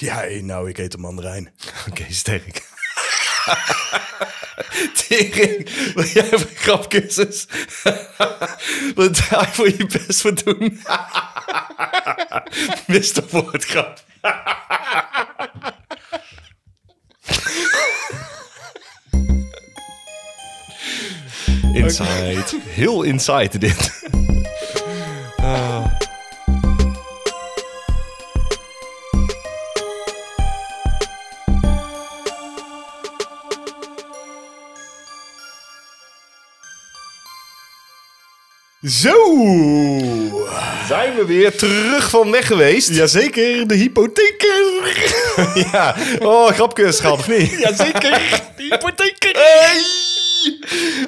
Ja, hé, nou, ik eet een mandarijn. Oké, sterk. Tering, wil jij even een grapcursus? Wil daar voor je best voor doen? Mister Woordgrap. Inside. Heel inside dit. Zo! Zijn we weer terug van weg geweest? Jazeker, de hypotheker! Ja. Oh, grapcursus gehad of niet? Jazeker, de hypotheker! Hey!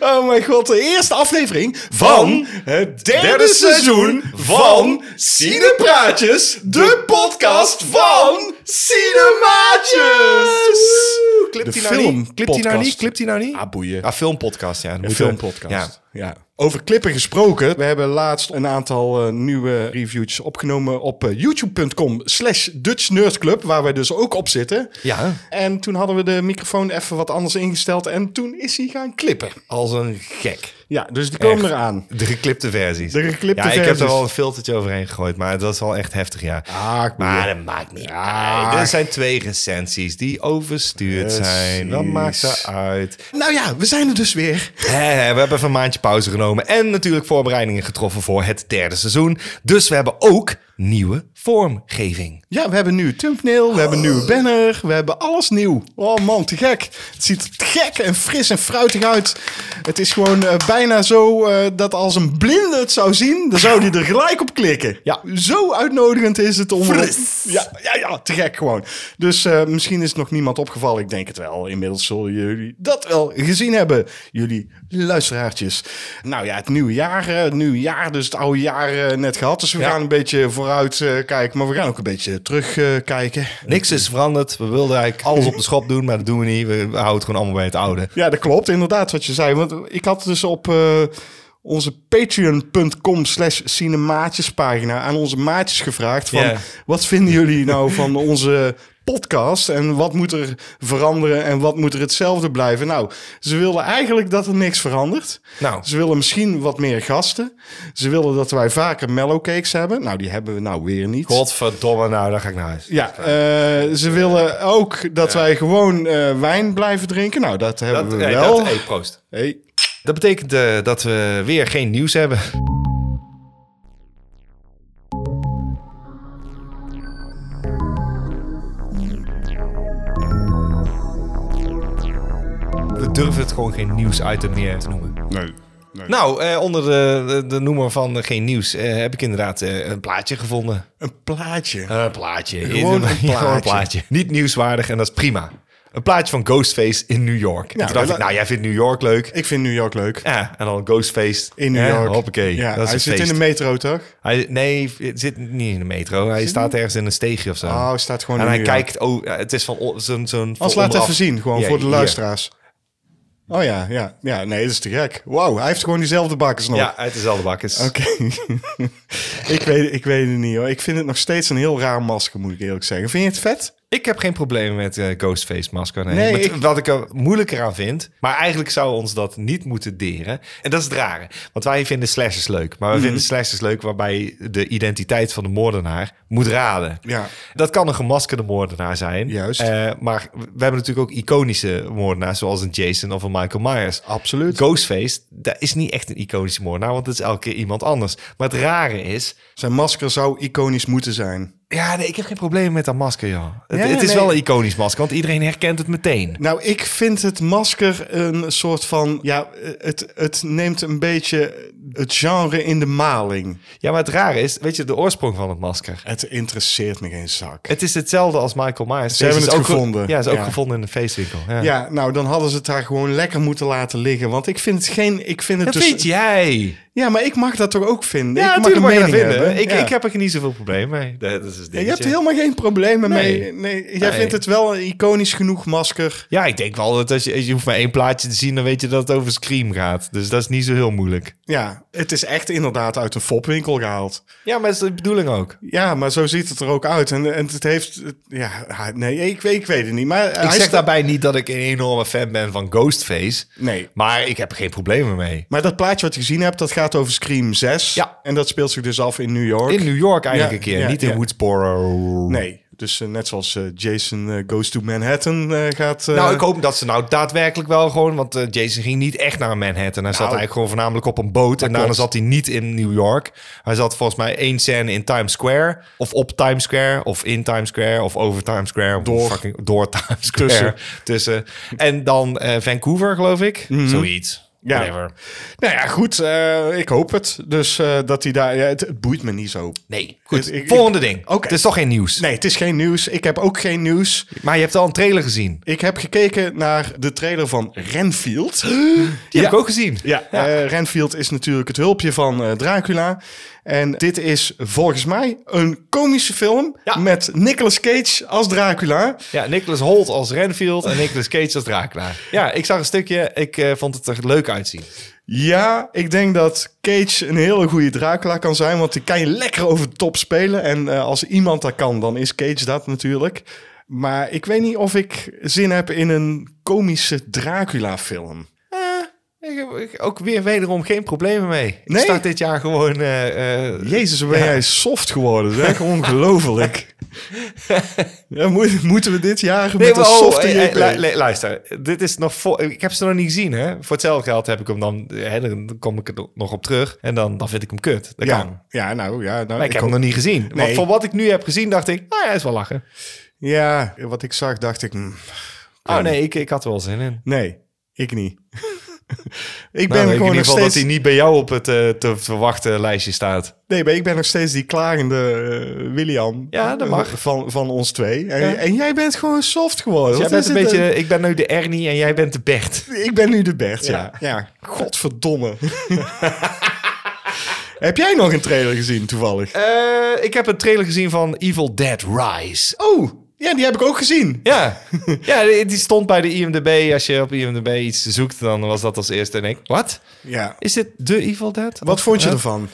Oh mijn god, de eerste aflevering Van van het derde, seizoen van Cinepraatjes, de podcast van Cinemaatjes! Klipt De hij nou niet? Klipt hij nou filmpodcast. niet? Klipt hij nou niet? Ah, boeien. Ah, filmpodcast, ja. dat Een moet wel. filmpodcast. Ja. Ja. Over klippen gesproken. We hebben laatst een aantal eh, nieuwe reviews opgenomen op eh, youtube.com slash Dutch Nerd Club, waar wij dus ook op zitten. ja, En toen hadden we de microfoon even wat anders ingesteld en toen is hij gaan klippen. als een gek. Ja, dus die komen Echt. eraan. De geklipte versies. De geklipte Ja, ik heb er versies. wel een filtertje overheen gegooid, maar dat is wel echt heftig, ja. Ah, Maar dat maakt niet Ah. uit. Er zijn twee recensies die overstuurd zijn. Wat maakt dat Precies. uit? Nou ja, we zijn er dus weer. Hè, we hebben even een maandje pauze genomen. En natuurlijk voorbereidingen getroffen voor het derde seizoen. Dus we hebben ook nieuwe vormgeving. Ja, we hebben nu thumbnail, we hebben een nieuwe banner, we hebben alles nieuw. Oh man, te gek. Het ziet er te gek en fris en fruitig uit. Het is gewoon eh, bijna zo eh, dat als een blinde het zou zien, dan zou die er gelijk op klikken. Ja. Zo uitnodigend is het om... Fris. Ja, ja, ja, te gek gewoon. Dus eh, misschien is het nog niemand opgevallen. Ik denk het wel. Inmiddels zullen jullie dat wel gezien hebben. Jullie luisteraartjes. Nou ja, het nieuwe jaar. eh, Het nieuwe jaar, dus het oude jaar eh, net gehad. Dus we Ja. gaan een beetje vooruit eh, kijken. Maar we gaan ook een beetje terugkijken. kijken. Niks is veranderd. We wilden eigenlijk alles op de schop doen, maar dat doen we niet. We, we houden het gewoon allemaal bij het oude. Ja, dat klopt. Inderdaad, wat je zei. Want ik had dus op eh, onze patreon.com slash cinemaatjespagina aan onze maatjes gevraagd van... Ja. Wat vinden jullie nou van onze podcast? En wat moet er veranderen en wat moet er hetzelfde blijven? Nou, ze wilden eigenlijk dat er niks verandert. Nou. Ze willen misschien wat meer gasten. Ze wilden dat wij vaker mellowcakes hebben. Nou, die hebben we nou weer niet. Godverdomme, nou, daar ga ik naar huis. Ja, eh, ze willen ook dat wij gewoon eh, wijn blijven drinken. Nou, dat hebben Dat, we eh, wel. dat- hey, proost. Hey. Dat betekent eh, dat we weer geen nieuws hebben. We durven het gewoon geen nieuwsitem meer te noemen. Nee. Nou, eh, onder de, de, de noemer van eh, geen nieuws eh, heb ik inderdaad eh, een plaatje gevonden. Een plaatje. Een plaatje. Gewoon een Gewoon plaatje. Niet nieuwswaardig en dat is prima. Een plaatje van Ghostface in New York. en toen dacht la- ik, nou jij vindt New York leuk. Ik vind New York leuk. Ja, en dan Ghostface. In New Hè? York. Hoppakee. Ja, dat is hij een zit feest. in de metro, toch? Hij, nee, het zit niet in de metro. Hij staat ergens in een steegje of zo. Oh, hij staat gewoon en in hij New York. kijkt ook. Het is van o- zo'n. zo'n van Als laat onderaf. even zien, gewoon Ja, voor de hier. luisteraars. Oh ja, ja. Ja, nee, dat is te gek. Wauw, hij heeft gewoon diezelfde bakkers nog. Ja, uit dezelfde bakkers. Oké. ik, weet, ik weet het niet, hoor. Ik vind het nog steeds een heel raar masker, moet ik eerlijk zeggen. Vind je het vet? Ik heb geen probleem met eh, Ghostface masker. Nee. Nee, Met- ik- Wat ik er moeilijker aan vind. Maar eigenlijk zou ons dat niet moeten deren. En dat is het rare. Want wij vinden slashers leuk. Maar we Mhm. vinden slashers leuk waarbij de identiteit van de moordenaar moet raden. Ja. Dat kan een gemaskerde moordenaar zijn. Juist. Eh, maar we hebben natuurlijk ook iconische moordenaars. Zoals een Jason of een Michael Myers. Absoluut. Ghostface, dat is niet echt een iconische moordenaar. Want het is elke keer iemand anders. Maar het rare is... Zijn masker zou iconisch moeten zijn. Ja, nee, ik heb geen probleem met dat masker, joh. Het, Ja, het is nee. wel een iconisch masker. Want iedereen herkent het meteen. Nou, ik vind het masker een soort van... Ja, het, het neemt een beetje het genre in de maling. Ja, maar het rare is, weet je, de oorsprong van het masker. Het interesseert me geen zak. Het is hetzelfde als Michael Myers. Deze hebben is het ook ge- gevonden. Ja, is ook Ja. gevonden in een feestwinkel. Ja. Ja, nou dan hadden ze het daar gewoon lekker moeten laten liggen. Want ik vind het geen. Ik vind het Dat dus. weet jij. Ja, maar ik mag dat toch ook vinden? Ja, ik mag een natuurlijk mag je dat mening vinden. hebben. Ik, Ja. ik heb er niet zoveel probleem mee. Dat Ja, is het je hebt er dingetje. helemaal geen problemen mee. Nee. Nee, jij Nee. vindt het wel een iconisch genoeg masker. Ja, ik denk wel dat als je, je hoeft maar één plaatje te zien, dan weet je dat het over Scream gaat. Dus dat is niet zo heel moeilijk. Ja, het is echt inderdaad uit een fopwinkel gehaald. Ja, maar dat is de bedoeling ook. Ja, maar zo ziet het er ook uit. En, en het heeft... Ja, nee, ik, weet- ik weet het niet. Maar Ik zeg daarbij niet dat ik een enorme fan ben van Ghostface. Nee. Maar ik heb er geen problemen mee. Maar dat plaatje wat je gezien hebt, dat gaat over Scream 6. Ja. En dat speelt zich dus af in New York. In New York eigenlijk Ja, een keer, ja, niet in ja. Woodsboro. Nee, dus eh, net zoals eh, Jason eh, Goes to Manhattan eh, gaat... eh, Nou, ik hoop dat ze nou daadwerkelijk wel gewoon... Want eh, Jason ging niet echt naar Manhattan. Hij zat eigenlijk gewoon voornamelijk op een boot. En daarna Nou. klopt. zat hij niet in New York. Hij zat volgens mij één scène in Times Square. Of op Times Square. Of in Times Square. Of over Times Square. of Door. Fucking, door Times Square. Tussen. Tussen. En dan eh, Vancouver, geloof ik. Zoiets. Mhm. Ja. Whatever. Nou ja, goed. eh, ik hoop het. Dus eh, dat hij daar... Ja, het, het boeit me niet zo. Nee, goed. Ik- ik- Volgende ding. Oké. Het is toch geen nieuws. Nee, het is geen nieuws. Ik heb ook geen nieuws. Maar je hebt al een trailer gezien. Ik heb gekeken naar de trailer van Renfield. Die Ja. heb ik ook gezien. Ja, eh, Renfield is natuurlijk het hulpje van eh, Dracula. En dit is volgens mij een komische film Ja. met Nicolas Cage als Dracula. Ja, Nicholas Holt als Renfield en Nicolas Cage als Dracula. Ja, ik zag een stukje. Ik eh, vond het er leuk uitzien. Ja, ik denk dat Cage een hele goede Dracula kan zijn, want die kan je lekker over de top spelen. En eh, als iemand dat kan, dan is Cage dat natuurlijk. Maar ik weet niet of ik zin heb in een komische Dracula-film. Eh, Ik heb ik- ook weer wederom geen problemen mee. Ik Nee? start dit jaar gewoon... eh, eh, Jezus, wat ben jij soft geworden, zeg. Ongelooflijk. ja, moet- moeten we dit jaar met een maar, oh, softe eh, eh, jeugd- lu- lu- luister, dit is nog voor. Ik heb ze nog niet gezien, hè? Voor hetzelfde geld heb ik hem dan. Hè, dan kom ik er nog op terug. En dan, dan vind ik hem kut. Dat kan. ja, ja, nou ja. Nou, Maar ik, heb hem nog niet gezien. Want Nee. voor wat ik nu heb gezien, dacht ik. Nou ja, is wel lachen. Ja, wat ik zag dacht ik... mm, Oh nee, ik, ik had er wel zin in. nee, ik niet. ik ben Nou, dan weet ik in gewoon ieder nog geval steeds... dat hij niet bij jou op het eh, te verwachten lijstje staat. Nee, maar ik ben nog steeds die klagende eh, William. Ja, dat eh, mag. Van, van ons twee. En, Ja. Dus en jij bent gewoon soft geworden. jij Wat bent is een het eh, beetje, ik ben nu de Ernie en jij bent de Bert. Ik ben nu de Bert, ja. Ja. ja. godverdomme. Heb jij nog een trailer gezien toevallig? ik heb een trailer gezien van Evil Dead Rise. Oh, ja, die heb ik ook gezien. Ja, ja die die stond bij de IMDb. Als je op IMDb iets zoekt, dan was dat als eerste. En ik, wat? Ja. Is dit de Evil Dead? Wat vond je Huh? ervan?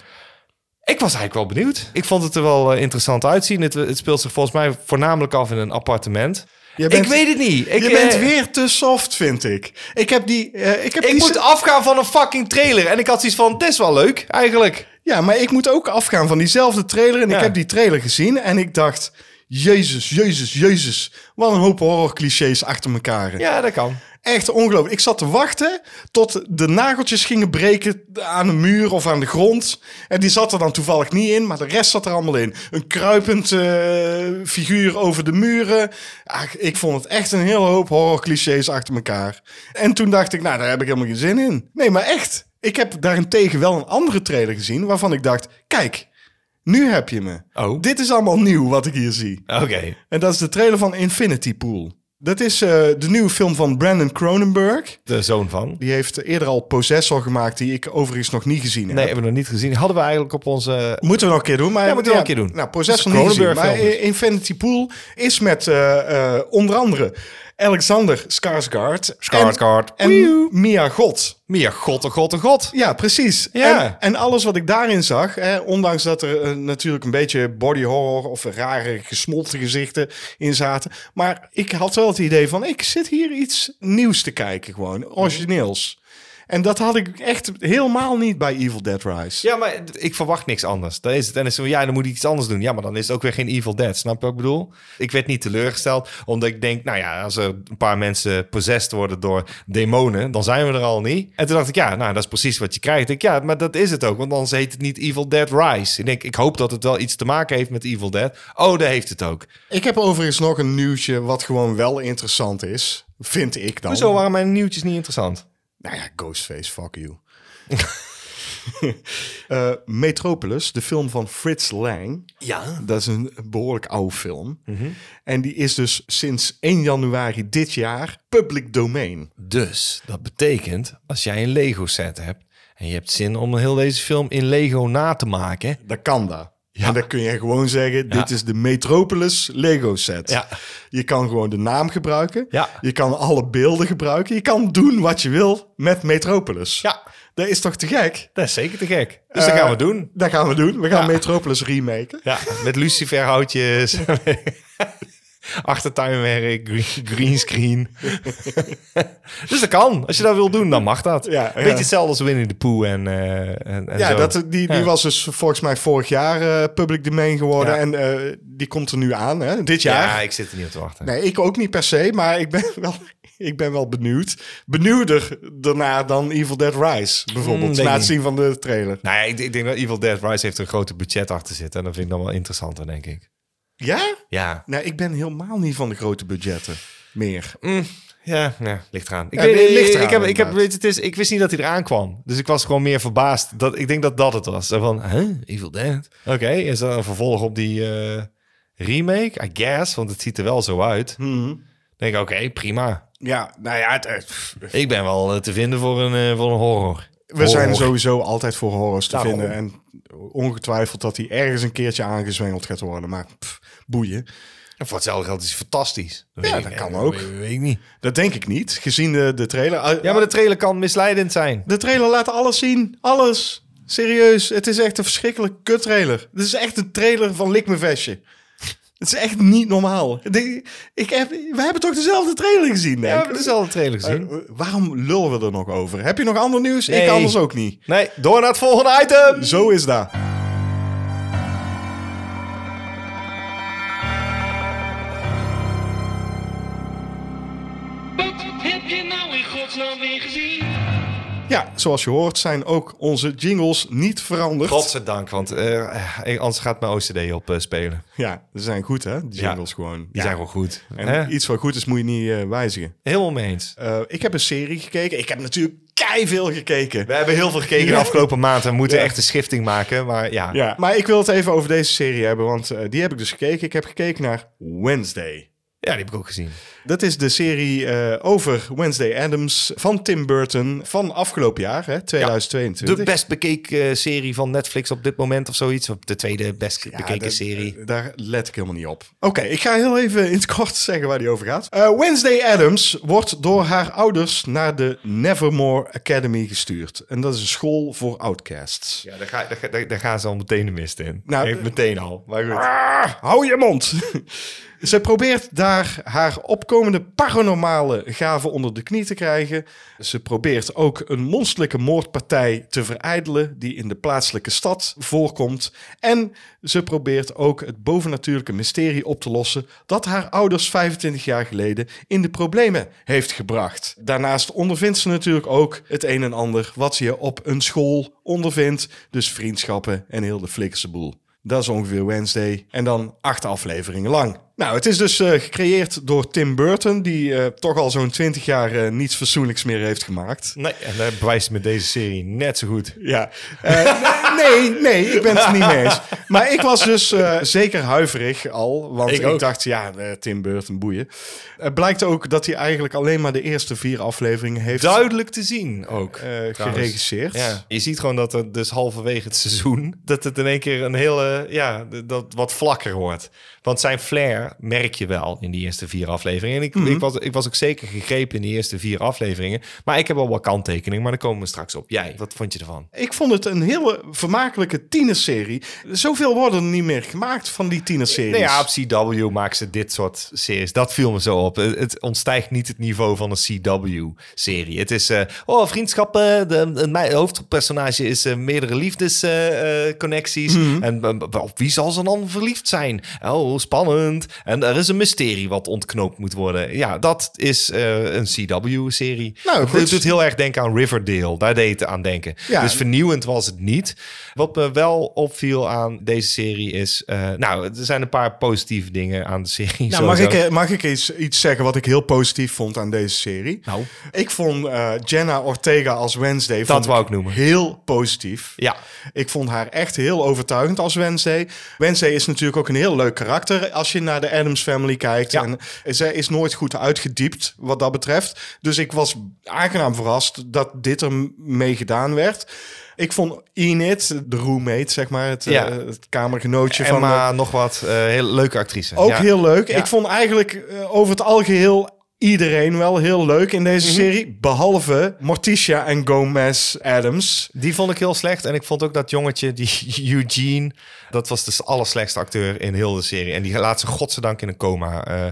Ik was eigenlijk wel benieuwd. Ik vond het er wel eh, interessant uitzien. Het, het speelt zich volgens mij voornamelijk af in een appartement. Je bent- ik weet het niet. Ik, je eh, bent weer te soft, vind ik. Ik heb die... eh, ik heb Ik die moet afgaan van een fucking trailer. En ik had zoiets van, dit is wel leuk, eigenlijk. Ja, maar ik moet ook afgaan van diezelfde trailer. En Ja. ik heb die trailer gezien en ik dacht... Jezus, jezus, jezus. Wat een hoop horrorclichés achter elkaar. Ja, dat kan. Echt ongelooflijk. Ik zat te wachten tot de nageltjes gingen breken aan de muur of aan de grond. En die zat er dan toevallig niet in, maar de rest zat er allemaal in. Een kruipend eh, figuur over de muren. Ach, ik vond het echt een hele hoop horrorclichés achter elkaar. En toen dacht ik, nou, daar heb ik helemaal geen zin in. Nee, maar echt. Ik heb daarentegen wel een andere trailer gezien waarvan ik dacht, kijk, nu heb je me. Oh. Dit is allemaal nieuw wat ik hier zie. Oké. En dat is de trailer van Infinity Pool. Dat is eh, de nieuwe film van Brandon Cronenberg. De zoon van. Die heeft eerder al Possessor gemaakt, die ik overigens nog niet gezien heb. Nee, hebben we nog niet gezien. Hadden we eigenlijk op onze... Moeten we nog een keer doen. Maar, Ja, moeten we nog een keer doen. Nou, Possessor Dat is niet gezien, Maar Cronenberg film. eh, Infinity Pool is met eh, eh, onder andere Alexander Skarsgård. Skarsgård. En, en Mia God. Meer god, oh god, oh god. Ja, precies. Ja. En, en alles wat ik daarin zag, hè, ondanks dat er eh, natuurlijk een beetje body horror of rare gesmolten gezichten in zaten. Maar ik had wel het idee van, ik zit hier iets nieuws te kijken gewoon, origineels. En dat had ik echt helemaal niet bij Evil Dead Rise. Ja, maar ik verwacht niks anders. Dat is het. En dan is het, ja, dan moet ik iets anders doen. Ja, maar dan is het ook weer geen Evil Dead. Snap je wat ik bedoel? Ik werd niet teleurgesteld, omdat ik denk, nou ja, als er een paar mensen possessed worden door demonen, dan zijn we er al niet. En toen dacht ik, ja, nou, dat is precies wat je krijgt. Ik, ja, maar dat is het ook, want anders heet het niet Evil Dead Rise. Ik denk, ik hoop dat het wel iets te maken heeft met Evil Dead. Oh, dat heeft het ook. Ik heb overigens nog een nieuwtje wat gewoon wel interessant is, vind ik dan. Hoezo waren mijn nieuwtjes niet interessant? Nou ja, Ghostface, fuck you. Eh, Metropolis, de film van Fritz Lang. Ja. Mhm. Dat is een behoorlijk oude film. En die is dus sinds 1 januari dit jaar public domein. Dus dat betekent, als jij een Lego set hebt En je hebt zin om heel deze film in Lego na te maken. Dat kan daar. En dan kun je gewoon zeggen, dit is de Metropolis Lego set. Ja. Je kan gewoon de naam gebruiken. Ja. Je kan alle beelden gebruiken. Je kan doen wat je wil met Metropolis. Ja. Dat is toch te gek? Dat is zeker te gek. Dus dat gaan we Eh, doen. Dat gaan we doen. We gaan Metropolis remaken. Ja, met luciferhoutjes. Achtertuinwerk, green, greenscreen. dus dat kan. Als je dat wil doen, dan mag dat. Ja, Beetje ja. hetzelfde als Winnie de Pooh en, eh, en, en Ja, zo. dat, die, die Ja. was dus volgens mij vorig jaar eh, public domain geworden. Ja. En eh, die komt er nu aan, hè? dit jaar. Ja, ik zit er niet op te wachten. Nee, ik ook niet per se, maar ik ben wel, ik ben wel benieuwd. Benieuwder daarna dan Evil Dead Rise, Mm, bijvoorbeeld. weet na het niet. zien van de trailer. Nou ja, ik, ik denk dat Evil Dead Rise heeft er een grote budget achter zitten. En dat vind ik dan wel interessanter, denk ik. Ja? Ja, Nou, ik ben helemaal niet van de grote budgetten meer. ja, ja ligt eraan. Ik, Ja, weet, nee, ik- ligt ik, eraan, heb, ik, heb, inderdaad. weet je, het is, ik wist niet dat hij eraan kwam. Dus ik was gewoon meer verbaasd. Dat, ik denk dat dat het was. Zo Van, huh, Evil Dead? Oké, is dat een vervolg op die eh, remake? I guess, want het ziet er wel zo uit. denk ik, oké, prima. Ja, nou ja, het, eh, pff, Ik ben wel eh, te vinden voor een, eh, voor een horror. we zijn sowieso altijd voor horrors te Daarom. vinden. En ongetwijfeld dat die ergens een keertje aangezwengeld gaat worden. Maar pff, boeien. En voor hetzelfde geld is het fantastisch. Ja, weet dat ik- kan eh, ook. Weet, weet ik niet. Dat denk ik niet, gezien de, de trailer. Ah, Ja, maar de trailer kan misleidend zijn. De trailer laat alles zien. Alles. Serieus. Het is echt een verschrikkelijke kut trailer. Dit is echt een trailer van Lik me vestje. Het is echt niet normaal. De- ik heb, we hebben toch dezelfde trailer gezien, Ja, we denk hebben ik? dezelfde trailer gezien. Eh, waarom lullen we er nog over? Heb je nog ander nieuws? Nee. Ik anders ook niet. Nee, door naar het volgende item. Zo is dat. Wat heb je nou in godsnaam weer gezien? Ja, zoals je hoort zijn ook onze jingles niet veranderd. Godzijdank, want eh, eh, anders gaat mijn OCD op eh, spelen. Ja, ze zijn goed hè, die jingles gewoon. Die zijn gewoon goed. En Hè? iets wat goed is moet je niet eh, wijzigen. Helemaal mee eens. Eh, ik heb een serie gekeken. Ik heb natuurlijk veel gekeken. We hebben heel veel gekeken de Ja. afgelopen maanden. We moeten Ja. echt een schifting maken, maar ja. Ja, maar ik wil het even over deze serie hebben, want eh, die heb ik dus gekeken. Ik heb gekeken naar Wednesday. Ja, die heb ik ook gezien. Dat is de serie eh, over Wednesday Adams van Tim Burton van afgelopen jaar, hè, De 2022. best bekeken eh, serie van Netflix op dit moment of zoiets. Of de tweede best Ja, bekeken dat- serie. Daar let ik helemaal niet op. Oké, ik ga heel even in het kort zeggen waar die over gaat. Eh, Wednesday Adams wordt door haar ouders naar de Nevermore Academy gestuurd. En dat is een school voor outcasts. Ja, daar, ga, daar, ga- daar, daar gaan ze al meteen de mist in. Nou, Echt meteen al. Maar goed. Ah, hou je mond. Ze probeert daar haar opkomende paranormale gaven onder de knie te krijgen. Ze probeert ook een monsterlijke moordpartij te verijdelen die in de plaatselijke stad voorkomt. En ze probeert ook het bovennatuurlijke mysterie op te lossen dat haar ouders 25 jaar geleden in de problemen heeft gebracht. Daarnaast ondervindt ze natuurlijk ook het een en ander wat je op een school ondervindt. Dus vriendschappen en heel de flikkerse boel. Dat is ongeveer Wednesday. En dan acht afleveringen lang. Nou, het is dus eh, gecreëerd door Tim Burton, die eh, toch al zo'n twintig jaar eh, niets fatsoenlijks meer heeft gemaakt. Nee, en dat bewijst met deze serie net zo goed. Ja. Eh, nee, nee, ik ben het er niet mee eens. Maar ik was dus eh, zeker huiverig al. Want Ik ik, ook. dacht, ja, eh, Tim Burton, boeien. Het blijkt ook dat hij eigenlijk alleen maar de eerste vier afleveringen heeft duidelijk te zien ook. eh, trouwens. geregisseerd. Ja. Je ziet gewoon dat er dus halverwege het seizoen... dat het in één keer een hele... ja, d- dat wat vlakker wordt. Want zijn flair merk je wel in die eerste vier afleveringen. En ik, ik, was, ik was ook zeker gegrepen in die eerste vier afleveringen. Maar ik heb al wat kanttekeningen, maar daar komen we straks op. Jij, wat vond je ervan? Ik vond het een hele vermakelijke tienerserie. Zoveel worden er niet meer gemaakt van die tienerseries. Nee, ja, op CW maken ze dit soort series. Dat viel me zo op. Het, het ontstijgt niet het niveau van een CW-serie. Het is, eh, oh, vriendschappen. De, de- mijn hoofdpersonage is eh, meerdere liefdesconnecties. En eh, op wie zal ze dan verliefd zijn? Oh, spannend. En er is een mysterie wat ontknoopt moet worden. Ja, dat is eh, een CW-serie. Nou, Het goed. doet heel erg denken aan Riverdale. Daar deed het aan denken. Ja. Dus vernieuwend was het niet. Wat me wel opviel aan deze serie is... eh, nou, er zijn een paar positieve dingen aan de serie. Nou, mag ik, sowieso. eh, mag ik eens iets zeggen wat ik heel positief vond aan deze serie? Nou. Ik vond eh, Jenna Ortega als Wednesday vond wou ik noemen. heel positief. Ja. Ik vond haar echt heel overtuigend als Wednesday. Wednesday is natuurlijk ook een heel leuk karakter als je naar de Adams Family kijkt. Ja. En eh, zij is nooit goed uitgediept wat dat betreft. Dus ik was aangenaam verrast dat dit ermee gedaan werd. Ik vond Enid, de roommate, zeg maar, het, Ja. eh, het kamergenootje van... eh, Emma, nog wat. eh, heel leuke actrice. ook Ja. heel leuk. Ja. Ik vond eigenlijk eh, over het algeheel iedereen wel heel leuk in deze Mhm. serie. Behalve Morticia en Gomez Adams. Die vond ik heel slecht. En ik vond ook dat jongetje, die Eugene... dat was de allerslechtste acteur in heel de serie. En die laat ze godzijdank in een coma eh,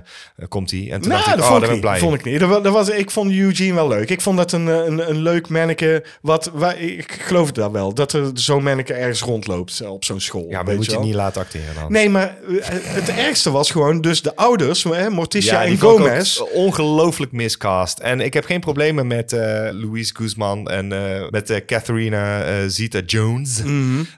komt hij. En toen Nou, dacht ik, dat oh, vond, daar ben ik ik niet, blij. vond ik niet. Dat wa- dat was, ik vond Eugene wel leuk. Ik vond dat een, eh, een, een leuk manneke. Wat, waar, ik geloof dat wel. Dat er zo'n manneke ergens rondloopt eh, op zo'n school. ja, maar weet moet je je wel. niet laten acteren dan. Nee, maar eh, het ergste was gewoon dus de ouders, hè, Morticia die en vond ik ook oh, Gomez. Ongelooflijk miscast. En ik heb geen problemen met eh Louise Guzman en eh, met eh, Catherine eh, Zeta-Jones.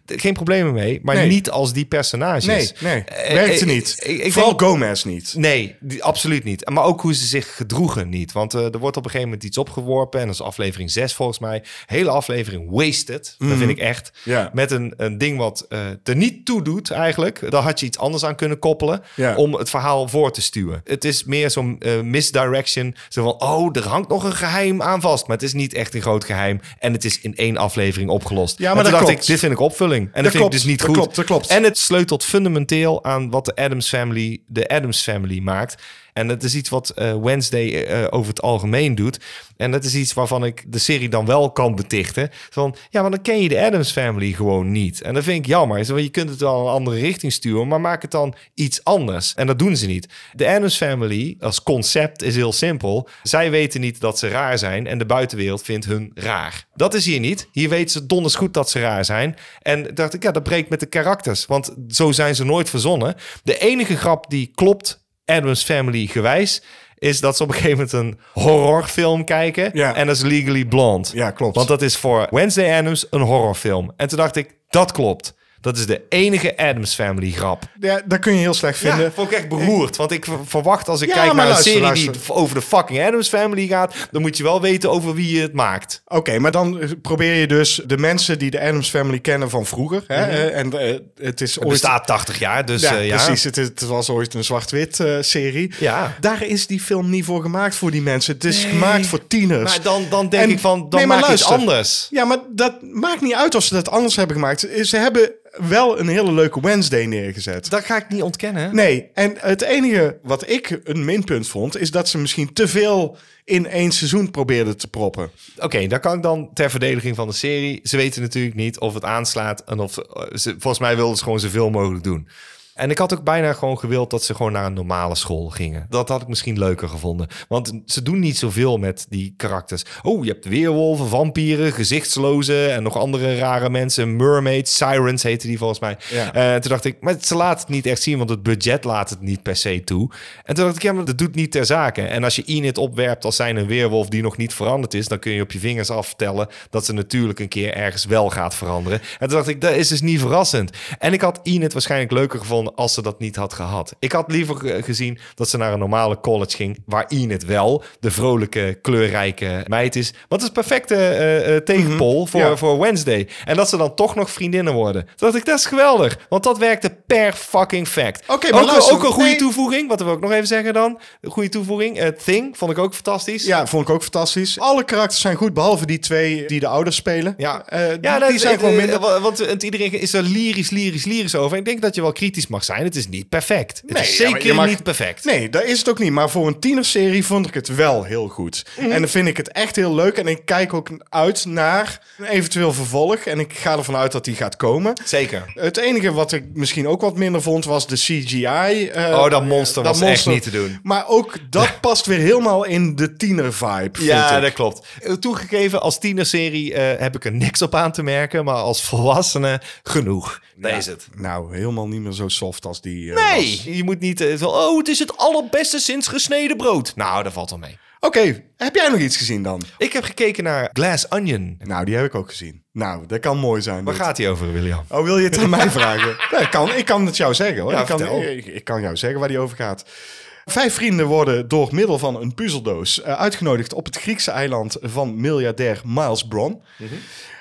Geen problemen mee, maar Mhm. Nee. niet als die personages. Nee, nee, Eh, werkte eh, niet. ik- ik Vooral denk- Gomez niet. Nee, die, absoluut niet. Maar ook hoe ze zich gedroegen niet. Want eh, er wordt op een gegeven moment iets opgeworpen. En dat is aflevering 6 volgens mij. Hele aflevering wasted. Dat vind ik echt. Mhm. Ja. Met een, een ding wat eh, er niet toe doet eigenlijk. Daar had je iets anders aan kunnen koppelen. Ja. Om het verhaal voor te stuwen. Het is meer zo'n eh, misdirection. Zo van, oh, er hangt nog een geheim aan vast. Maar het is niet echt een groot geheim. En het is in één aflevering opgelost. Ja, maar En dat toen dacht klopt. ik, dit vind ik opvulling. En dat, vind klopt, ik dus niet dat goed. klopt, dat klopt. En het sleutelt fundamenteel aan wat de Adams Family, de Adams Family maakt. En dat is iets wat eh, Wednesday eh, over het algemeen doet. En dat is iets waarvan ik de serie dan wel kan betichten. Van ja, maar dan ken je de Adams Family gewoon niet. En dat vind ik jammer. Zo, want Je kunt het wel een andere richting sturen, maar maak het dan iets anders. En dat doen ze niet. De Adams Family als concept is heel simpel. Zij weten niet dat ze raar zijn en de buitenwereld vindt hun raar. Dat is hier niet. Hier weten ze donders goed dat ze raar zijn. En dacht ik, ja, dat breekt met de karakters. Want zo zijn ze nooit verzonnen. De enige grap die klopt, Adams Family gewijs, is dat ze op een gegeven moment een horrorfilm kijken. Ja. En dat is Legally Blonde. Ja, klopt. Want dat is voor Wednesday Adams een horrorfilm. En toen dacht ik, dat klopt. Dat is de enige Adams Family grap. Ja, dat kun je heel slecht vinden. Ja, vond ik echt beroerd. Want ik ver- verwacht als ik Ja, kijk maar naar luister, een serie die luister. v- over de fucking Adams Family gaat, dan moet je wel weten over wie je het maakt. Oké, maar dan eh, probeer je dus de mensen die de Adams Family kennen van vroeger. Hè? eh, En eh, het is Mhm. Het ooit... bestaat 80 jaar, dus Ja, eh, ja. precies. Het, is- het was ooit een zwart-wit eh, serie. Ja. Daar is die film niet voor gemaakt voor die mensen. Het is gemaakt voor tieners. Maar dan, dan denk Dus- En- ik van, dan nee, maar maak je het luister. anders. Ja, maar dat maakt niet uit of ze dat anders hebben gemaakt. Ze hebben wel een hele leuke Wednesday neergezet. Dat ga ik niet ontkennen. Nee, en het enige wat ik een minpunt vond... is dat ze misschien te veel in één seizoen probeerden te proppen. Oké, dan kan ik dan ter verdediging van de serie. Ze weten natuurlijk niet of het aanslaat en of eh, ze, volgens mij wilden ze gewoon zoveel mogelijk doen. En ik had ook bijna gewoon gewild dat ze gewoon naar een normale school gingen. Dat had ik misschien leuker gevonden. Want ze doen niet zoveel met die karakters. Oh, je hebt weerwolven, vampieren, gezichtslozen en nog andere rare mensen. Mermaids, sirens heten die volgens mij. Ja. Eh, toen dacht ik, maar ze laat het niet echt zien, want het budget laat het niet per se toe. En toen dacht ik, ja, maar dat doet niet ter zake. En als je Enid opwerpt als zijn een weerwolf die nog niet veranderd is, dan kun je op je vingers aftellen dat ze natuurlijk een keer ergens wel gaat veranderen. En toen dacht ik, dat is dus niet verrassend. En ik had Enid waarschijnlijk leuker gevonden als ze dat niet had gehad. Ik had liever eh, gezien dat ze naar een normale college ging, waar Enid wel de vrolijke, kleurrijke meid is. Wat is perfecte eh, eh, tegenpol voor, Ja. voor Wednesday. En dat ze dan toch nog vriendinnen worden. Toen dacht ik, dat is geweldig. Want dat werkte per fucking fact. Oké, maar ook, luister, ook een goede nee. toevoeging. Wat wil ik nog even zeggen dan? Een Goede toevoeging. Eh Thing vond ik ook fantastisch. Ja, vond ik ook fantastisch. Alle karakters zijn goed, behalve die twee die de ouders spelen. Ja, Eh, die, ja die dat- zijn eh, gewoon eh, minder. wa- Want het, iedereen is er lyrisch, lyrisch, lyrisch over. Ik denk dat je wel kritisch mag zijn. Het is niet perfect. Het Nee, is ja, maar zeker je mag- niet perfect. Nee, dat is het ook niet. Maar voor een tienerserie vond ik het wel heel goed. Mhm. En dan vind ik het echt heel leuk. En ik kijk ook uit naar een eventueel vervolg. En ik ga ervan uit dat die gaat komen. Zeker. Het enige wat ik misschien ook wat minder vond was de CGI. eh, Oh, dat monster dat was echt monster. niet te doen. Maar ook dat past weer helemaal in de tiener-vibe. Ja, vind ik. dat klopt. Eh, Toegegeven, als tienerserie eh, heb ik er niks op aan te merken. Maar als volwassene, genoeg. Dat is het. Nou, helemaal niet meer zo soft als die. eh, was. Nee, je moet niet. eh, zo, oh, het is het allerbeste sinds gesneden brood. Nou, dat valt wel mee. Oké, heb jij nog iets gezien dan? Ik heb gekeken naar Glass Onion. Nou, die heb ik ook gezien. Nou, dat kan mooi zijn. Waar dit. gaat hij over, William? Oh, wil je het aan mij vragen? Dat kan, ik kan het jou zeggen hoor. Ja, ik, kan, vertel. ik, ik kan jou zeggen waar die over gaat. Vijf vrienden worden door middel van een puzzeldoos eh, uitgenodigd op het Griekse eiland van miljardair Miles Bron. Mhm.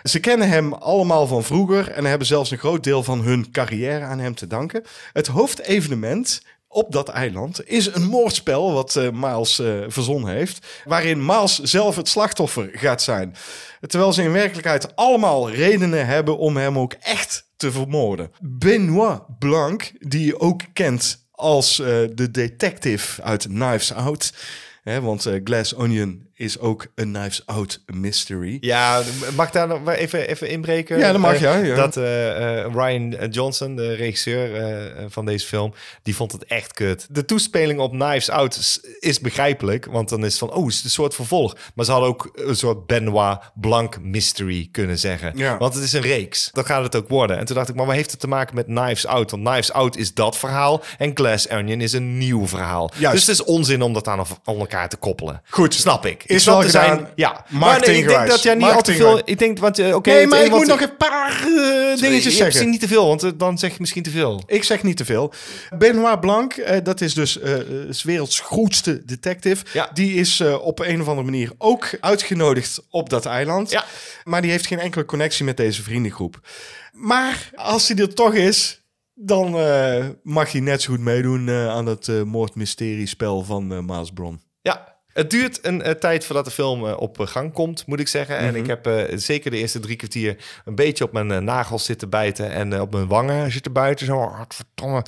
Ze kennen hem allemaal van vroeger en hebben zelfs een groot deel van hun carrière aan hem te danken. Het hoofdevenement Op dat eiland is een moordspel wat eh, Miles eh, verzonnen heeft, waarin Miles zelf het slachtoffer gaat zijn. Terwijl ze in werkelijkheid allemaal redenen hebben om hem ook echt te vermoorden. Benoit Blanc, die je ook kent als eh, de detective uit Knives Out. Hè, want eh, Glass Onion is ook een Knives Out mystery. Ja, mag ik daar nog maar even, even inbreken? Ja, dat mag, Eh, ja, ja. Dat eh, eh, Ryan Johnson, de regisseur eh, van deze film, die vond het echt kut. De toespeling op Knives Out is, is begrijpelijk, want dan is het van, oh, het is een soort vervolg. Maar ze hadden ook een soort Benoit Blanc mystery kunnen zeggen. Ja. Want het is een reeks. Dat gaat het ook worden. En toen dacht ik, maar wat heeft het te maken met Knives Out? Want Knives Out is dat verhaal en Glass Onion is een nieuw verhaal. Juist. Dus het is onzin om dat aan, aan elkaar te koppelen. Goed. Snap ik. Is ik snap wel er gedaan. ja. Maar nee, ik Marketinggewijs. denk dat jij niet al te veel... Marketinggewijs. Ik denk, want... eh, Oké, nee, het maar een ik wat- moet nog een paar eh, Je- dingetjes je- zeggen. Misschien niet te veel, want eh, dan zeg je misschien te veel. Ik zeg niet te veel. Benoit Blanc, eh, dat is dus eh, eh, 's werelds grootste detective. Ja. Die is eh, op een of andere manier ook uitgenodigd op dat eiland. Ja. Maar die heeft geen enkele connectie met deze vriendengroep. Maar als hij er toch is, dan eh, mag hij net zo goed meedoen eh, aan dat eh moordmysteriespel van eh Maas Bron. Ja. Het duurt een eh, tijd voordat de film eh, op eh, gang komt, moet ik zeggen. En ik heb eh, zeker de eerste drie kwartier een beetje op mijn eh, nagels zitten bijten en eh, op mijn wangen zitten buiten. Zo, oh, verdomme,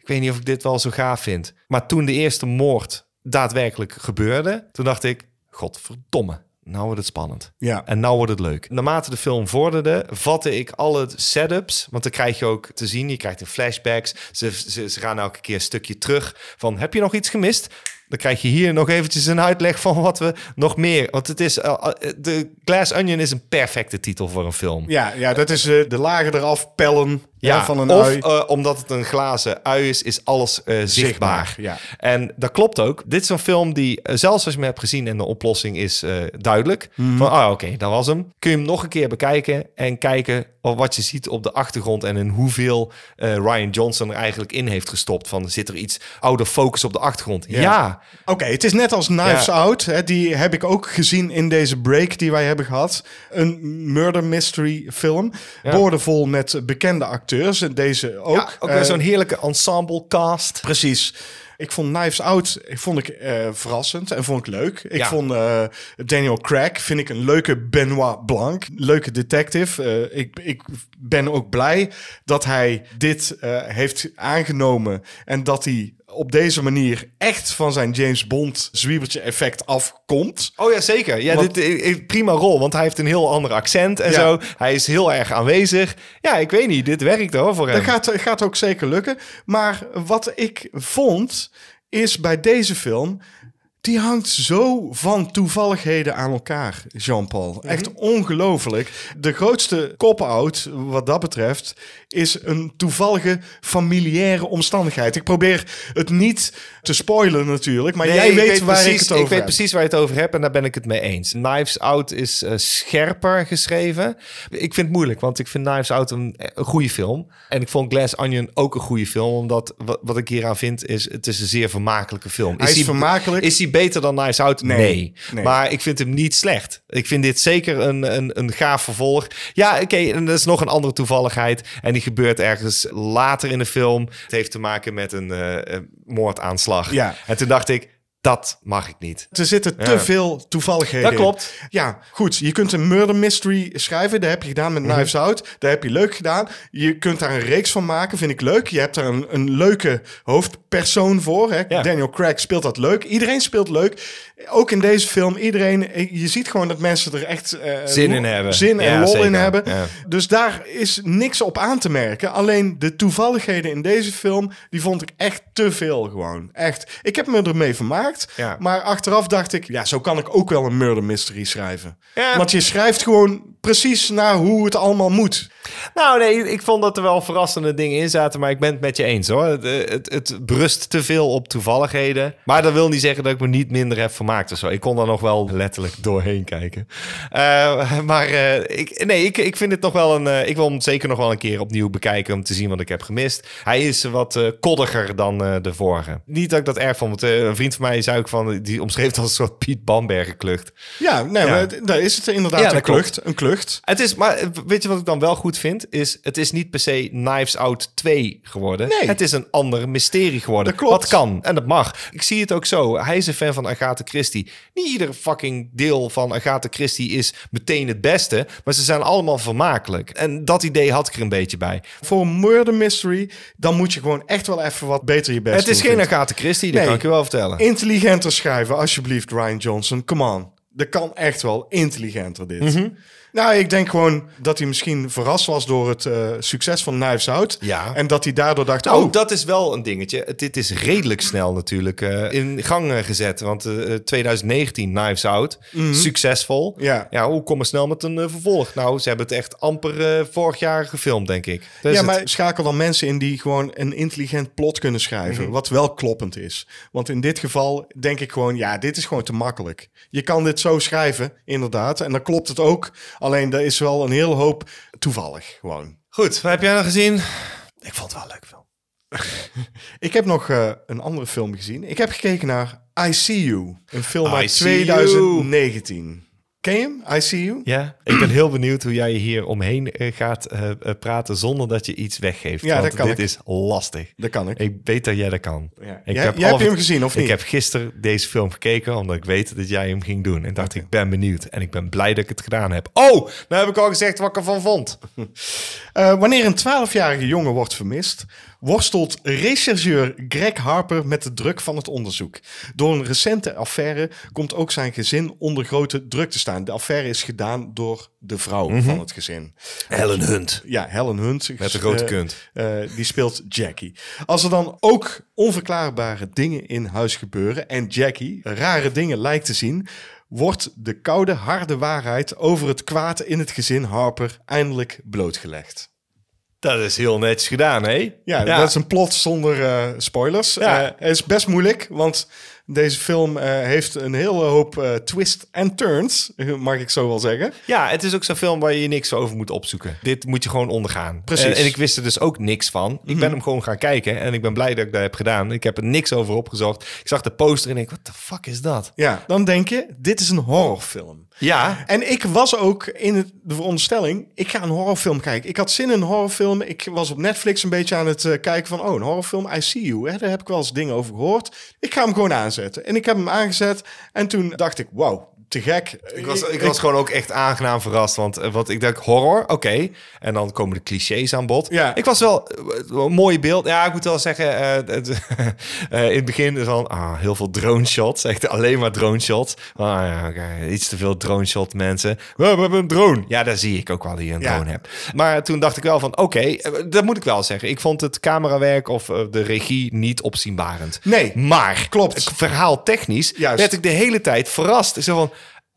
ik weet niet of ik dit wel zo gaaf vind. Maar toen de eerste moord daadwerkelijk gebeurde, toen dacht ik, godverdomme, nou wordt het spannend. Ja. En nou wordt het leuk. Naarmate de film vorderde, vatte ik alle setups. Want dan krijg je ook te zien, je krijgt de flashbacks. Ze, ze, ze gaan elke keer een stukje terug van, heb je nog iets gemist? Dan krijg je hier nog eventjes een uitleg van wat we nog meer... Want het is... eh, eh, de Glass Onion is een perfecte titel voor een film. Ja, ja, dat is eh, de lagen eraf pellen ja, van een of ui. eh, omdat het een glazen ui is, is alles eh, zichtbaar. ja. En dat klopt ook. Dit is een film die, eh, zelfs als je hem hebt gezien en de oplossing is eh, duidelijk, Mhm. van ah, oké, dat was hem. Kun je hem nog een keer bekijken en kijken of wat je ziet op de achtergrond en in hoeveel eh, Ryan Johnson er eigenlijk in heeft gestopt. Van zit er iets oude focus op de achtergrond? Ja. Oké, het is net als Knives Ja. Out. Hè, die heb ik ook gezien in deze break die wij hebben gehad. Een murder mystery film. Boordevol met bekende acteurs. En deze ook. Ja, ook weer Eh, zo'n heerlijke ensemble cast. Precies. Ik vond Knives Out ik vond ik, eh, verrassend en vond ik leuk. Ik Ja. vond eh, Daniel Craig vind ik een leuke Benoit Blanc. Leuke detective. Eh, ik, ik ben ook blij dat hij dit eh, heeft aangenomen. En dat hij op deze manier echt van zijn James Bond zwiebertje effect afkomt. Oh ja, zeker. Ja, Want- dit, eh, eh, prima rol, want hij heeft een heel ander accent en Ja. zo. Hij is heel erg aanwezig. Ja, ik weet niet, dit werkt hoor voor hem. Dat gaat, gaat ook zeker lukken. Maar wat ik vond, is bij deze film... Die hangt zo van toevalligheden aan elkaar, Jean-Paul. Mhm. Echt ongelooflijk. De grootste cop-out, wat dat betreft, is een toevallige familiaire omstandigheid. Ik probeer het niet te spoilen natuurlijk, maar Nee, jij ik weet, weet waar precies, ik het over weet heb. precies waar je het over hebt en daar ben ik het mee eens. Knives Out is eh, scherper geschreven. Ik vind het moeilijk, want ik vind Knives Out een, eh, een goede film. En ik vond Glass Onion ook een goede film, omdat wat, wat ik hieraan vind is, het is een zeer vermakelijke film. Hij is vermakelijk. Is hij beter dan Knives Out? Nee. Nee. Maar ik vind hem niet slecht. Ik vind dit zeker een, een, een gaaf vervolg. Ja, oké, en dat is nog een andere toevalligheid. En die gebeurt ergens later in de film. Het heeft te maken met een eh, eh, moordaanslag. Ja. En toen dacht ik, dat mag ik niet. Er zitten te Ja. veel toevalligheden Dat klopt. in. Ja, goed. Je kunt een murder mystery schrijven. Dat heb je gedaan met Mhm. Knives Out. Dat heb je leuk gedaan. Je kunt daar een reeks van maken. Vind ik leuk. Je hebt daar een, een leuke hoofdpersoon voor. Hè? Ja. Daniel Craig speelt dat leuk. Iedereen speelt leuk. Ook in deze film. Iedereen. Je ziet gewoon dat mensen er echt... eh, Zin in hebben. Zin en Ja, lol in zeker. hebben. Ja. Dus daar is niks op aan te merken. Alleen de toevalligheden in deze film, die vond ik echt te veel gewoon. Echt. Ik heb me ermee vermaakt. Ja. Maar achteraf dacht ik, ja, zo kan ik ook wel een murder mystery schrijven. Ja. Want je schrijft gewoon precies naar hoe het allemaal moet. Nou nee, ik vond dat er wel verrassende dingen in zaten, maar ik ben het met je eens hoor. Het, eh, het, het brust te veel op toevalligheden. Maar dat wil niet zeggen dat ik me niet minder heb vermaakt of zo. Ik kon daar nog wel letterlijk doorheen kijken. Eh, maar eh, ik, nee, ik, ik vind het nog wel een... eh, ik wil hem zeker nog wel een keer opnieuw bekijken om te zien wat ik heb gemist. Hij is wat eh, koddiger dan eh, de vorige. Niet dat ik dat erg vond, want eh, een vriend van mij Zuik van, die omschreef het als een soort Piet Bambergen klucht. Ja, nee, Ja. maar het- daar is het inderdaad Ja, een dat klopt. klucht. Een klucht. Het is, maar eh, weet je wat ik dan wel goed vind? Is, het is niet per se Knives Out 2 geworden. Nee. Het is een ander mysterie geworden. Dat klopt. Wat kan en dat mag. Ik zie het ook zo. Hij is een fan van Agatha Christie. Niet ieder fucking deel van Agatha Christie is meteen het beste. Maar ze zijn allemaal vermakelijk. En dat idee had ik er een beetje bij. Voor een murder mystery, dan moet je gewoon echt wel even wat beter je best het is doen, geen vind ik. Agatha Christie, dat Nee. kan ik je wel vertellen. Intelligenter schrijven, alsjeblieft, Ryan Johnson. Come on. Dat kan echt wel intelligenter, dit. Mhm. Nou, ik denk gewoon dat hij misschien verrast was door het eh, succes van Knives Out. Ja. En dat hij daardoor dacht, Nou, oh, dat is wel een dingetje. Het- Dit is redelijk snel natuurlijk eh, in gang eh, gezet. Want eh, 2019, Knives Out, succesvol. Mhm. Ja. ja, hoe kom er snel met een eh, vervolg? Nou, ze hebben het echt amper eh, vorig jaar gefilmd, denk ik. Dat is ja, het. maar schakel dan mensen in die gewoon een intelligent plot kunnen schrijven. Mhm. Wat wel kloppend is. Want in dit geval denk ik gewoon, ja, dit is gewoon te makkelijk. Je kan dit zo schrijven, inderdaad. En dan klopt het ook. Alleen er is wel een hele hoop toevallig gewoon. Goed, wat heb jij nou gezien? Ik vond het wel leuk film. Ik heb nog eh, een andere film gezien. Ik heb gekeken naar I See You. Een film I uit See 2019. Ken je hem? I See You? Ja, ik ben heel benieuwd hoe jij hier omheen eh, gaat eh, eh, praten zonder dat je iets weggeeft. Ja, want dat kan dit ik. is lastig. Dat kan ik. Ik weet dat jij dat kan. Ja. Jij- Ik jij al- hebt hem gezien, of niet? Ik heb gisteren deze film gekeken, omdat ik weet dat jij hem ging doen. En dacht, ik ben benieuwd. En ik ben blij dat ik het gedaan heb. Oh, nou heb ik al gezegd wat ik ervan vond. Eh, wanneer een 12-jarige jongen wordt vermist, worstelt rechercheur Greg Harper met de druk van het onderzoek. Door een recente affaire komt ook zijn gezin onder grote druk te staan. De affaire is gedaan door de vrouw Mhm. van het gezin. Helen Hunt. Ja, Helen Hunt. Met de grote eh, kunt. eh, die speelt Jackie. Als er dan ook onverklaarbare dingen in huis gebeuren en Jackie rare dingen lijkt te zien, wordt de koude, harde waarheid over het kwaad in het gezin Harper eindelijk blootgelegd. Dat is heel netjes gedaan, hè? Ja, dat is een plot zonder eh, spoilers. Eh Ja. het is best moeilijk, want deze film eh, heeft een hele hoop eh, twists en turns, mag ik zo wel zeggen. Ja, het is ook zo'n film waar je niks over moet opzoeken. Dit moet je gewoon ondergaan. Precies. Mhm. En, en ik wist er dus ook niks van. Ik ben hem gewoon gaan kijken en ik ben blij dat ik dat heb gedaan. Ik heb er niks over opgezocht. Ik zag de poster en ik denk, wat de fuck is dat? Ja, dan denk je, dit is een horrorfilm. Ja, En ik was ook in het- de veronderstelling, ik ga een horrorfilm kijken. Ik had zin in een horrorfilm. Ik was op Netflix een beetje aan het eh, kijken van, oh, een horrorfilm, I See You. Hè? Daar heb ik wel eens dingen over gehoord. Ik ga hem gewoon aanzetten. En ik heb hem aangezet en toen dacht ik, wauw, te gek. Ik was, ik was gewoon ook echt aangenaam verrast. Want eh, wat ik dacht, horror, oké. En dan komen de clichés aan bod. Ja. Ik was wel eh, een mooi beeld. Ja, ik moet wel zeggen, eh, het, eh, in het begin van ah, heel veel drone shots. Echt alleen maar drone shots. Ah, ja, oké, Iets te veel drone shot mensen. We hebben een drone. Ja, daar zie ik ook wel die een Ja. drone heb. Maar toen dacht ik wel van, oké, eh, dat moet ik wel zeggen. Ik vond het camerawerk of eh, de regie niet opzienbarend. Nee, Maar klopt. eh, verhaal technisch Juist. werd ik de hele tijd verrast. Zo van,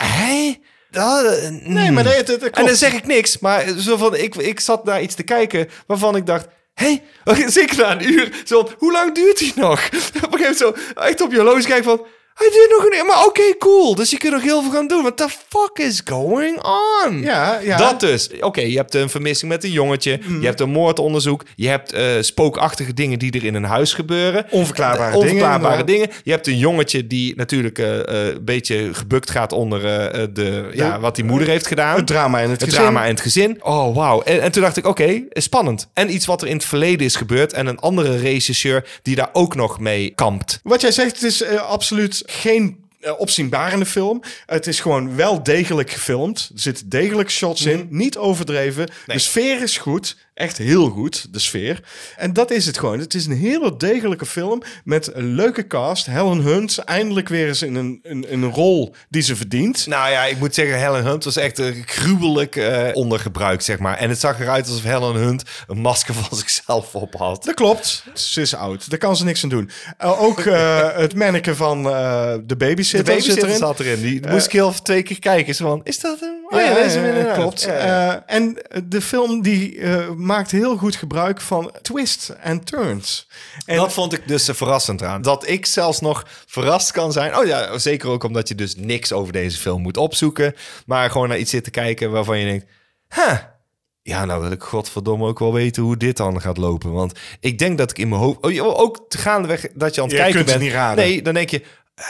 hé? Nee, Nee, maar dat, dat, dat eh, hmm. En dan klopt. zeg ik niks, maar zo van, ik, ik zat naar iets te kijken waarvan ik dacht... Hé, hey, zeker na een uur. Zo, van, hoe lang duurt die nog? Op een gegeven moment zo, echt op je horloge kijken van... Hij duurt nog een uur, maar oké, cool. Dus je kunt nog heel veel gaan doen. What the fuck is going on? Ja, ja. Mhm. Dat dus. Oké, je hebt een vermissing met een jongetje. Je hebt een moordonderzoek. Je hebt eh, spookachtige dingen die er in een huis gebeuren. Onverklaarbare Eh, onverklaarbare dingen, dingen. Je hebt een jongetje die natuurlijk eh, eh, een beetje gebukt gaat onder eh, eh, de, ja, wat die moeder heeft gedaan. het drama in het, Het gezin. drama en het gezin. Oh, wauw. En, en toen dacht ik, oké, spannend. En iets wat er in het verleden is gebeurd. En een andere regisseur die daar ook nog mee kampt. Wat jij zegt, het is eh, absoluut geen eh, opzienbarende film. Het is gewoon wel degelijk gefilmd. Er zitten degelijk shots in, niet overdreven. De sfeer is goed, echt heel goed, de sfeer. En dat is het gewoon. Het is een hele degelijke film met een leuke cast. Helen Hunt eindelijk weer eens in een, in, in een rol die ze verdient. Nou ja, ik moet zeggen, Helen Hunt was echt eh, gruwelijk eh, ondergebruikt, zeg maar. En het zag eruit alsof Helen Hunt een masker van zichzelf op had. Dat klopt. Ze is oud. Daar kan ze niks aan doen. Eh, ook eh, het manneke van eh, de babysitter, De babysitter zit erin. zat erin. Die moest ik heel twee keer kijken. Zo van, is dat hem? Oh ja, dat is hem inderdaad. Eh, klopt. Ja. Eh, en de film die eh, maakt heel goed gebruik van twists en turns. En dat vond ik dus eh, verrassend aan. Dat ik zelfs nog verrast kan zijn. Oh ja, zeker ook omdat je dus niks over deze film moet opzoeken. Maar gewoon naar iets zit te kijken waarvan je denkt... Huh, ja, nou wil ik godverdomme ook wel weten hoe dit dan gaat lopen. Want ik denk dat ik in mijn hoofd... Oh, joh, ook gaandeweg dat je aan het Je kijken kunt het bent. niet raden. Nee, dan denk je... "Eh,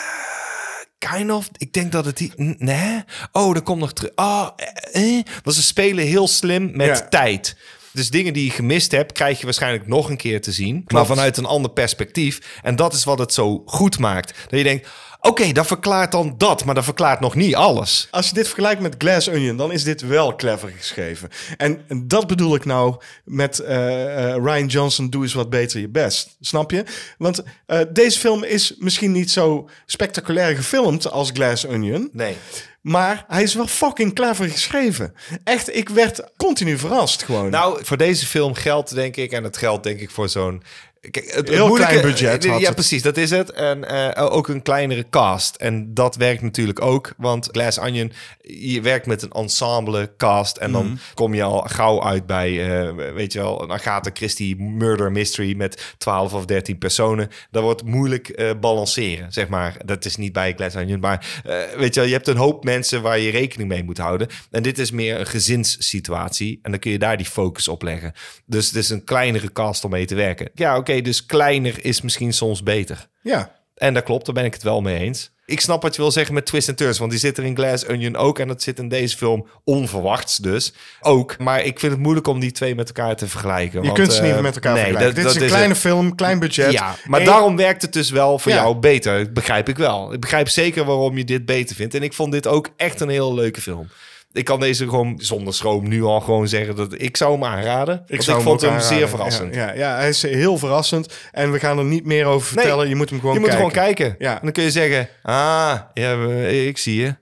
Kind of. Ik denk dat het die... n- Nee? Oh, dat komt nog terug. Oh, eh, eh. Want ze spelen heel slim met Ja. tijd. Dus dingen die je gemist hebt, krijg je waarschijnlijk nog een keer te zien. Maar vanuit een ander perspectief. En dat is wat het zo goed maakt. Dat je denkt, oké, dat verklaart dan dat. Maar dat verklaart nog niet alles. Als je dit vergelijkt met Glass Onion, dan is dit wel clever geschreven. En dat bedoel ik nou met eh, eh, Ryan Johnson, doe eens wat beter je best. Snap je? Want eh, deze film is misschien niet zo spectaculair gefilmd als Glass Onion. Nee. Maar hij is wel fucking clever geschreven. Echt, ik werd continu verrast gewoon. Nou, voor deze film geldt denk ik, en het geldt denk ik voor zo'n. Kijk, het- het Heel moeilijke- klein budget Ja, had het. precies, dat is het. En eh, ook een kleinere cast. En dat werkt natuurlijk ook, want Glass Onion, je werkt met een ensemble cast. En Mhm. dan kom je al gauw uit bij, eh, weet je wel, een Agatha Christie murder mystery met 12 of 13 personen. Dat wordt moeilijk eh, balanceren, zeg maar. Dat is niet bij Glass Onion, maar eh, weet je wel, je hebt een hoop mensen waar je rekening mee moet houden. En dit is meer een gezinssituatie. En dan kun je daar die focus op leggen. Dus het is een kleinere cast om mee te werken. Ja, oké, dus kleiner is misschien soms beter. ja. En dat klopt, daar ben ik het wel mee eens. Ik snap wat je wil zeggen met twists en turns, want die zit er in Glass Onion ook en dat zit in deze film onverwachts dus ook. Maar ik vind het moeilijk om die twee met elkaar te vergelijken. eh, Je kunt ze niet meer met elkaar vergelijken. dit is een kleine film, klein budget. ja, maar Eén- daarom werkt het dus wel voor Ja. jou beter. Dat begrijp ik wel. Ik begrijp zeker waarom je dit beter vindt. En ik vond dit ook echt een heel leuke film. Ik kan deze gewoon zonder schroom nu al gewoon zeggen dat ik zou hem aanraden. Want Ik, zou vond ook hem zeer aanraden. verrassend. Ja, ja, ja, hij is heel verrassend. En we gaan er niet meer over Nee, vertellen. je moet hem gewoon je moet kijken. gewoon kijken. Ja. En dan kun je zeggen, ah, ja, we- ik zie je.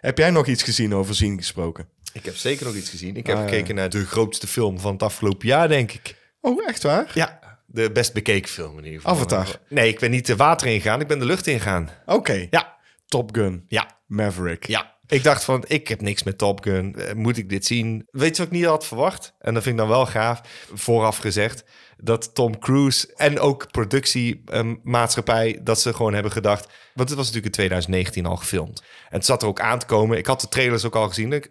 Heb jij nog iets gezien over zien gesproken? Ik heb zeker nog iets gezien. Ik heb Ah, gekeken naar de grootste film van het afgelopen jaar, denk ik. Oh, echt waar? Ja. De best bekeken film in ieder geval. Avatar. Nee, ik ben niet de water ingegaan. Ik ben de lucht ingegaan. Oké. Ja. Top Gun. Ja. Maverick. Ja. Ik dacht van, ik heb niks met Top Gun. Eh, Moet ik dit zien? Weet je wat ik niet had verwacht? En dat vind ik dan wel gaaf. Vooraf gezegd dat Tom Cruise en ook productiemaatschappij... dat ze gewoon hebben gedacht... want het was natuurlijk in 2019 al gefilmd. En het zat er ook aan te komen. Ik had de trailers ook al gezien. Ik,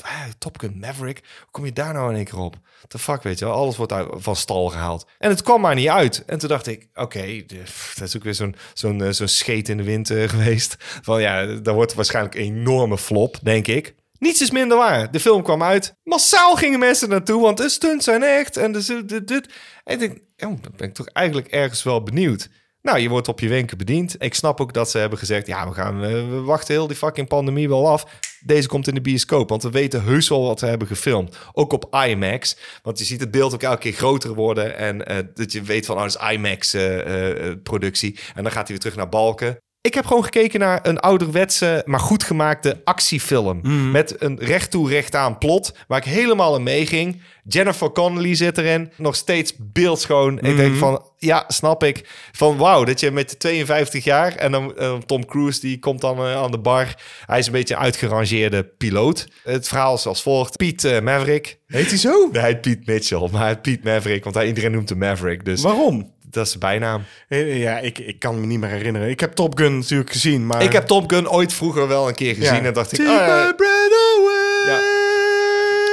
ah, Top Gun Maverick, hoe kom je daar nou in één keer op? The fuck, weet je wel? Alles wordt uit, van stal gehaald. En het kwam maar niet uit. En toen dacht ik, oké, de- pff, dat is ook weer zo'n zo'n eh, zo'n scheet in de wind eh, geweest. Van ja, dat wordt waarschijnlijk een enorme flop, denk ik. Niets is minder waar. De film kwam uit. Massaal gingen mensen naartoe, want de stunts zijn echt. En dus dit, dit. En ik denk, oh, dan ben ik toch eigenlijk ergens wel benieuwd. Nou, je wordt op je wenken bediend. Ik snap ook dat ze hebben gezegd: ja, we gaan eh, we wachten heel die fucking pandemie wel af. Deze komt in de bioscoop, want we weten heus wel wat we hebben gefilmd. Ook op IMAX, want je ziet het beeld ook elke keer groter worden en eh, dat je weet van, oh, dat is IMAX eh, eh, eh, productie. En dan gaat hij weer terug naar Balken. Ik heb gewoon gekeken naar een ouderwetse, maar goed gemaakte actiefilm. Mhm. Met een recht toe, recht aan plot. Waar ik helemaal in meeging. Jennifer Connelly zit erin. Nog steeds beeldschoon. Ik denk Mhm. van, ja, snap ik. Van wauw, dat je met 52 jaar... En dan eh, Tom Cruise, die komt dan eh, aan de bar. Hij is een beetje een uitgerangeerde piloot. Het verhaal is als volgt. Piet eh, Maverick. Heet hij zo? Nee, hij heet Piet Mitchell. Maar hij heet Piet Maverick, want hij, iedereen noemt hem Maverick. Dus Waarom? dat is zijn bijnaam. Eh, Ja, ik, ik kan me niet meer herinneren. Ik heb Top Gun natuurlijk gezien, maar... Ik heb Tom Gun ooit vroeger wel een keer gezien. Ja. En dacht ik, Take ah, ja. my breath away. Ja.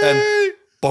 En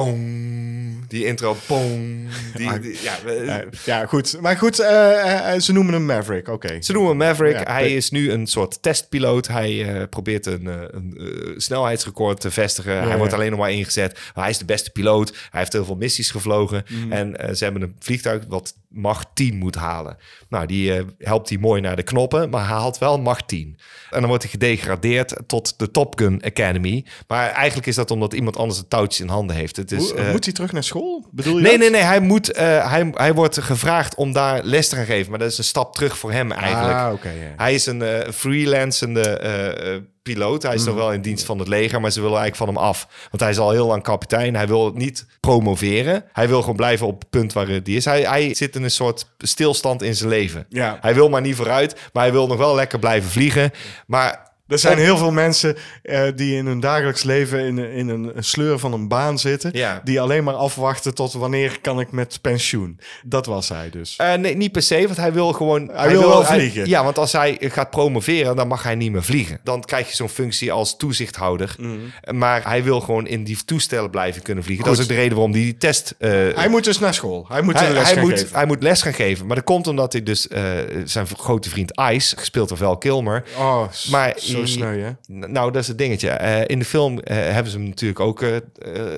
boom, die intro, boom. Die, die- ja, we- Eh, ja, goed. Maar goed, eh, eh, ze noemen hem Maverick. Oké. ze noemen hem Maverick. Ja, hij de- is nu een soort testpiloot. Hij eh, probeert een, eh, een eh, snelheidsrecord te vestigen. hij ja. wordt alleen nog maar ingezet. Maar hij is de beste piloot. Hij heeft heel veel missies gevlogen. Mm. En eh, ze hebben een vliegtuig wat macht 10 moet halen. Nou, die eh, helpt hij mooi naar de knoppen, maar hij haalt wel macht 10. En dan wordt hij gedegradeerd tot de Top Gun Academy. Maar eigenlijk is dat omdat iemand anders het touwtje in handen heeft. Het is, Hoe- eh, moet hij terug naar school? Bedoel je Nee, dat? nee, nee. Hij, moet, eh, hij, hij wordt gevraagd om daar les te gaan geven. Maar dat is een stap terug voor hem eigenlijk. Ah, oké, ja. Hij is een eh freelancende eh, eh, piloot. Hij is Mhm. nog wel in dienst van het leger, maar ze willen eigenlijk van hem af. Want hij is al heel lang kapitein. Hij wil niet promoveren. Hij wil gewoon blijven op het punt waar hij is. Hij, hij zit in een soort stilstand in zijn leven. Ja. Hij wil maar niet vooruit, maar hij wil nog wel lekker blijven vliegen. Maar Er zijn heel veel mensen eh, die in hun dagelijks leven in, in een, een sleur van een baan zitten. Ja. Die alleen maar afwachten tot wanneer kan ik met pensioen. Dat was hij dus. Eh, nee, niet per se, want hij wil gewoon... Hij, wil wel vliegen. ja, want als hij gaat promoveren, dan mag hij niet meer vliegen. Dan krijg je zo'n functie als toezichthouder. Maar hij wil gewoon in die toestellen blijven kunnen vliegen. Dat Mm. Goed. is ook de reden waarom hij die test... eh, Hij moet dus naar school. Hij moet hij, zijn les hij gaan moet, geven. hij moet les gaan geven. Maar dat komt omdat hij dus eh, zijn grote vriend Ice, gespeeld door Val Kilmer. Oh, s- Maar- zo sneu hè? N- Nou, dat is het dingetje. Eh, in de film eh, hebben ze hem natuurlijk ook eh, eh,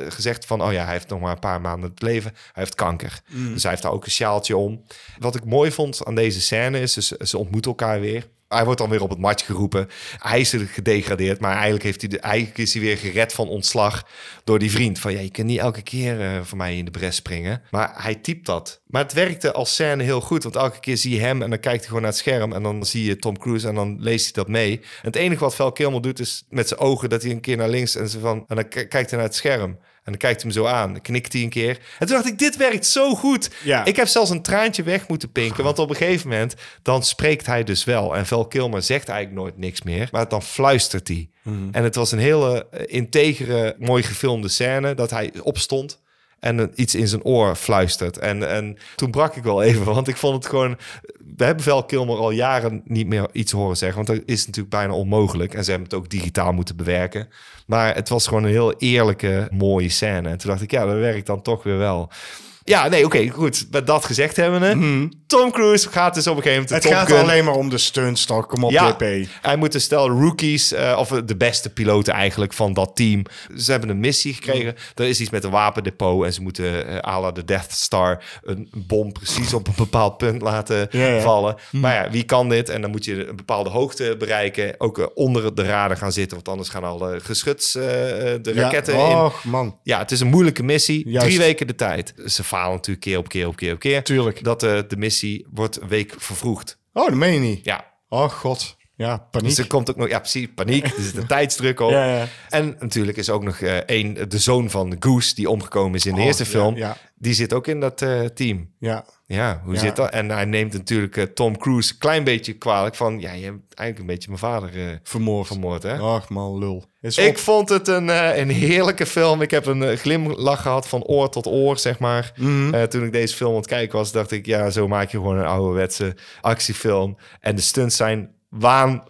gezegd van... oh ja, hij heeft nog maar een paar maanden te leven. Hij heeft kanker. Dus hij heeft daar ook een sjaaltje om. Wat ik mooi vond aan deze scène is... Dus, ze ontmoeten elkaar weer. Hij wordt dan weer op het matje geroepen. Hij is er gedegradeerd, maar eigenlijk, heeft hij de, eigenlijk is hij weer gered van ontslag door die vriend. Van ja, je kunt niet elke keer eh, voor mij in de bres springen. Maar hij typt dat. Maar het werkte als scène heel goed, want elke keer zie je hem en dan kijkt hij gewoon naar het scherm en dan zie je Tom Cruise en dan leest hij dat mee. En het enige wat Val Kilmer doet is met zijn ogen dat hij een keer naar links en, zo van, en dan k- kijkt hij naar het scherm. En dan kijkt hij hem zo aan, dan knikt hij een keer. En toen dacht ik, dit werkt zo goed. Ja. Ik heb zelfs een traantje weg moeten pinken. Want op een gegeven moment, dan spreekt hij dus wel. En Val Kilmer zegt eigenlijk nooit niks meer. Maar dan fluistert hij. En het was een hele eh, integere, mooi gefilmde scène. Dat hij opstond en een- iets in zijn oor fluistert. En, en toen brak ik wel even. Want ik vond het gewoon... We hebben Val Kilmer al jaren niet meer iets horen zeggen. Want dat is natuurlijk bijna onmogelijk. En ze hebben het ook digitaal moeten bewerken. Maar het was gewoon een heel eerlijke, mooie scène. En toen dacht ik, ja, dat werkt dan toch weer wel. Ja, nee, oké, goed. Met dat gezegd hebben we. Tom Cruise gaat dus op een gegeven moment... de Mhm. Het Top gaat Gun- alleen maar om de steunstok. Kom op, JP. hij moet een stel rookies, eh, of de beste piloten eigenlijk van dat team. Ze hebben een missie gekregen. Mhm. Er is iets met een wapendepot en ze moeten eh à la de Death Star een bom precies op een bepaald punt laten Ja, Mhm. ja. vallen. Maar ja, wie kan dit? En dan moet je een bepaalde hoogte bereiken. Ook eh, onder de radar gaan zitten, want anders gaan al eh, geschuts eh, eh, de raketten ja. Oh, in. Och, man. Ja, het is een moeilijke missie. Juist. Drie weken de tijd. Ze falen natuurlijk keer op keer op keer op keer. Tuurlijk. Dat eh, de missie wordt een week vervroegd. Oh, dat meen je niet. Ja, Oh, god. Ja, paniek. dus er komt ook nog, ja precies, paniek. Er zit een tijdsdruk op. Ja, ja. En natuurlijk is ook nog eh één, de zoon van Goose, die omgekomen is in de Oh, eerste ja, film. ja. Die zit ook in dat eh, team. Ja. Ja, hoe Ja. zit dat? En hij neemt natuurlijk eh, Tom Cruise een klein beetje kwalijk van... Ja, je hebt eigenlijk een beetje mijn vader eh, Vermoord. vermoord, hè? Och, man, lul. Is Ik op. vond het een, eh, een heerlijke film. Ik heb een eh, glimlach gehad van oor tot oor, zeg maar. Mhm. Eh, toen ik deze film aan het kijken was, dacht ik... Ja, zo maak je gewoon een ouderwetse actiefilm. En de stunts zijn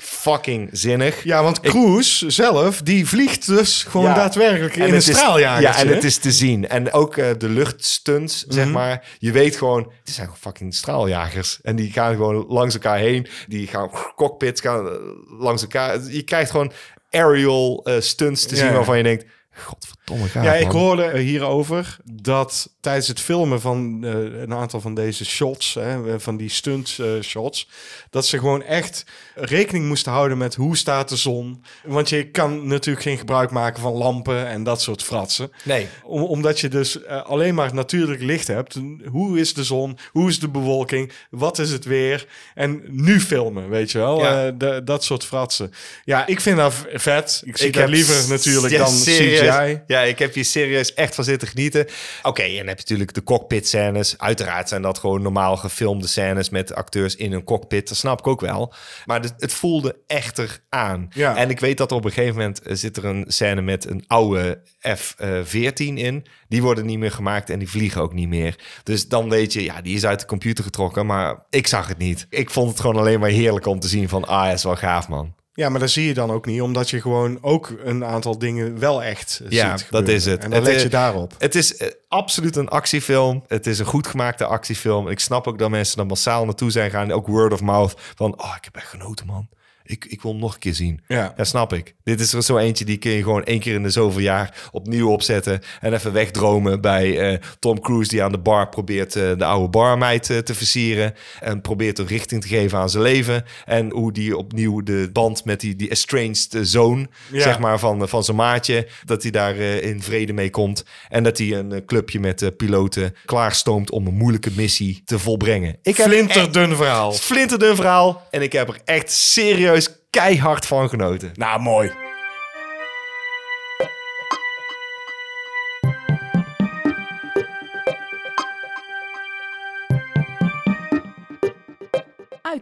waan-fucking-zinnig. Ja, want Cruise zelf, die vliegt dus gewoon Ja. daadwerkelijk in het een is- straaljager. Ja, en het is te zien. En ook eh, de luchtstunts, Mhm. zeg maar. Je weet gewoon, het zijn gewoon fucking straaljagers. En die gaan gewoon langs elkaar heen. Die gaan cockpits gaan eh, langs elkaar. Je krijgt gewoon aerial eh, stunts te Ja. zien waarvan je denkt... Godverdomme, gaaf, Ja, ik man. hoorde hierover dat tijdens het filmen van eh, een aantal van deze shots, hè, van die stunt eh, shots, dat ze gewoon echt rekening moesten houden met hoe staat de zon. Want je kan natuurlijk geen gebruik maken van lampen en dat soort fratsen. Nee. Om- omdat je dus eh, alleen maar natuurlijk licht hebt. Hoe is de zon? Hoe is de bewolking? Wat is het weer? En nu filmen, weet je wel? Ja. Eh, de- dat soort fratsen. Ja, ik vind dat v- vet. Ik zie Ik dat heb liever s- natuurlijk ja, dan serieus. CGI. Ja, ik heb hier serieus echt van zitten genieten. Oké, en dan heb je natuurlijk de cockpit scènes. Uiteraard zijn dat gewoon normaal gefilmde scènes met acteurs in een cockpit. Dat snap ik ook wel. Maar het- het voelde echter aan. Ja. En ik weet dat er op een gegeven moment eh, zit er een scène met een oude F-14 in. Die worden niet meer gemaakt en die vliegen ook niet meer. Dus dan weet je, ja, die is uit de computer getrokken. Maar ik zag het niet. Ik vond het gewoon alleen maar heerlijk om te zien van... Ah, is wel gaaf, man. Ja, maar dat zie je dan ook niet, omdat je gewoon ook een aantal dingen wel echt eh, Ja, ziet. dat gebeuren. is het. En dan Het, let eh, je daarop. Het is eh, absoluut een actiefilm. Het is een goed gemaakte actiefilm. Ik snap ook dat mensen er massaal naartoe zijn gaan. Ook word of mouth. Van, oh, ik heb echt genoten, man. Ik, ik wil hem nog een keer zien. Ja. Dat snap ik. Dit is er zo eentje die kun je gewoon één keer in de zoveel jaar opnieuw opzetten. En even wegdromen bij eh, Tom Cruise die aan de bar probeert eh, de oude barmeid eh, te versieren. En probeert een richting te geven aan zijn leven. En hoe die opnieuw de band met die, die estranged eh, zoon, Ja. zeg maar, van, van zijn maatje. Dat hij daar eh, in vrede mee komt. En dat hij een eh, clubje met eh, piloten klaarstoomt om een moeilijke missie te volbrengen. Ik heb echt- Flinterdun verhaal. flinterdun verhaal. En ik heb er echt serieus keihard van genoten. Nou, mooi. Uit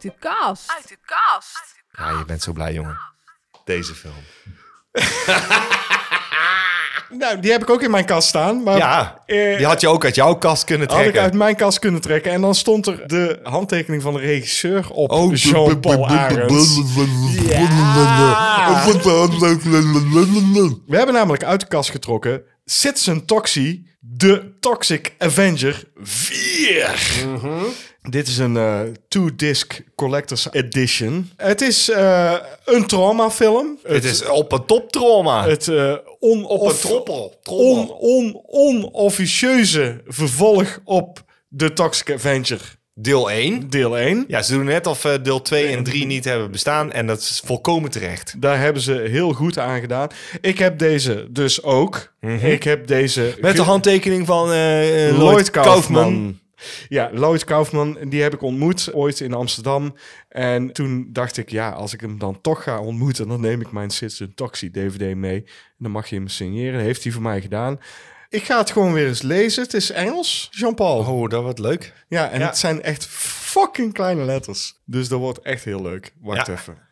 de kast. Uit de kast. Ja, je bent zo blij, jongen. Deze film. Nou, die heb ik ook in mijn kast staan. Maar Ja, eh, die had je ook uit jouw kast kunnen had ik trekken. uit mijn kast kunnen trekken. En dan stond er de handtekening van de regisseur op Oh, Jean-Paul Arends. Ah. Ja. We hebben namelijk uit de kast getrokken Citizen Toxie, de Toxic Avenger 4. Mhm. Dit is een eh, two-disc collector's edition. Het is eh, een traumafilm. Het is op een toptrauma. het eh, on, Op een of- troppel. on, trommel. on, onofficieuze vervolg op de Toxic Avenger Deel 1. deel 1. Ja, ze doen net of eh, deel 2 en 3 niet hebben bestaan. En dat is volkomen terecht. Daar hebben ze heel goed aan gedaan. Ik heb deze dus ook. Ik heb deze... Mhm. Met de handtekening van eh, eh, Lloyd Kaufman. Ja, Lloyd Kaufman, die heb ik ontmoet ooit in Amsterdam. En toen dacht ik, ja, als ik hem dan toch ga ontmoeten, dan neem ik mijn Citizen Toxie DVD mee. En dan mag je hem signeren. Heeft hij voor mij gedaan. Ik ga het gewoon weer eens lezen. Het is Engels, Jean-Paul. Oh, dat wordt leuk. Ja, en Ja. het zijn echt fucking kleine letters. Dus dat wordt echt heel leuk. Wacht Ja. even.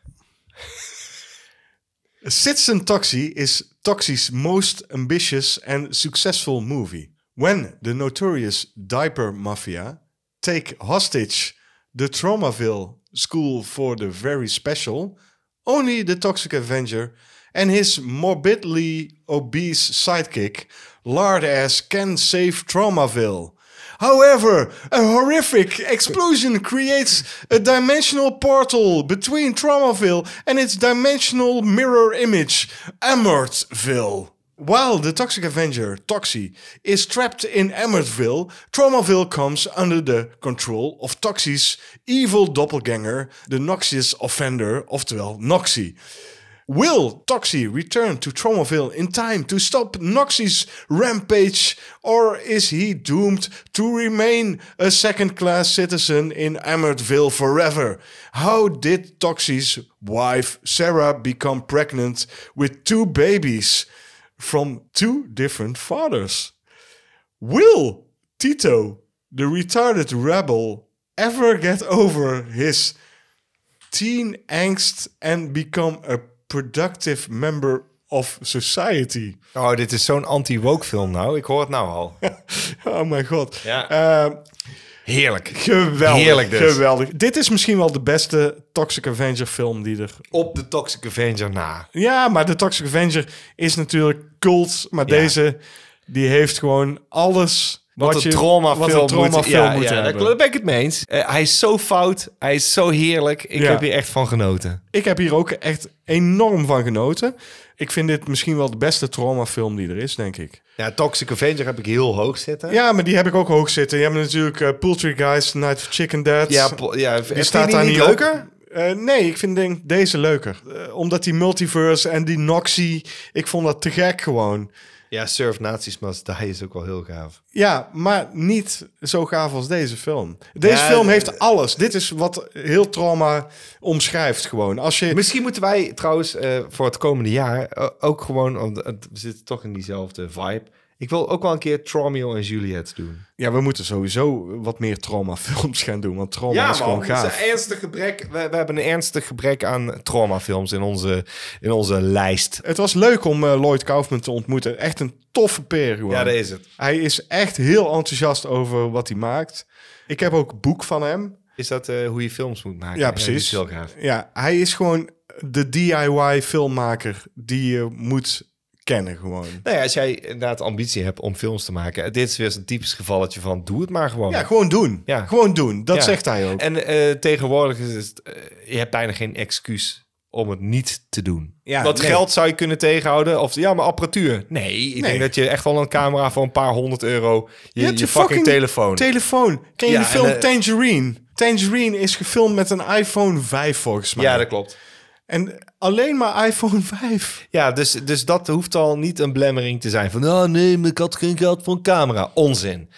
Citizen Taxi is Taxi's most ambitious and successful movie. When the notorious diaper mafia take hostage the Traumaville School for the Very Special, only the Toxic Avenger and his morbidly obese sidekick, lard ass, can save Traumaville. However, a horrific explosion creates a dimensional portal between Traumaville and its dimensional mirror image, Amortville. While the Toxic Avenger, Toxie, is trapped in Emmertville, Traumaville comes under the control of Toxie's evil doppelganger, the Noxious Offender, oftewel Noxie. Will Toxie return to Tromaville in time to stop Noxie's rampage, or is he doomed to remain a second class citizen in Amhertville forever? How did Toxie's wife Sarah become pregnant with two babies from two different fathers? Will Tito, the retarded rebel, ever get over his teen angst and become a productive member of society. Oh, dit is zo'n anti-woke film nou. Ik hoor het nou al. Oh mijn god. Ja. Eh, Heerlijk. geweldig. Heerlijk dus. Geweldig. Dit is misschien wel de beste Toxic Avenger film die er... Op de Toxic Avenger na. Ja, maar de Toxic Avenger is natuurlijk cult. Maar deze, die heeft gewoon alles... Wat, Wat je- een trauma wat film een traumafilm ja, moet ja, hebben. Daar daar ben ik het mee eens. Eh, hij is zo fout. Hij is zo heerlijk. Ik Ja. heb hier echt van genoten. Ik heb hier ook echt enorm van genoten. Ik vind dit misschien wel de beste traumafilm die er is, denk ik. Ja, Toxic Avenger heb ik heel hoog zitten. Ja, maar die heb ik ook hoog zitten. Je hebt natuurlijk eh Poultry Guys, Night of Chicken Dead. Ja, po- ja die vind je staat die daar niet op. leuker? Eh, nee, ik vind denk, deze leuker. Eh, omdat die multiverse en die Noxie, ik vond dat te gek gewoon. Ja, Surf Nazis Must Die is ook wel heel gaaf. Ja, maar niet zo gaaf als deze film. Deze Ja, film eh, heeft alles. Dit is wat heel trauma omschrijft gewoon. Als je... Misschien moeten wij trouwens eh, voor het komende jaar eh, ook gewoon... want het- we zitten toch in diezelfde vibe. Ik wil ook wel een keer Tromeo en Juliet doen. Ja, we moeten sowieso wat meer traumafilms gaan doen. Want trauma is gewoon Het gaaf. is een ernstig gebrek. We, we hebben een ernstig gebrek aan traumafilms in onze, in onze lijst. Het was leuk om eh, Lloyd Kaufman te ontmoeten. Echt een toffe peer gewoon. Ja, dat is het. Hij is echt heel enthousiast over wat hij maakt. Ik heb ook een boek van hem. Is dat eh, hoe je films moet maken? Ja, dat precies. is heel gaaf. Ja, hij is gewoon de DIY filmmaker die je moet kennen gewoon. Nou ja, als jij inderdaad ambitie hebt om films te maken... dit is weer zo'n typisch gevalletje van doe het maar gewoon. Ja, gewoon doen. Ja. Gewoon doen. Dat Ja. zegt hij ook. En eh, tegenwoordig is het, eh, je hebt bijna geen excuus om het niet te doen. Ja, Want nee. geld zou je kunnen tegenhouden. Of ja, maar apparatuur. Nee, ik Nee. denk dat je echt wel een camera voor een paar honderd euro. Je, je, hebt fucking, telefoon. Telefoon. Ken je Ja, die film en, eh, Tangerine? Tangerine is gefilmd met een iPhone 5 volgens mij. ja, dat klopt. En alleen maar iPhone 5. Ja, dus, dus dat hoeft al niet een blemmering te zijn. Van, oh nee, maar ik had geen geld voor een camera. Onzin.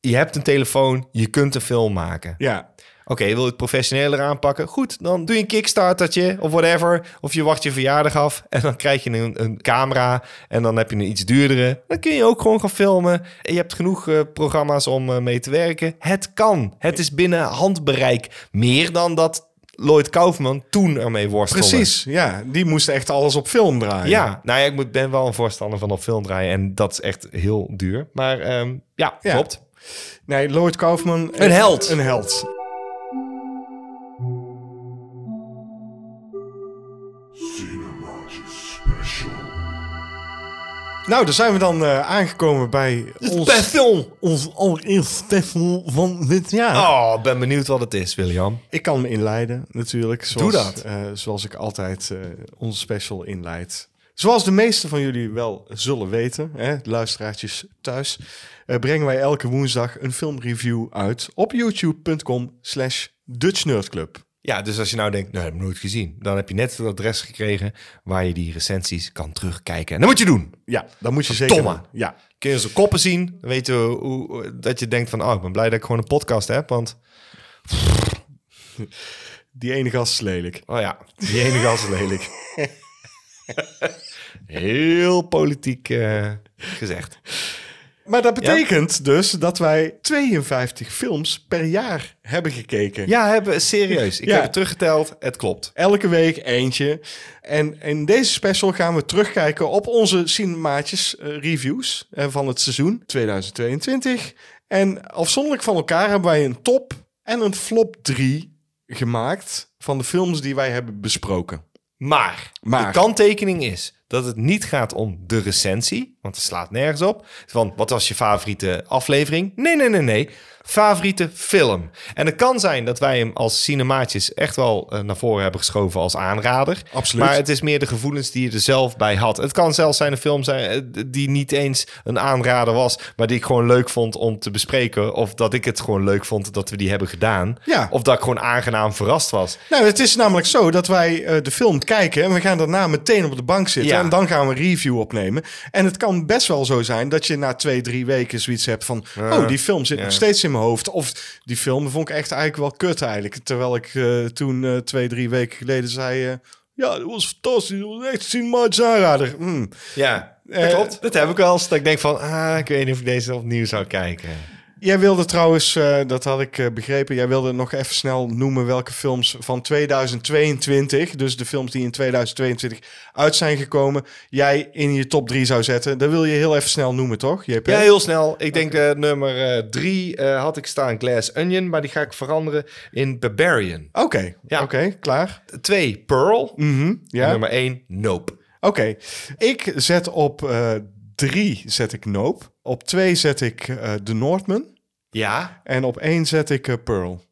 Je hebt een telefoon, je kunt een film maken. Ja. Oké, wil je het professioneler aanpakken? Goed, dan doe je een kickstartertje of whatever. Of je wacht je verjaardag af en dan krijg je een, een camera. En dan heb je een iets duurdere. Dan kun je ook gewoon gaan filmen. En je hebt genoeg eh, programma's om eh, mee te werken. Het kan. Het is binnen handbereik. Meer dan dat Lloyd Kaufman toen ermee worstelde. Precies, ja. Die moest echt alles op film draaien. Ja, nou ja, ik moet- ben wel een voorstander van op film draaien. En dat is echt heel duur. Maar ehm, ja, Ja. klopt. Nee, Lloyd Kaufman... Een held. Een held. Nou, daar zijn we dan eh, aangekomen bij ons... Ons allereerste festival van dit jaar. Oh, ben benieuwd wat het is, William. Ik kan hem inleiden, natuurlijk. Zoals, dat. eh, zoals ik altijd eh, onze special inleid. Zoals de meesten van jullie wel zullen weten, hè, luisteraartjes thuis, eh, brengen wij elke woensdag een filmreview uit op youtube.com slash Dutch Nerd Club. Ja, dus als je nou denkt, nou, dat heb ik nooit gezien. Dan heb je net het adres gekregen waar je die recensies kan terugkijken. En dat moet je doen. Ja, dat moet je Verdomme. zeker doen. Ja, Kun je ze koppen zien, dan weet je hoe, hoe- dat je denkt van... oh, ik ben blij dat ik gewoon een podcast heb, want... die ene gast is lelijk. oh ja, die ene gast is lelijk. Heel politiek eh, gezegd. Maar dat betekent dus dat wij 52 films per jaar hebben gekeken. Ja, hebben, serieus. Ik Ja. heb het teruggeteld, het klopt. Elke week eentje. En in deze special gaan we terugkijken op onze cinemaatjes eh, reviews eh, van het seizoen 2022. En afzonderlijk van elkaar hebben wij een top en een flop 3 gemaakt van de films die wij hebben besproken. Maar, Maar. de kanttekening is dat het niet gaat om de recensie, want het slaat nergens op. Van wat was je favoriete aflevering? Nee, nee, nee, nee. Favoriete film. En het kan zijn dat wij hem als cinemaatjes echt wel eh, naar voren hebben geschoven als aanrader. Absoluut. Maar het is meer de gevoelens die je er zelf bij had. Het kan zelfs zijn een film zijn eh, die niet eens een aanrader was, maar die ik gewoon leuk vond om te bespreken. Of dat ik het gewoon leuk vond dat we die hebben gedaan. Ja. Of dat ik gewoon aangenaam verrast was. Nou, het is namelijk zo dat wij eh, de film kijken en we gaan daarna meteen op de bank zitten. Ja. En dan gaan we een review opnemen. En het kan best wel zo zijn dat je na twee, drie weken zoiets hebt van... oh, die film zit nog steeds in mijn hoofd. Of die film vond ik echt eigenlijk wel kut eigenlijk. Terwijl ik eh, toen eh, twee, drie weken geleden zei... eh, ja, dat was fantastisch. Dat was echt een cinematische aanrader. Mm. Ja, dat Eh, klopt. Dat heb ik wel eens. Dat ik denk van, ah, ik weet niet of ik deze opnieuw zou kijken. Jij wilde trouwens, eh, dat had ik eh, begrepen, jij wilde nog even snel noemen welke films van 2022, dus de films die in 2022 uit zijn gekomen, jij in je top 3 zou zetten. Dat wil je heel even snel noemen, toch? JP? Ja, heel snel. Ik denk eh, nummer eh, drie eh, had ik staan Glass Onion, maar die ga ik veranderen in Barbarian. Oké, Ja. oké, klaar. Twee, Pearl. Mhm, En ja, oké. Nummer één, Nope. Ik zet op 3 zet ik Nope, op 2 zet ik eh The Northman Ja, en op 1 zet ik eh, Pearl.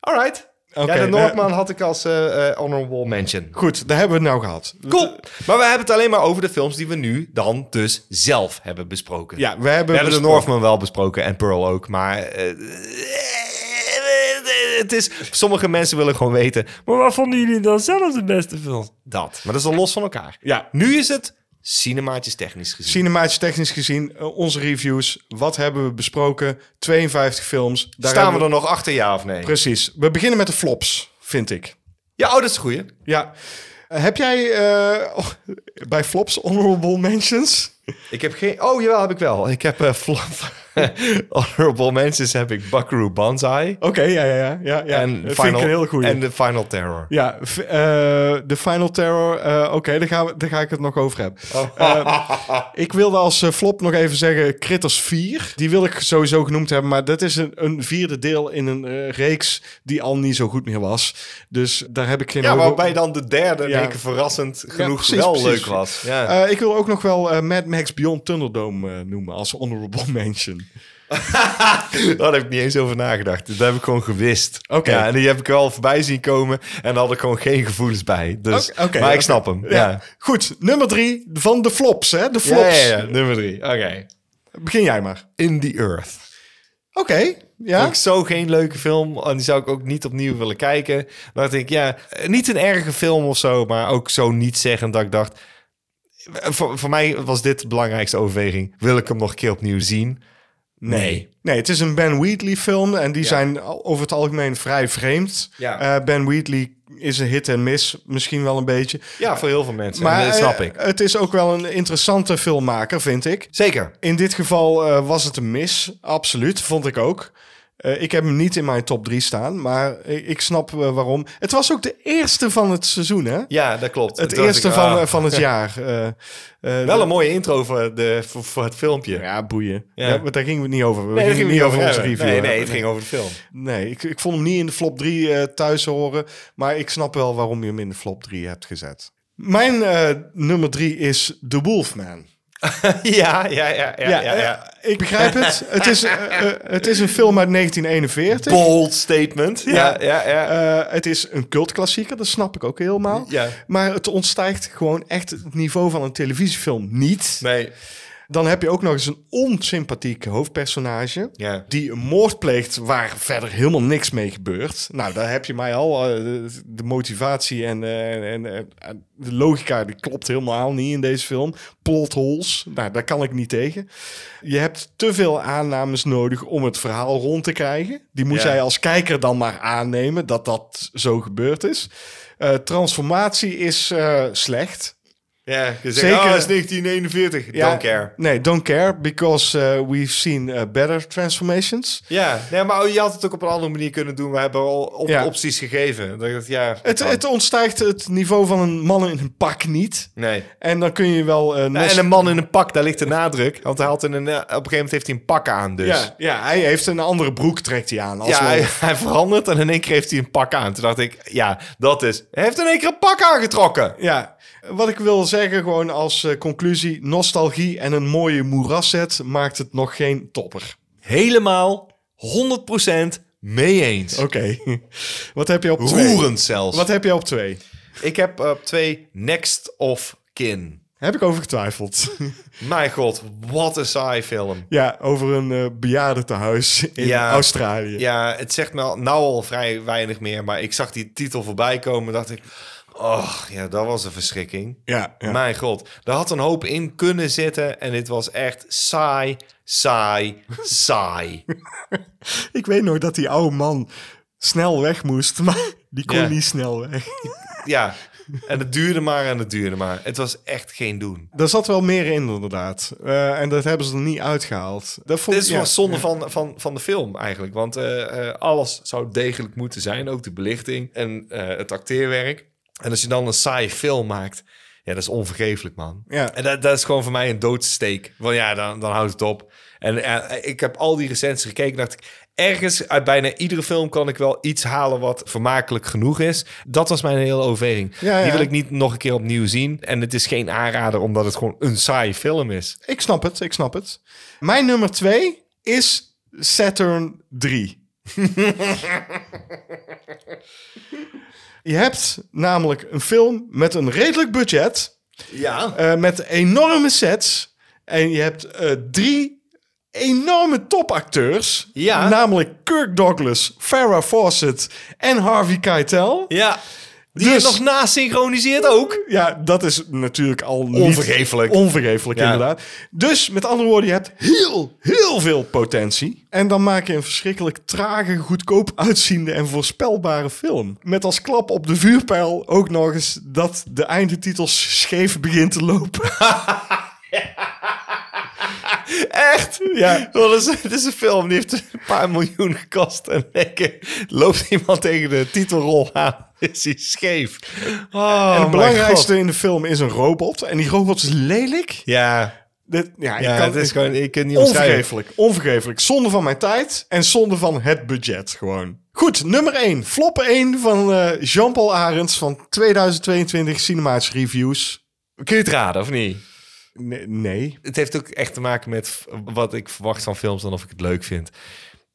alright. Oké, ja, de nou- Noordman had ik als eh, eh, honorable mention. Goed, daar hebben we het nou gehad. Cool. Maar we hebben het alleen maar over de films die we nu dan dus zelf hebben besproken. Ja, we hebben, We hebben de besproken- Northman wel besproken en Pearl ook, maar eh, het is, sommige mensen willen gewoon weten, maar wat vonden jullie dan zelf de beste film? Dat, maar dat is al los van elkaar. Ja, Nu is het cinemaatjes technisch gezien. Cinematisch technisch gezien, eh, onze reviews. Wat hebben we besproken? 52 films. Daar Staan hebben we er nog achter, ja of nee? Precies. We beginnen met de flops, vind ik. Ja, oh, dat is een goeie. Ja. Eh, Heb jij eh, oh, bij flops honorable mentions? Ik heb geen... Oh, jawel, heb ik wel. Ik heb eh flop... Honorable Mentions heb ik Buckaroo Banzai. Oké, ja, ja, ja. ja, ja. en Dat Final, vind ik een heel goeie. En de Final Terror. Ja, v- eh, de Final Terror. eh, Oké, daar, gaan we- daar ga ik het nog over hebben. Oh. Eh, ik wilde als eh, flop nog even zeggen Critters 4. Die wil ik sowieso genoemd hebben, maar dat is een, een vierde deel in een eh, reeks die al niet zo goed meer was. Dus daar heb ik geen... Ja, hoge- waarbij dan de derde Ja. in één keer verrassend genoeg precies, wel precies. leuk was. Ja. Eh, ik wil ook nog wel eh, Mad Max Beyond Thunderdome eh, noemen als honorable mention. Eh, Daar heb ik niet eens over nagedacht. Dat heb ik gewoon gewist. Oké. Ja, en die heb ik wel voorbij zien komen. En daar had ik gewoon geen gevoelens bij. Dus, Oké, oké, maar ik oké. snap hem. Ja. Ja. Goed, nummer drie van de flops, hè? De Ja, flops. ja, nummer drie. Oké. Begin jij maar. In the Earth. Oké, Vond ja. ik zo geen leuke film. En die zou ik ook niet opnieuw willen kijken. Maar ik denk, ja, eh, niet een erge film of zo. Maar ook zo niet zeggend dat ik dacht... eh, Voor, voor mij was dit de belangrijkste overweging. Wil ik hem nog een keer opnieuw zien? Nee. Nee, het is een Ben Wheatley film en die zijn al- over het algemeen vrij vreemd. Ja. Eh, ben Wheatley is een hit en miss, misschien wel een beetje. Ja, voor heel veel mensen. Maar Maar, dat snap eh, ik. het is ook wel een interessante filmmaker, vind ik. Zeker. In dit geval eh, was het een mis, absoluut, vond ik ook. Eh, Eh, ik heb hem niet in mijn top 3 staan, maar ik, ik snap eh, waarom. Het was ook de eerste van het seizoen, hè? Ja, dat klopt. Het Toen dacht eerste ik, van, ah, eh, van het jaar. Eh, eh, Wel een mooie intro voor, de, voor, voor het filmpje. Ja, boeien. Ja. Ja. maar daar gingen we het niet over. We Nee, daar gingen niet over onze hebben. review. Nee, hebben. nee, het ging over de film. Nee, ik, ik vond hem niet in de flop 3 eh, thuis horen. Maar ik snap wel waarom je hem in de flop 3 hebt gezet. Mijn eh, nummer 3 is The Wolfman. ja, ja, ja, ja, ja. ja, eh, ik begrijp het. het, is, eh, eh, het is een film uit 1941. Bold statement. Ja, ja, ja. Eh, het is een cultklassieker, dat snap ik ook helemaal. Ja. Maar het ontstijgt gewoon echt het niveau van een televisiefilm niet. nee. Dan heb je ook nog eens een onsympathiek hoofdpersonage. Ja. Die een moord pleegt waar verder helemaal niks mee gebeurt. Nou, daar heb je mij al. eh, de, de motivatie en, eh, en, eh, en de logica die klopt helemaal niet in deze film. Plot holes, nou, daar kan ik niet tegen. Je hebt te veel aannames nodig om het verhaal rond te krijgen. Die moet Ja. jij als kijker dan maar aannemen dat dat zo gebeurd is. Eh, transformatie is eh, slecht. Ja, je zegt, Zeker. Zeker. "Ah, is 1941. Don't care. Nee, don't care, because eh, we've seen eh, better transformations. Ja, nee, maar oh, je had het ook op een andere manier kunnen doen. We hebben al op- Ja. opties gegeven. Dat ik dacht, ja, Het, kan. het ontstijgt het niveau van een man in een pak niet. nee. En dan kun je wel... eh, Nou, nes- en een man in een pak, daar ligt de nadruk. Want hij had in een, eh, op een gegeven moment heeft hij een pak aan, dus. ja, Ja. ja, hij heeft een andere broek, trekt hij aan. Als wel- hij, hij verandert en in één keer heeft hij een pak aan. Toen dacht ik, ja, dat is... Hij heeft in één keer een pak aangetrokken. ja. Wat ik wil zeggen gewoon als eh, conclusie... nostalgie en een mooie moeraszet maakt het nog geen topper. Helemaal 100% mee eens. Oké. Wat heb je op twee? Roerend zelfs. Wat heb je op twee? Ik heb op twee next of kin. Heb ik over getwijfeld. Mijn god, wat een saai film. ja, over een eh bejaardentehuis in Ja. Australië. Ja, het zegt me al, nou al vrij weinig meer, maar ik zag die titel voorbij komen en dacht ik, oh ja, dat was een verschrikking. Ja, ja. Mijn god, daar had een hoop in kunnen zitten en dit was echt saai, saai, saai. Ik weet nog dat die oude man snel weg moest, maar die kon Ja. niet snel weg. ja, en het duurde maar en het duurde maar. Het was echt geen doen. Daar zat wel meer in, inderdaad. Eh, en dat hebben ze er niet uitgehaald. Dat vond, Dit is ja. wel zonde van, van, van de film eigenlijk. Want eh, eh, alles zou degelijk moeten zijn. Ook de belichting en eh, het acteerwerk. En als je dan een saaie film maakt... Ja, dat is onvergeeflijk, man. Ja. En dat, dat is gewoon voor mij een doodsteek. Want ja, dan, dan houdt het op. En eh, ik heb al die recensies gekeken en dacht ik... Ergens uit bijna iedere film kan ik wel iets halen wat vermakelijk genoeg is. Dat was mijn hele overweging. Ja, ja. Die wil ik niet nog een keer opnieuw zien. En het is geen aanrader omdat het gewoon een saaie film is. Ik snap het, ik snap het. Mijn nummer twee is Saturn 3. Je hebt namelijk een film met een redelijk budget, Ja. eh, met enorme sets. En je hebt eh, drie enorme topacteurs. Ja. Namelijk Kirk Douglas, Farrah Fawcett en Harvey Keitel. Ja. Die Dus- is nog nasynchroniseerd ook. Ja, dat is natuurlijk al niet- Onvergeeflijk. Onvergeeflijk, Ja. inderdaad. Dus met andere woorden, je hebt heel, heel veel potentie. En dan maak je een verschrikkelijk trage, goedkoop uitziende en voorspelbare film. Met als klap op de vuurpijl ook nog eens dat de eindetitel scheef begint te lopen. Echt? Oh Ja. Dat is, dit is een film, die heeft een paar miljoen gekost. En lekker loopt iemand tegen de titelrol aan. Is hij scheef. Oh, en mijn het belangrijkste God. in de film is een robot. En die robot is lelijk. Ja, Dit, ja, ik ja kan, het is gewoon, ik kan het niet omschrijven. Onvergeeflijk, onvergeeflijk. Zonde van mijn tijd en zonde van het budget gewoon. Goed, nummer 1. Flop 1 van eh, Jean-Paul Arends van 2022 Cinematische Reviews. Kun je het raden of niet? Nee, nee. Het heeft ook echt te maken met v- wat ik verwacht van films en of ik het leuk vind.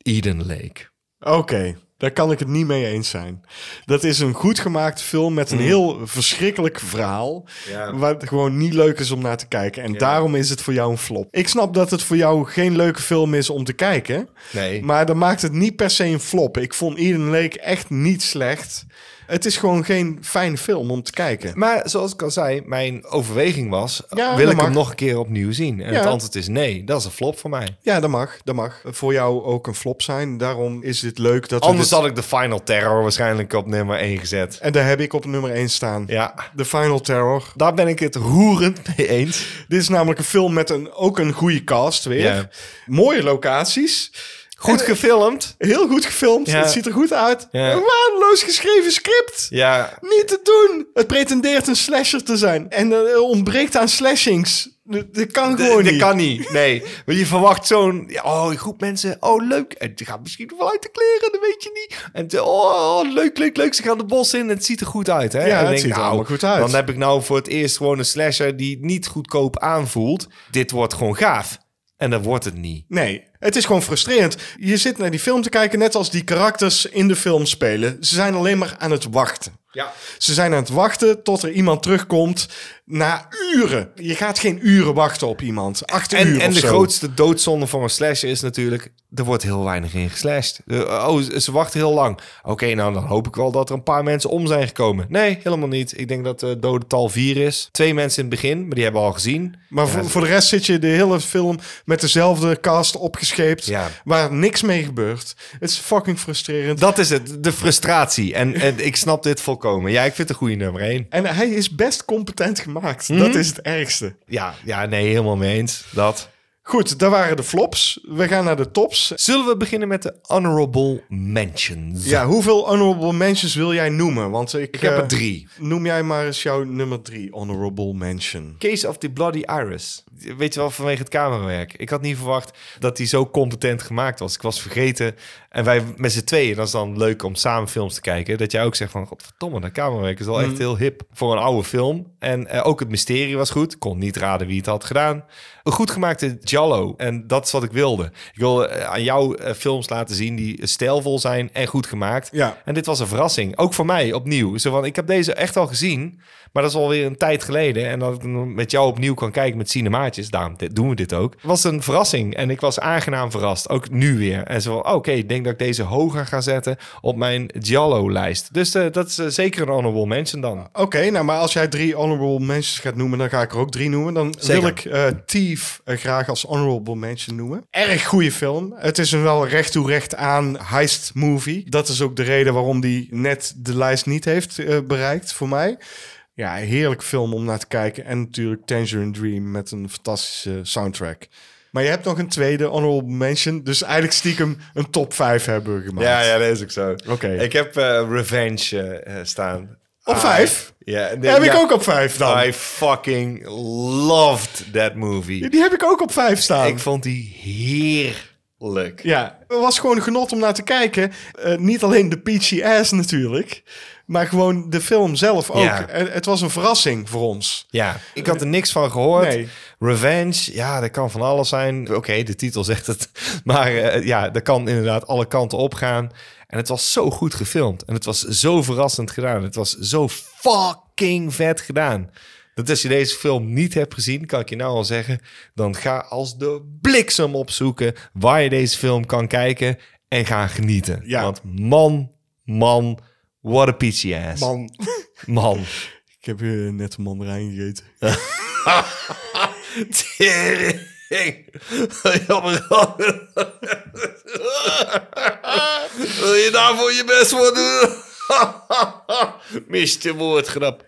Eden Lake. Oké, daar kan ik het niet mee eens zijn. Dat is een goed gemaakte film met een heel verschrikkelijk verhaal. Mm. Ja. Wat gewoon niet leuk is om naar te kijken. En daarom is het voor jou een flop. Ik snap dat het voor jou geen leuke film is om te kijken. Nee. Maar dat maakt het niet per se een flop. Ik vond Eden Lake echt niet slecht. Het is gewoon geen fijne film om te kijken. Maar zoals ik al zei, mijn overweging was... Ja, wil dat ik hem mag. nog een keer opnieuw zien? En Ja. het antwoord is nee. Dat is een flop voor mij. Ja, dat mag, dat mag. Voor jou ook een flop zijn. Daarom is dit leuk dat we Anders dit- had ik de Final Terror waarschijnlijk op nummer 1 gezet. En daar heb ik op nummer 1 staan. Ja, The Final Terror. daar ben ik het roerend mee eens. Dit is namelijk een film met een, ook een goede cast weer. Ja. Mooie locaties. eh, Goed gefilmd. Heel goed gefilmd. Ja. Het ziet er goed uit. Ja. Een waardeloos geschreven script. Ja, Niet te doen. Het pretendeert een slasher te zijn. En eh, ontbreekt aan slashings. D- Dat kan gewoon dat niet. kan niet. Nee, want je verwacht zo'n... ja, Oh, een groep mensen. Oh, leuk. En die gaat misschien wel uit de kleren, dat weet je niet. En het- oh, oh, leuk, leuk, leuk. Ze gaan de bos in en het ziet er goed uit. Ja, Hè? En het ik denk, ziet er nou, allemaal goed uit. Dan heb ik nou voor het eerst gewoon een slasher die niet goedkoop aanvoelt. Dit wordt gewoon gaaf. En dat wordt het niet. Nee, het is gewoon frustrerend. Je zit naar die film te kijken net als die karakters in de film spelen. Ze zijn alleen maar aan het wachten. Ja. Ze zijn aan het wachten tot er iemand terugkomt na uren. Je gaat geen uren wachten op iemand. Acht uur En, of en de zo. grootste doodzonde van een slasher is natuurlijk... er wordt heel weinig in geslashed. Eh, oh, ze ze wachten heel lang. Oké, nou dan hoop ik wel dat er een paar mensen om zijn gekomen. Nee, helemaal niet. Ik denk dat de dodental vier is. Twee mensen in het begin, maar die hebben we al gezien. Maar Ja, voor, ze- voor de rest zit je de hele film met dezelfde cast opgescheept. Ja. Waar niks mee gebeurt. Het is fucking frustrerend. Dat is het, de frustratie. En, en ik snap dit volkomen. Ja, ik vind het een goede nummer één. En hij is best competent gemaakt. Dat Mhm. is het ergste. Ja, ja, nee, helemaal mee eens. Dat. Goed, dat waren de flops. We gaan naar de tops. Zullen we beginnen met de honorable mentions? Ja, hoeveel honorable mentions wil jij noemen? Want ik, Ik heb eh, er drie. Noem jij maar eens jouw nummer drie honorable mention. Case of the Bloody Iris. Weet je wel, vanwege het camerawerk. Ik had niet verwacht dat die zo competent gemaakt was. Ik was vergeten. En wij met z'n tweeën, dat is dan leuk om samen films te kijken. Dat jij ook zegt van, godverdomme, dat camerawerk is wel echt heel hip voor een oude film. En eh, ook het mysterie was goed. Ik kon niet raden wie het had gedaan. Een goed gemaakte Jallo. En dat is wat ik wilde. Ik wilde eh, aan jou eh, films laten zien die stijlvol zijn en goed gemaakt. Ja. En dit was een verrassing. Ook voor mij opnieuw. Zo van, ik heb deze echt al gezien. Maar dat is alweer een tijd geleden. En dat ik hem met jou opnieuw kan kijken met cinemaatjes. Daarom dit- doen we dit ook. Het was een verrassing. En ik was aangenaam verrast. Ook nu weer. En zo van, oké, ik denk dat ik deze hoger ga zetten op mijn Giallo-lijst. Dus eh, dat is eh, zeker een honorable mention dan. Oké, nou maar als jij drie honorable mentions gaat noemen, dan ga ik er ook drie noemen. Dan Zeker. wil ik eh Thief eh, graag als honorable mention noemen. Erg goede film. Het is een wel recht toe recht aan heist movie. Dat is ook de reden waarom die net de lijst niet heeft eh, bereikt voor mij. Ja, heerlijk film om naar te kijken. En natuurlijk Tangerine Dream met een fantastische soundtrack. Maar je hebt nog een tweede honorable mention. Dus eigenlijk stiekem een top 5 hebben we gemaakt. dat is ook zo. Oké. Ik heb eh, Revenge eh, eh, staan. Op Ah, vijf? Ja. Die heb ja. ik ook op 5 dan. I fucking loved that movie. Die heb ik ook op 5 staan. Ik vond die heerlijk. Ja, het was gewoon een genot om naar te kijken. Eh, niet alleen de peachy ass natuurlijk, maar gewoon de film zelf ook. Ja. Eh, het was een verrassing voor ons. Ja, ik had er niks van gehoord. Nee. Revenge, ja, dat kan van alles zijn. Oké, de titel zegt het. Maar eh, ja, dat kan inderdaad alle kanten op gaan. En het was zo goed gefilmd. En het was zo verrassend gedaan. Het was zo fucking vet gedaan. Dat als je deze film niet hebt gezien, kan ik je nou al zeggen... dan ga als de bliksem opzoeken waar je deze film kan kijken... en ga genieten. Ja. Want man, man, what a peachy ass. Man, man. ik heb eh, net een mandarijn gegeten. Tering. Jammer. Wil je daarvoor je best voor doen? Miste woordgrap.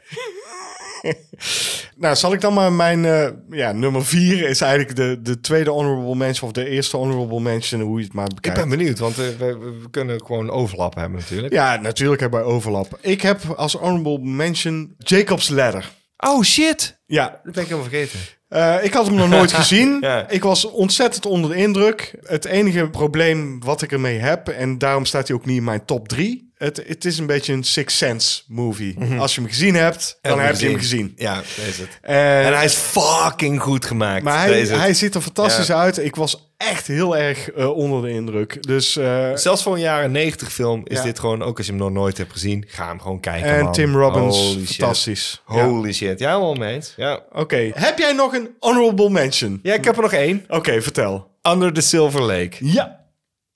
Nou, zal ik dan maar mijn eh, ja, nummer vier is eigenlijk de, de tweede honorable mention of de eerste honorable mention, hoe je het maar Ik bekijkt. ben benieuwd, want eh, we, we kunnen gewoon overlap hebben natuurlijk. Ja, natuurlijk hebben wij overlap. Ik heb als honorable mention Jacob's Ladder. Oh shit. Ja, Dat ben ik helemaal vergeten. Eh, ik had hem nog nooit gezien. Ja. Ik was ontzettend onder de indruk. Het enige probleem wat ik ermee heb, en daarom staat hij ook niet in mijn top 3. Het, het is een beetje een Six Sense movie. Mhm. Als je hem gezien hebt, dan heb je hem gezien. Ja, dat is het. En- En hij is fucking goed gemaakt. maar Dat hij, is het. hij ziet er fantastisch Ja. uit. Ik was echt heel erg eh, onder de indruk. Dus, eh, Zelfs voor een jaren 90 film is Ja. dit gewoon, ook als je hem nog nooit hebt gezien, ga hem gewoon kijken. en man. Tim Robbins, Holy shit. fantastisch. Ja. Holy shit. Ja, helemaal mee eens. Ja. Oké, heb jij nog een honorable mention? Ja, ik heb er nog één. Oké, vertel. Under the Silver Lake. Ja.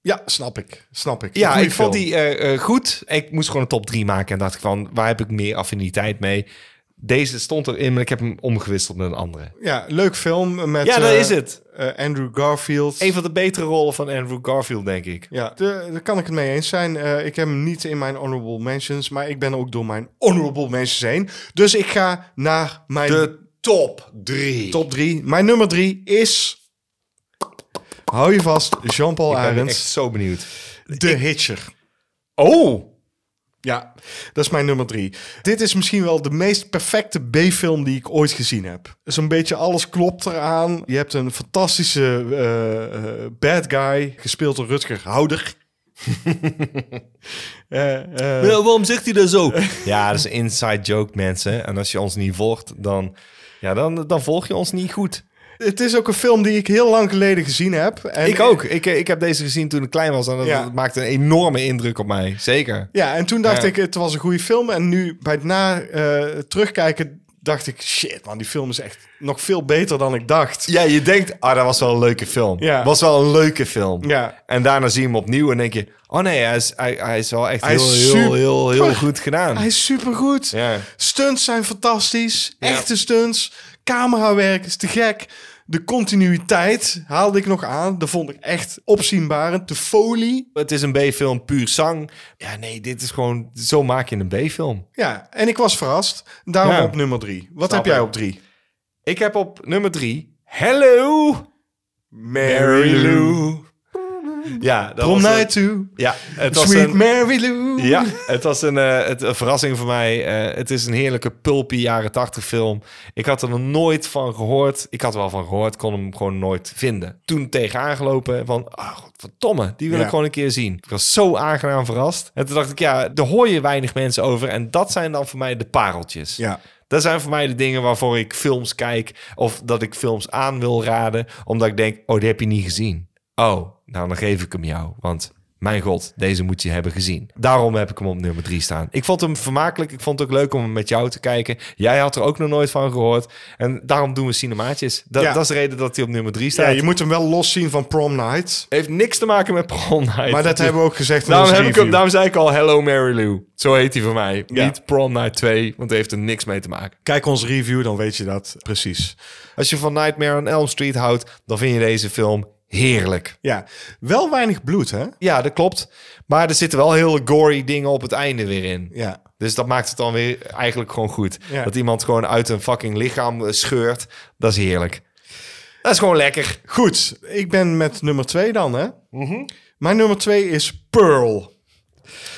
Ja, snap ik. Snap ik. Ja, Goeie ik vond film. die eh, eh, goed. Ik moest gewoon een top 3 maken en dacht ik van, waar heb ik meer affiniteit mee? Deze stond erin, maar ik heb hem omgewisseld met een andere. Ja, leuk film met... ja, dat eh, is het. eh, Andrew Garfield. Een van de betere rollen van Andrew Garfield, denk ik. Ja, de- daar kan ik het mee eens zijn. Eh, ik heb hem niet in mijn honorable mentions, maar ik ben ook door mijn honorable mentions heen. Dus ik ga naar mijn De top 3. top 3. Mijn nummer 3 is Hou je vast, Jean-Paul Ik ben Arends. echt zo benieuwd. De Hitcher. Oh! Ja, dat is mijn nummer drie. Dit is misschien wel de meest perfecte B-film die ik ooit gezien heb. Zo'n beetje alles klopt eraan. Je hebt een fantastische eh, eh, bad guy, gespeeld door Rutger Houder. Eh, eh, waarom zegt hij dat zo? Ja, dat is een inside joke, mensen. En als je ons niet volgt, dan, ja, dan, dan volg je ons niet goed. het is ook een film die ik heel lang geleden gezien heb. En ik ook. Ik, eh, ik heb deze gezien toen ik klein was. En dat Ja. dat maakte een enorme indruk op mij. Zeker. Ja, en toen dacht Ja. ik, het was een goede film. En nu bij het na eh, terugkijken dacht ik, shit man, die film is echt nog veel beter dan ik dacht. Ja, je denkt, ah, dat was wel een leuke film. Ja. Was wel een leuke film. Ja. En daarna zie je hem opnieuw en denk je, oh nee, hij is, hij, hij is wel echt Hij heel, is heel, heel, heel, super- goed gedaan. Hij is supergoed. Ja. Stunts zijn fantastisch. Ja. Echte stunts. Camerawerk is te gek. De continuïteit haalde ik nog aan. Dat vond ik echt opzienbarend. De folie. Het is een B-film puur zang. Ja, nee, dit is gewoon, zo maak je een B-film. Ja, en ik was verrast. Daarom Ja. op nummer drie. Wat Snap heb jij ik. op drie? Ik heb op nummer drie, Hello! Mary Ja, dat From was een- night to Ja, het was Sweet een... Mary Lou. Ja, het was een, eh, het, een verrassing voor mij. Eh, het is een heerlijke pulpy jaren tachtig film. Ik had er nog nooit van gehoord. Ik had er wel van gehoord, kon hem gewoon nooit vinden. Toen tegenaan gelopen van, ah, verdomme, die wil Ja. ik gewoon een keer zien. Ik was zo aangenaam verrast. En toen dacht ik, ja, daar hoor je weinig mensen over. En dat zijn dan voor mij de pareltjes. Ja. Dat zijn voor mij de dingen waarvoor ik films kijk of dat ik films aan wil raden, omdat ik denk, oh, die heb je niet gezien. Oh, nou dan geef ik hem jou, want mijn god, deze moet je hebben gezien. Daarom heb ik hem op nummer drie staan. Ik vond hem vermakelijk, ik vond het ook leuk om hem met jou te kijken. Jij had er ook nog nooit van gehoord en daarom doen we cinemaatjes. Dat, Ja. dat is de reden dat hij op nummer drie staat. Ja, je moet hem wel los zien van Prom Night. Heeft niks te maken met Prom Night. Maar dat hebben we ook gezegd in Daarom, onze Nou, heb ik, review. hem- daarom zei ik al Hello Mary Lou. Zo heet hij voor mij. Ja. Niet Prom Night 2, want hij heeft er niks mee te maken. Kijk onze review, dan weet je dat precies. Als je van Nightmare on Elm Street houdt, dan vind je deze film heerlijk. Ja, wel weinig bloed, hè? Ja, dat klopt. Maar er zitten wel hele gory dingen op het einde weer in. Ja. Dus dat maakt het dan weer eigenlijk gewoon goed. Ja. Dat iemand gewoon uit een fucking lichaam eh, scheurt, dat is heerlijk. Dat is gewoon lekker. Goed, ik ben met nummer twee dan, hè? Mijn nummer twee is Pearl.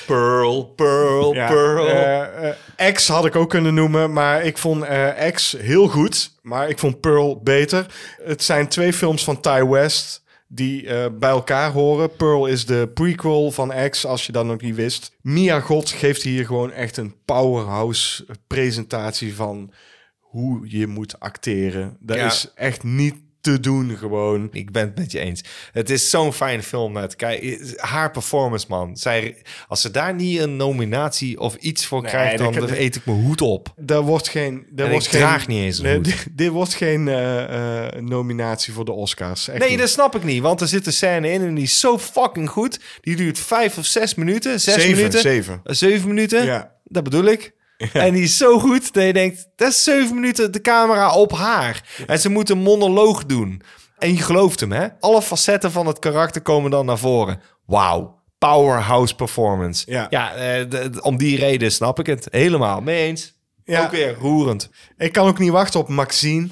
Pearl, pearl, Ja, pearl. eh, eh, X had ik ook kunnen noemen, maar ik vond eh, X heel goed. Maar ik vond Pearl beter. Het zijn twee films van Ty West die eh, bij elkaar horen. Pearl is de prequel van X, als je dat nog niet wist. Mia God geeft hier gewoon echt een powerhouse presentatie van hoe je moet acteren. Dat Ja. is echt niet te doen gewoon. Ik ben het met je eens. Het is zo'n fijne film naar te kijken. Haar performance, man. Zij, als ze daar niet een nominatie of iets voor krijgt, dat dan kan- eet ik mijn hoed op. Daar wordt geen... Daar En wordt ik geen, draag niet eens een Nee, hoed. dit, dit wordt geen eh, eh, nominatie voor de Oscars. Echt Nee, niet. dat snap ik niet. Want er zit een scène in en die is zo fucking goed. Die duurt vijf of zes minuten. Zes Zeven, minuten. zeven. Eh, zeven minuten. Ja. Dat bedoel ik. En die is zo goed dat je denkt... dat is zeven minuten de camera op haar. En ze moet een monoloog doen. En je gelooft hem, hè? Alle facetten van het karakter komen dan naar voren. Wauw. Powerhouse performance. Ja. eh, d- d- om die reden snap ik het. Helemaal. Mee eens. Ja. Ook weer roerend. Ik kan ook niet wachten op Maxine.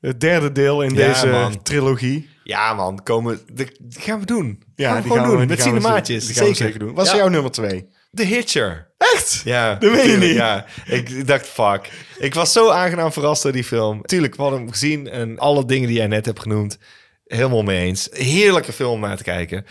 Het derde deel in Mhm. Ja, deze man. trilogie. Ja, man. Komen, dat gaan we doen. Ja, gaan we gewoon doen. Met die gaan we cinemaatjes. zeker- die gaan we zeker. doen. Wat is Ja. jouw nummer twee? The Hitcher. Echt? Ja, Dat meen je tuurlijk, niet. Ja, ik ik dacht, fuck. Ik was zo aangenaam verrast door die film. Tuurlijk, we hadden hem gezien en alle dingen die jij net hebt genoemd, helemaal mee eens. Heerlijke film om naar te kijken.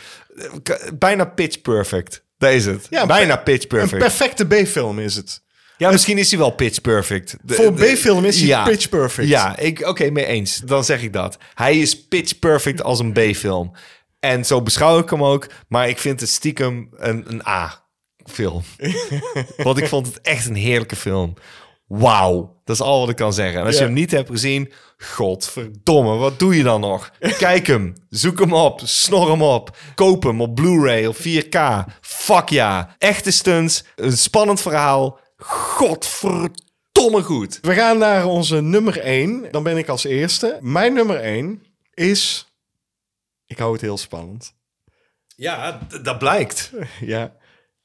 K- Bijna pitch perfect. Dat is het. Ja, Bijna pitch Een perfect. perfecte B-film is het. ja, misschien is hij wel pitch perfect. De- Voor een de- B-film is hij pitch perfect. Ja, ik- oké, mee eens. Dan zeg ik dat. Hij is pitch perfect als een B-film. En zo beschouw ik hem ook, maar ik vind het stiekem een, een A-film. Want ik vond het echt een heerlijke film. Wauw, dat is al wat ik kan zeggen. En als Ja. je hem niet hebt gezien, godverdomme, wat doe je dan nog? Kijk hem, zoek hem op, snor hem op, koop hem op Blu-ray of 4K. Fuck ja, echte stunts, een spannend verhaal. Godverdomme goed. We gaan naar onze nummer één. Dan ben ik als eerste. Mijn nummer één is... Ik hou het heel spannend. Ja, d- dat blijkt. Ja.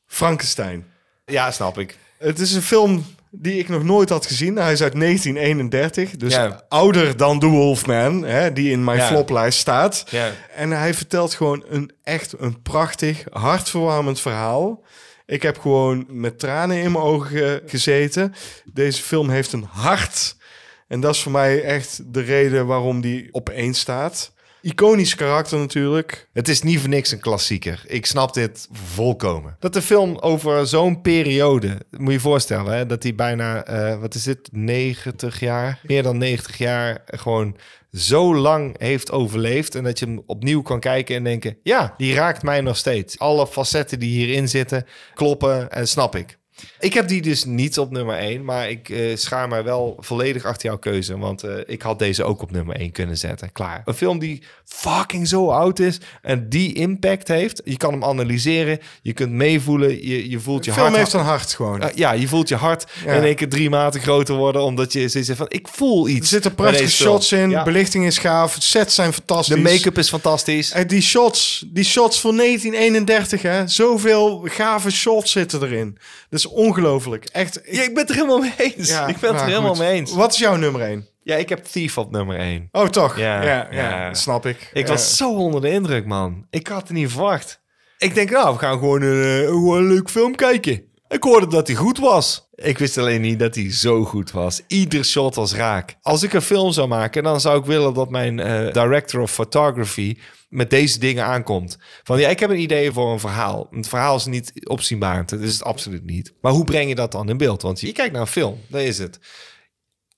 Frankenstein. Ja, snap ik. Het is een film die ik nog nooit had gezien. Hij is uit 1931, dus Ja. ouder dan The Wolfman, hè, die in mijn Ja. floplijst staat. Ja. En hij vertelt gewoon een echt een prachtig, hartverwarmend verhaal. Ik heb gewoon met tranen in mijn ogen ge- gezeten. Deze film heeft een hart. En dat is voor mij echt de reden waarom die op één staat. Iconisch karakter natuurlijk. Het is niet voor niks een klassieker. Ik snap dit volkomen. Dat de film over zo'n periode, moet je je voorstellen, hè, dat die bijna, eh, wat is dit, 90 jaar, meer dan 90 jaar, gewoon zo lang heeft overleefd. En dat je hem opnieuw kan kijken en denken, ja, die raakt mij nog steeds. Alle facetten die hierin zitten, kloppen en snap ik. Ik heb die dus niet op nummer 1, maar ik eh, schaar mij wel volledig achter jouw keuze. Want eh, ik had deze ook op nummer 1 kunnen zetten. Klaar. Een film die fucking zo oud is en die impact heeft. Je kan hem analyseren, je kunt meevoelen, je, je voelt je De film hart. heeft een hart gewoon. Ah, ja, je voelt je hart Ja. in één keer drie maten groter worden. Omdat je zoiets hebt van, ik voel iets. Er zitten bij prachtige deze film. shots in, Ja. belichting is gaaf, sets zijn fantastisch. De make-up is fantastisch. En Eh, die shots, die shots van 1931, hè? Zoveel gave shots zitten erin. Dat is ongelooflijk. Echt. ik- Ja, ik ben het er helemaal mee eens. ja, ik ben het nou, er helemaal goed. mee eens. Wat is jouw nummer 1? Ja, ik heb Thief op nummer 1. Oh, toch? Ja, Ja, ja, ja. dat snap ik. Ik Ja. was zo onder de indruk, man. Ik had het niet verwacht. Ik denk, nou, we gaan gewoon een, eh, gewoon een leuk film kijken. Ik hoorde dat hij goed was. Ik wist alleen niet dat hij zo goed was. Ieder shot was raak. Als ik een film zou maken, dan zou ik willen dat mijn eh, director of photography met deze dingen aankomt. Van ja, ik heb een idee voor een verhaal. Het verhaal is niet opzienbarend. Dat is het absoluut niet. Maar hoe breng je dat dan in beeld? Want je kijkt naar een film, daar is het.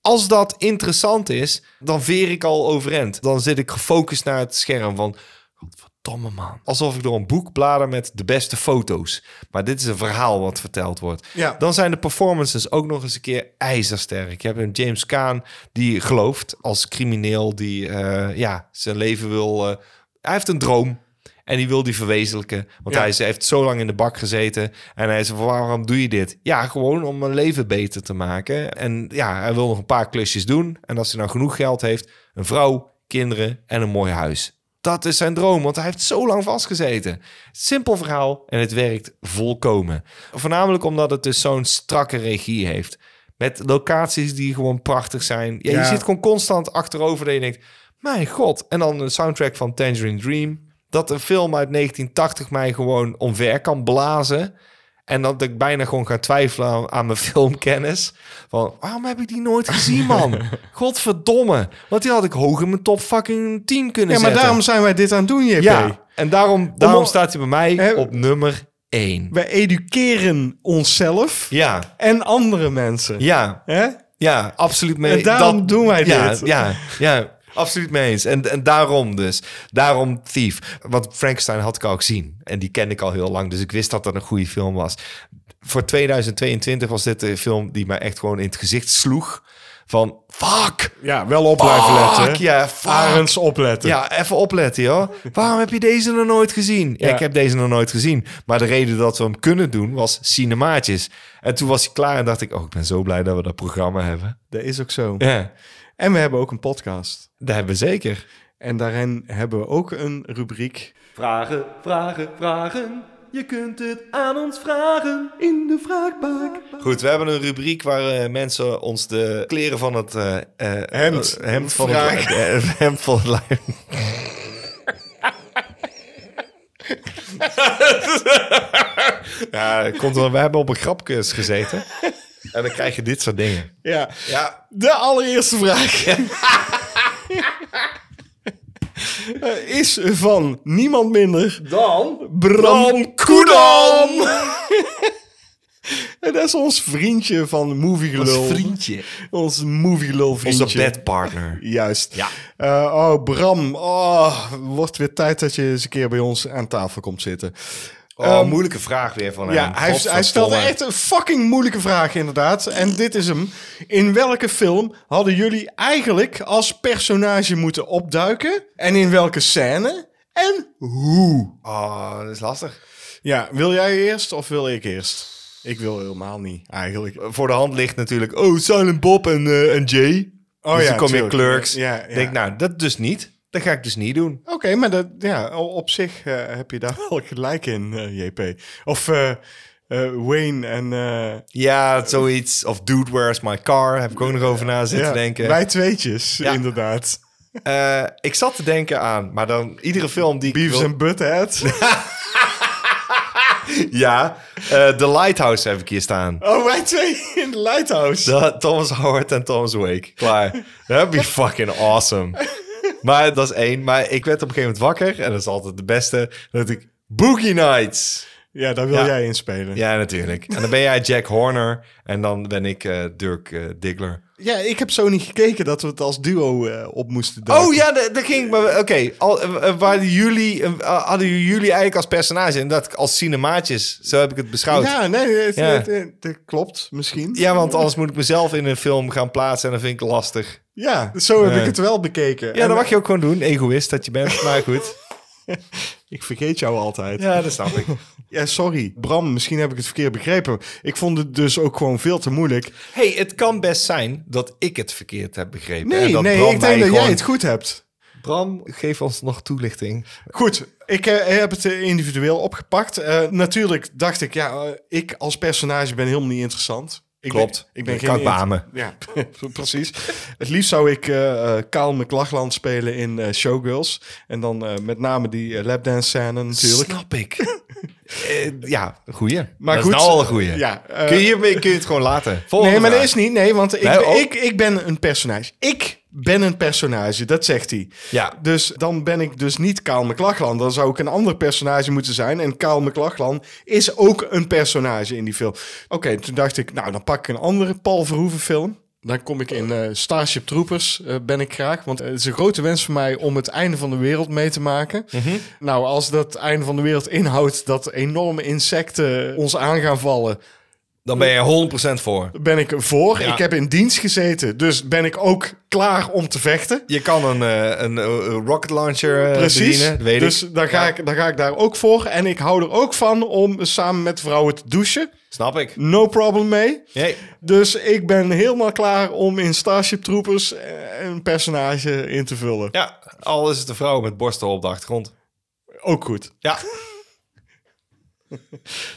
Als dat interessant is, dan veer ik al overeind. Dan zit ik gefocust naar het scherm van... Godverdomme man. Alsof ik door een boek blader met de beste foto's. Maar dit is een verhaal wat verteld wordt. Ja. Dan zijn de performances ook nog eens een keer ijzersterk. Je hebt een James Caan die gelooft als crimineel... die eh, ja, zijn leven wil... eh, hij heeft een droom. En die wil die verwezenlijken. Want Ja. hij is, heeft zo lang in de bak gezeten. En hij zei, waarom doe je dit? Ja, gewoon om mijn leven beter te maken. En ja, hij wil nog een paar klusjes doen. En als hij nou genoeg geld heeft, een vrouw, kinderen en een mooi huis. Dat is zijn droom, want hij heeft zo lang vastgezeten. Simpel verhaal en het werkt volkomen. Voornamelijk omdat het dus zo'n strakke regie heeft. Met locaties die gewoon prachtig zijn. Ja, Je Ja. zit gewoon constant achterover dat je denkt... Mijn god. En dan een soundtrack van Tangerine Dream. Dat een film uit 1980 mij gewoon omver kan blazen. En dat ik bijna gewoon ga twijfelen aan, aan mijn filmkennis. Van, waarom heb ik die nooit gezien, man? Godverdomme. Want die had ik hoog in mijn top fucking 10 Ja, kunnen maar zetten. daarom zijn wij dit aan het doen, JP. Ja, en daarom, daarom Om- staat hij bij mij Hè? op nummer 1. Wij educeren onszelf Ja, en andere mensen. ja, Hè? ja, absoluut mee. En daarom doen wij ja, dit. Ja, ja, absoluut mee eens. En, en daarom dus. Daarom Thief. Want Frankenstein had ik al gezien. En die kende ik al heel lang. Dus ik wist dat dat een goede film was. Voor 2022 was dit een film die mij echt gewoon in het gezicht sloeg. Van fuck, Ja, wel op blijven Fuck, ja, fuck. Arends opletten. Ja, even opletten, joh. Waarom heb je deze nog nooit gezien? Ja, Ja. ik heb deze nog nooit gezien. Maar de reden dat we hem kunnen doen was cinemaatjes. En toen was hij klaar en dacht ik, oh, ik ben zo blij dat we dat programma hebben. Dat is ook zo. Ja, En we hebben ook een podcast. dat hebben we zeker. En daarin hebben we ook een rubriek. Vragen, vragen, vragen. Je kunt het aan ons vragen in de vraagbak. Goed, we hebben een rubriek waar eh, mensen ons de kleren van het... eh, eh, Hemd. eh, hemd van het, Vragen. eh, hemd van het lijf. ja, dat komt wel. We hebben op een grapkurs gezeten. En dan krijg je dit soort dingen. Ja. Ja, De allereerste vraag. Eh, Is van niemand minder Dan Bram Koedam. En dat is ons vriendje van Movie Gelul. Ons vriendje. Ons Movie Lul vriendje. Onze bedpartner. Juist. Ja. Eh, oh, Bram. Oh, wordt weer tijd dat je eens een keer bij ons aan tafel komt zitten. Oh, moeilijke vraag weer van hem. Ehm, Ja, hij, hij stelde Godverdomme. echt een fucking moeilijke vraag inderdaad. En dit is hem. In welke film hadden jullie eigenlijk als personage moeten opduiken? En in welke scène? En hoe? Oh, dat is lastig. Ja, wil jij eerst of wil ik eerst? Ik wil helemaal niet, eigenlijk. Eh, Voor de hand ligt natuurlijk... Oh, Silent Bob en, eh, en Jay. Oh dus ja, dan kom je tuurlijk. in Clerks. Ja, ja. denk nou, dat dus niet. Dat ga ik dus niet doen. Oké, maar dat, ja, o- op zich eh, heb je daar wel gelijk in, eh, JP. Of eh, eh, Wayne en... eh, Ja, zoiets. Of Dude, Where's My Car? Heb ik ook nog over na zitten ja, denken. Wij tweetjes, Ja. inderdaad. Eh, ik zat te denken aan, maar dan iedere film die ik Beavis wil- en Butthead. Ja, eh The Lighthouse heb ik hier staan. Oh, wij twee in de Lighthouse. Da- Thomas Howard en Thomas Wake. Klaar. That'd be fucking awesome. Maar dat is één. Maar ik werd op een gegeven moment wakker. En dat is altijd de beste. Dat ik Boogie Nights. Ja, daar wil Ja. jij inspelen. Ja, natuurlijk. En dan ben jij Jack Horner. En dan ben ik eh, Dirk eh, Diggler. Ja, ik heb zo niet gekeken dat we het als duo eh, op moesten duiken. Oh ja, daar daar ging ik. maar- Oké, al- eh, eh, waren jullie, eh, hadden jullie eigenlijk als personage. En dat als cinemaatjes. Zo heb ik het beschouwd. Ja, nee, nee, het- Ja. het- het- het klopt misschien. Ja, want anders moet ik mezelf in een film gaan plaatsen. En dat vind ik lastig. Ja, zo heb Nee. ik het wel bekeken. Ja, En, dat mag je ook gewoon doen. Egoïst dat je bent. Maar goed. Ik vergeet jou altijd. Ja. Ja, dat snap ik. sorry. Bram, misschien heb ik het verkeerd begrepen. Ik vond het dus ook gewoon veel te moeilijk. Hey, het kan best zijn dat ik het verkeerd heb begrepen. en Nee, dat nee, Bram ik denk mij dat jij gewoon- het goed hebt. Bram, geef ons nog toelichting. Goed, ik eh, heb het eh, individueel opgepakt. Eh, natuurlijk dacht ik, ja, eh, ik als personage ben helemaal niet interessant. Ik Klopt. Ben, ik ben Ik geen kan int- beamen. Ja, precies. Het liefst zou ik eh eh, Kaal McLachlan spelen in eh, Showgirls. En dan eh, met name die eh, lapdance scène natuurlijk. Snap ik. Eh, ja, goeie. Maar dat goed, is nou al een goeie. ja, eh, kun, je, hiermee- kun je het gewoon laten? Volgende Nee, maar dat vraag. is niet. Nee, want ik, Nee, ben- oh. ik, ik ben een personage. Ik ben een personage, dat zegt hij. Ja. Dus dan ben ik dus niet Kaal McLachlan. Dan zou ik een ander personage moeten zijn. En Kaal McLachlan is ook een personage in die film. Oké, toen dacht ik, nou, dan pak ik een andere Paul Verhoeven film. Dan kom ik in eh, Starship Troopers, eh, ben ik graag. Want het is een grote wens voor mij om het einde van de wereld mee te maken. Mhm. Nou, als dat einde van de wereld inhoudt dat enorme insecten ons aan gaan vallen Dan ben je 100% voor. ben ik voor. Ja. Ik heb in dienst gezeten, dus ben ik ook klaar om te vechten. Je kan een, eh, een eh, rocket launcher eh, Precies. bedienen, dat weet dus ik. Dan, ga Ja. ik, dan ga ik daar ook voor. En ik hou er ook van om samen met vrouwen te douchen. Snap ik. No problem mee. Nee. Dus ik ben helemaal klaar om in Starship Troopers eh, een personage in te vullen. Ja, al is het een vrouw met borsten op de achtergrond. Ook goed. Ja,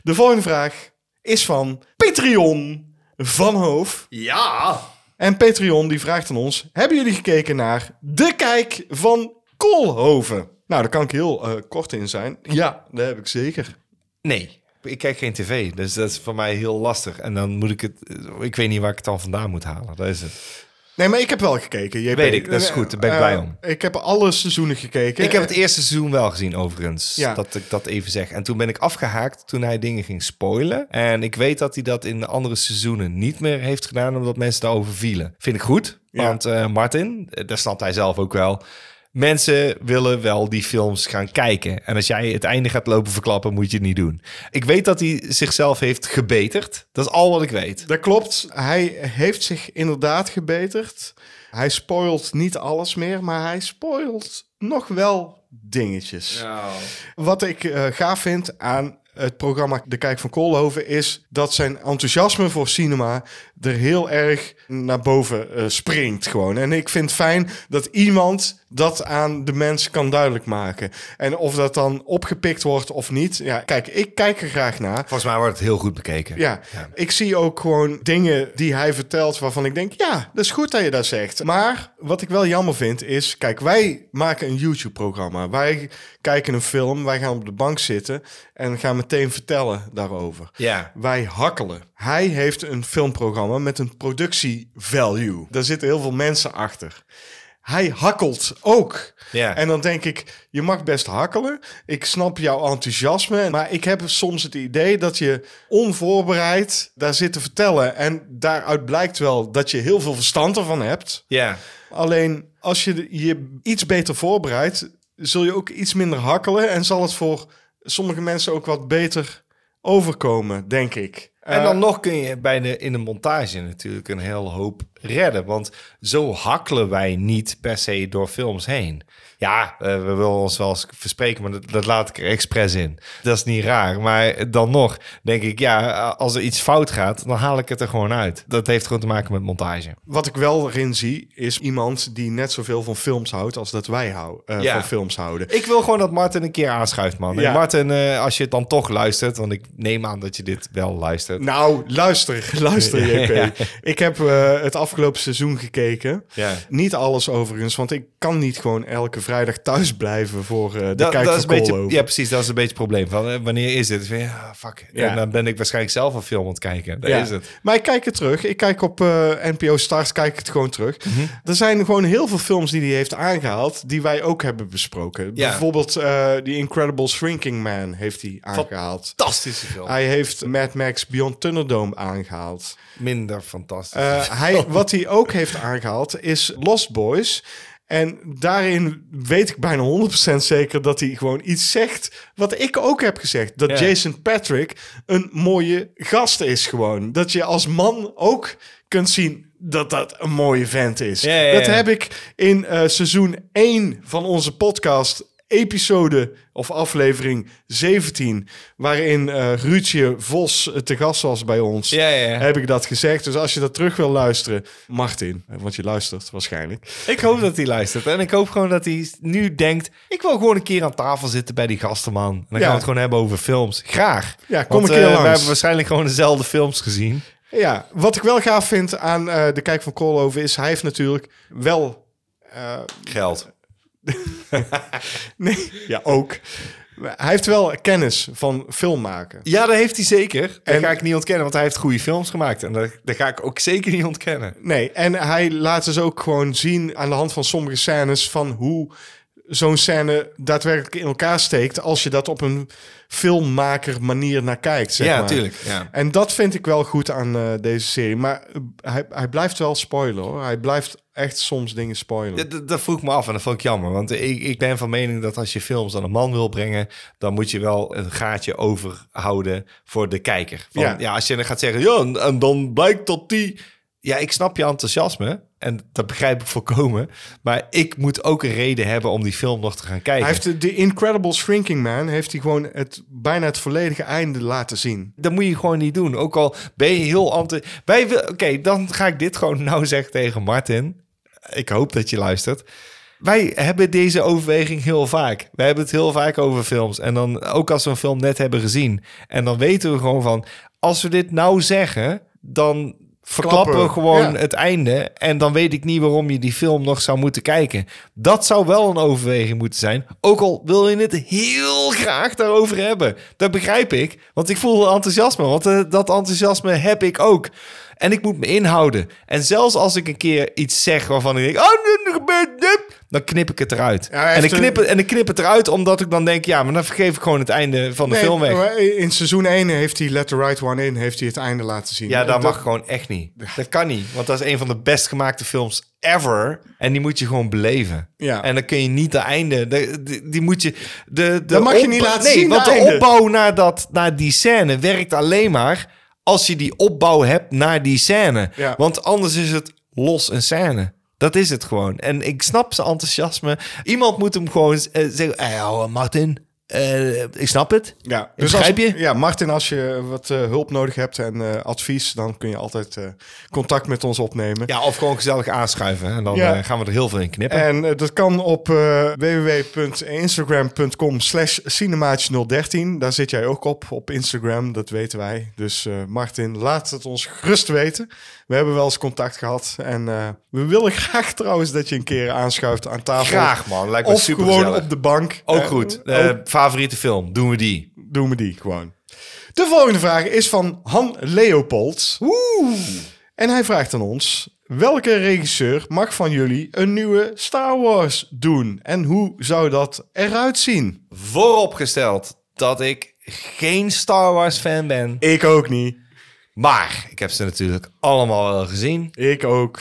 De volgende vraag is van Patreon van Hoof. ja. En Patreon die vraagt aan ons: Hebben jullie gekeken naar De Kijk van Koolhoven? Nou, daar kan ik heel eh, kort in zijn. Ja, dat heb ik zeker. Nee. Ik kijk geen tv, dus dat is voor mij heel lastig. En dan moet ik het... Ik weet niet waar ik het dan vandaan moet halen. Dat is het. Nee, maar ik heb wel gekeken. JP. Weet ik, dat is goed, daar ben ik Eh, blij om. Ik heb alle seizoenen gekeken. Ik heb het eerste seizoen wel gezien, overigens. Ja. Dat ik dat even zeg. En toen ben ik afgehaakt toen hij dingen ging spoilen. En ik weet dat hij dat in de andere seizoenen niet meer heeft gedaan... omdat mensen daarover vielen. Vind ik goed, Ja. want eh, Martin, eh, dat snapt hij zelf ook wel... Mensen willen wel die films gaan kijken. En als jij het einde gaat lopen verklappen, moet je het niet doen. Ik weet dat hij zichzelf heeft gebeterd. Dat is al wat ik weet. Dat klopt. Hij heeft zich inderdaad gebeterd. Hij spoilt niet alles meer, maar hij spoilt nog wel dingetjes. Wat ik eh, gaaf vind aan het programma De Kijk van Koolhoven is dat zijn enthousiasme voor cinema er heel erg naar boven eh, springt gewoon. En ik vind het fijn dat iemand dat aan de mensen kan duidelijk maken. En of dat dan opgepikt wordt of niet, ja, kijk, ik kijk er graag naar. Volgens mij wordt het heel goed bekeken. Ja. Ja. ik zie ook gewoon dingen die hij vertelt waarvan ik denk, ja, dat is goed dat je dat zegt. Maar wat ik wel jammer vind is, kijk, wij maken een YouTube-programma. Wij kijken een film, wij gaan op de bank zitten en gaan meteen vertellen daarover. Ja. Wij hakkelen. Hij heeft een filmprogramma met een productie-value. Daar zitten heel veel mensen achter. Hij hakkelt ook. Ja. En dan denk ik, je mag best hakkelen. Ik snap jouw enthousiasme. Maar ik heb soms het idee dat je onvoorbereid daar zit te vertellen. En daaruit blijkt wel dat je heel veel verstand ervan hebt. Ja. Alleen als je de- je iets beter voorbereidt, zul je ook iets minder hakkelen. En zal het voor sommige mensen ook wat beter overkomen, denk ik. En dan nog kun je bij de, in de montage natuurlijk een heel hoop redden. Want zo hakkelen wij niet per se door films heen. Ja, eh, we willen ons wel eens verspreken, maar dat, dat laat ik er expres in. Dat is niet raar. Maar dan nog denk ik, ja, als er iets fout gaat, dan haal ik het er gewoon uit. Dat heeft gewoon te maken met montage. Wat ik wel erin zie, is iemand die net zoveel van films houdt als dat wij hou, eh, Ja. van films houden. Ik wil gewoon dat Martin een keer aanschuift, man. Ja. En Martin, eh, als je het dan toch luistert, want ik neem aan dat je dit wel luistert. Nou, luister, luister JP. Ja. Ik heb eh, het afgelopen seizoen gekeken. Ja. Niet alles overigens, want ik kan niet gewoon elke vrijdag thuis blijven voor eh, de Dat, kijk dat van is een beetje, Koolhoven. ja, precies. Dat is een beetje het probleem. Van, eh, wanneer is dit? Van, ja, fuck. Ja. En dan ben ik waarschijnlijk zelf een film aan het kijken. Dat Ja. is het. Maar ik kijk het terug. Ik kijk op eh, NPO Start, kijk ik het gewoon terug. Mhm. Er zijn gewoon heel veel films die hij heeft aangehaald, die wij ook hebben besproken. Ja. Bijvoorbeeld eh The Incredible Shrinking Man heeft hij aangehaald. Fantastische film. Hij heeft Mad Max Beyond Thunderdome aangehaald. Minder fantastisch. Eh, hij, wat hij ook heeft aangehaald is Lost Boys. En daarin weet ik bijna 100% zeker dat hij gewoon iets zegt wat ik ook heb gezegd. Dat Ja. Jason Patrick een mooie gast is gewoon. Dat je als man ook kunt zien dat dat een mooie vent is. Ja, ja, ja. Dat heb ik in eh, seizoen 1 van onze podcast episode of aflevering 17... waarin eh Ruudje Vos eh, te gast was bij ons Ja, ja, ja. heb ik dat gezegd. Dus als je dat terug wil luisteren, Martin, eh, want je luistert waarschijnlijk. ik hoop dat hij luistert. En ik hoop gewoon dat hij nu denkt... ik wil gewoon een keer aan tafel zitten bij die gastenman. En dan gaan we het gewoon hebben over films. Graag. Ja, kom Want, een keer eh, langs. We hebben waarschijnlijk gewoon dezelfde films gezien. Ja, wat ik wel gaaf vind aan eh, de kijk van Koolhoven is, hij heeft natuurlijk wel, eh, Geld. nee, ja ook, hij heeft wel kennis van filmmaken. Ja, dat heeft hij zeker. Dat En- ga ik niet ontkennen, want hij heeft goede films gemaakt. En dat, dat ga ik ook zeker niet ontkennen. Nee, en hij laat dus ook gewoon zien aan de hand van sommige scènes van hoe zo'n scène daadwerkelijk in elkaar steekt als je dat op een filmmaker manier naar kijkt. Zeg Ja, maar. tuurlijk, ja. En dat vind ik wel goed aan eh, deze serie. Maar eh, hij, hij blijft wel spoilen hoor. Hij blijft echt soms dingen spoilen. Dat, dat- dat vroeg me af en dat vond ik jammer. Want ik, ik ben van mening dat als je films aan een man wil brengen... dan moet je wel een gaatje overhouden voor de kijker. Van, Ja. ja. als je dan gaat zeggen, ja, en, en dan blijkt dat die... Ja, ik snap je enthousiasme en dat begrijp ik volkomen. Maar ik moet ook een reden hebben om die film nog te gaan kijken. hij heeft de, de Incredible Shrinking Man heeft hij gewoon het, bijna het volledige einde laten zien. Dat moet je gewoon niet doen. Ook al ben je heel anti... Wij wil- Oké, dan ga ik dit gewoon nou zeggen tegen Martin. Ik hoop dat je luistert. Wij hebben deze overweging heel vaak. Wij hebben het heel vaak over films. En dan ook als we een film net hebben gezien. En dan weten we gewoon van... Als we dit nou zeggen, dan verklappen we Klappen, gewoon ja. het einde. En dan weet ik niet waarom je die film nog zou moeten kijken. Dat zou wel een overweging moeten zijn. Ook al wil je het heel graag daarover hebben. Dat begrijp ik. Want ik voel wel enthousiasme. Want eh, dat enthousiasme heb ik ook. En ik moet me inhouden. En zelfs als ik een keer iets zeg waarvan ik denk... Oh, dit gebeurt dit. Dan knip ik het eruit. Ja, hij en, heeft ik knip een- het, en ik knip het eruit omdat ik dan denk... Ja, maar dan vergeef ik gewoon het einde van de Nee, film weg. maar in seizoen 1 heeft hij Let the Right One In heeft hij het einde laten zien. Ja, En dat mag gewoon echt niet. Dat kan niet, want dat is een van de best gemaakte films ever. En die moet je gewoon beleven. Ja. En dan kun je niet de einde... de- die, die moet je... De, de Dat mag je niet laten nee, zien, want de de einde. opbouw naar, dat, naar die scène werkt alleen maar... als je die opbouw hebt naar die scène. Ja. Want anders is het los een scène. Dat is het gewoon. En ik snap zijn enthousiasme. Iemand moet hem gewoon eh, zeggen... Hey, ouwe Martin, eh, ik snap het. Ja, dus begrijp als, je? Ja, Martin, als je wat eh, hulp nodig hebt en eh, advies, dan kun je altijd eh, contact met ons opnemen. Ja, of gewoon gezellig aanschuiven. hè, En dan Ja. eh, gaan we er heel veel in knippen. En eh, dat kan op eh, www.instagram.com slash cinemaatje013. Daar zit jij ook op, op Instagram, dat weten wij. Dus eh, Martin, laat het ons gerust weten. We hebben wel eens contact gehad. En eh, we willen graag trouwens dat je een keer aanschuift aan tafel. Graag, man. Lijkt me Of super gewoon op de bank. Ook Eh, goed. ook Eh, favoriete film, doen we die. doen we die gewoon. De volgende vraag is van Han Leopold. En hij vraagt aan ons: welke regisseur mag van jullie een nieuwe Star Wars doen? En hoe zou dat eruit zien? Vooropgesteld dat ik geen Star Wars fan ben. Ik ook niet. Maar ik heb ze natuurlijk allemaal wel gezien. Ik ook.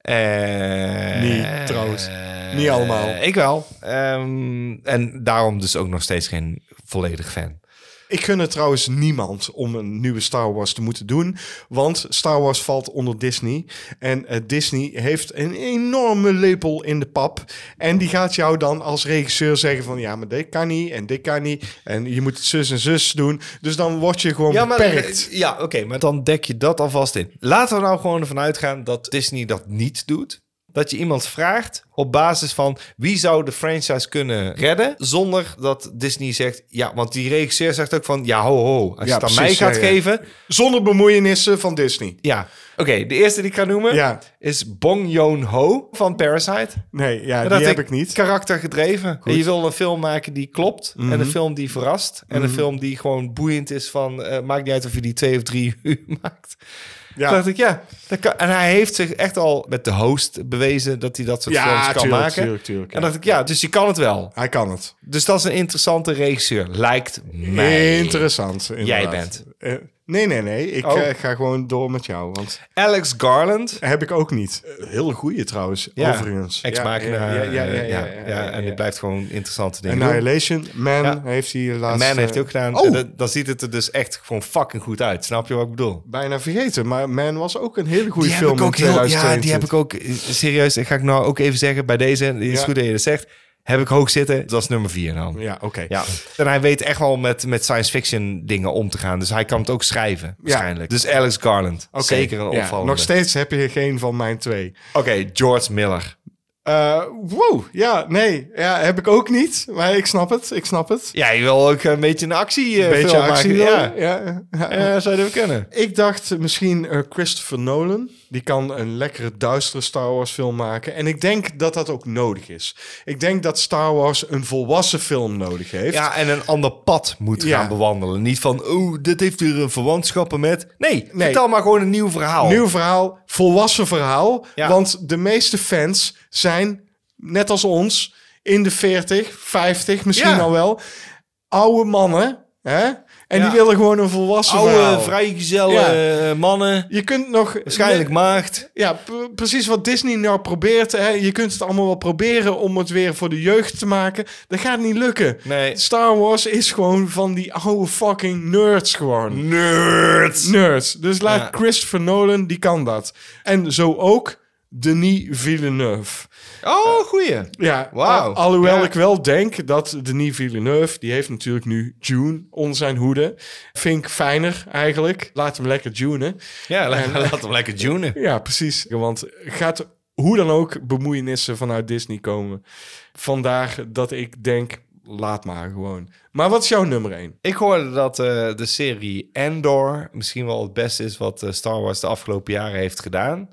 Eh, Niet, trouwens. eh, Niet allemaal. Ik wel. Ehm, en daarom dus ook nog steeds geen volledig fan. Ik gun het trouwens niemand om een nieuwe Star Wars te moeten doen. Want Star Wars valt onder Disney. En eh, Disney heeft een enorme lepel in de pap. En die gaat jou dan als regisseur zeggen van... Ja, maar dit kan niet en dit kan niet. En je moet het zus en zus doen. Dus dan word je gewoon maar, eh, beperkt. Ja, oké, maar dan dek je dat alvast in. Laten we nou gewoon ervan uitgaan dat Disney dat niet doet. Dat je iemand vraagt op basis van wie zou de franchise kunnen redden. Zonder dat Disney zegt. Ja, want die regisseur zegt ook van. Ja, ho, ho. Als je Ja, het aan mij precies, gaat ja, ja. geven. Zonder bemoeienissen van Disney. Ja. Oké, de eerste die ik ga noemen Ja. is Bong Joon-ho van Parasite. Nee, ja, Maar die heb ik niet. Karakter gedreven. En je wil een film maken die klopt. En Mhm. een film die verrast. En een film die gewoon boeiend is van... eh, maakt niet uit of je die twee of drie uur maakt. Ja. Toen dacht ik, ja. Dat kan. En hij heeft zich echt al met de host bewezen... dat hij dat soort Ja, films kan tuurlijk, maken. tuurlijk, tuurlijk, en ja. dacht ik, ja, dus je kan het wel. Hij kan het. Dus dat is een interessante regisseur. Lijkt mij. Interessant, inderdaad. Jij bent. Eh, nee, nee, nee. Ik Oh. eh, ga gewoon door met jou, want Alex Garland. heb ik ook niet. Eh, Heel goeie trouwens, Ja, overigens. Ex Ja, Machina. Ja, ja, ja. ja, eh, ja, ja, ja. En die blijft gewoon interessante dingen doen. Annihilation, Man Ja. heeft hij En laatst... Man heeft eh, hij ook gedaan. Oh, En dat- dan ziet het er dus echt gewoon fucking goed uit. Snap je wat ik bedoel? bijna vergeten, maar Man was ook een hele goede Die film heb ik ook in heel, ja, die heb 2022. ik ook eh, serieus. Dat ga ik nou ook even zeggen bij deze. Het is Ja. goed dat je dat zegt. Heb ik hoog zitten. Dat is nummer vier dan. Ja, oké. Ja. En hij weet echt wel met, met science fiction dingen om te gaan. Dus hij kan het ook schrijven, waarschijnlijk. Dus Alex Garland. Oké. Zeker een Ja, opvallende. Nog steeds heb je geen van mijn twee. Oké, George Miller. Eh, wow, ja, nee. Ja, heb ik ook niet, maar ik snap het. Ik snap het. Ja, je wil ook een beetje een actie eh, Beetje film actie maken. dan. Ja. Ja, ja. Eh, zou je dat kunnen? Ik dacht misschien eh, Christopher Nolan. Die kan een lekkere duistere Star Wars film maken. En ik denk dat dat ook nodig is. Ik denk dat Star Wars een volwassen film nodig heeft. Ja, en een ander pad moet Ja. gaan bewandelen. Niet van, oh, dit heeft hier een verwantschappen met... Nee, Nee. vertel maar gewoon een nieuw verhaal. Nieuw verhaal, volwassen verhaal. Ja. Want de meeste fans zijn, net als ons, in de 40, 50 misschien Ja. al wel. Oude mannen. Hè? En Ja. die willen gewoon een volwassen Oude, verhaal. vrijgezellen eh, mannen. Je kunt nog... Waarschijnlijk maagd. Ja, p- precies wat Disney nou probeert. Hè. Je kunt het allemaal wel proberen om het weer voor de jeugd te maken. Dat gaat niet lukken. Nee. Star Wars is gewoon van die oude fucking nerds gewoon. Nerds. Nerds. Dus laat Ja. Christopher Nolan, die kan dat. En zo ook Denis Villeneuve. Oh, goeie. Ja, Wauw. al- alhoewel Ja. ik wel denk dat Denis Villeneuve... die heeft natuurlijk nu June onder zijn hoede. Vind ik fijner eigenlijk. Laat hem lekker tunen. Ja, la- laat hem lekker tunen. Ja, precies. Want gaat hoe dan ook bemoeienissen vanuit Disney komen. Vandaar dat ik denk, laat maar gewoon. Maar wat is jouw nummer 1? Ik hoorde dat eh, de serie Andor misschien wel het beste is wat eh, Star Wars de afgelopen jaren heeft gedaan.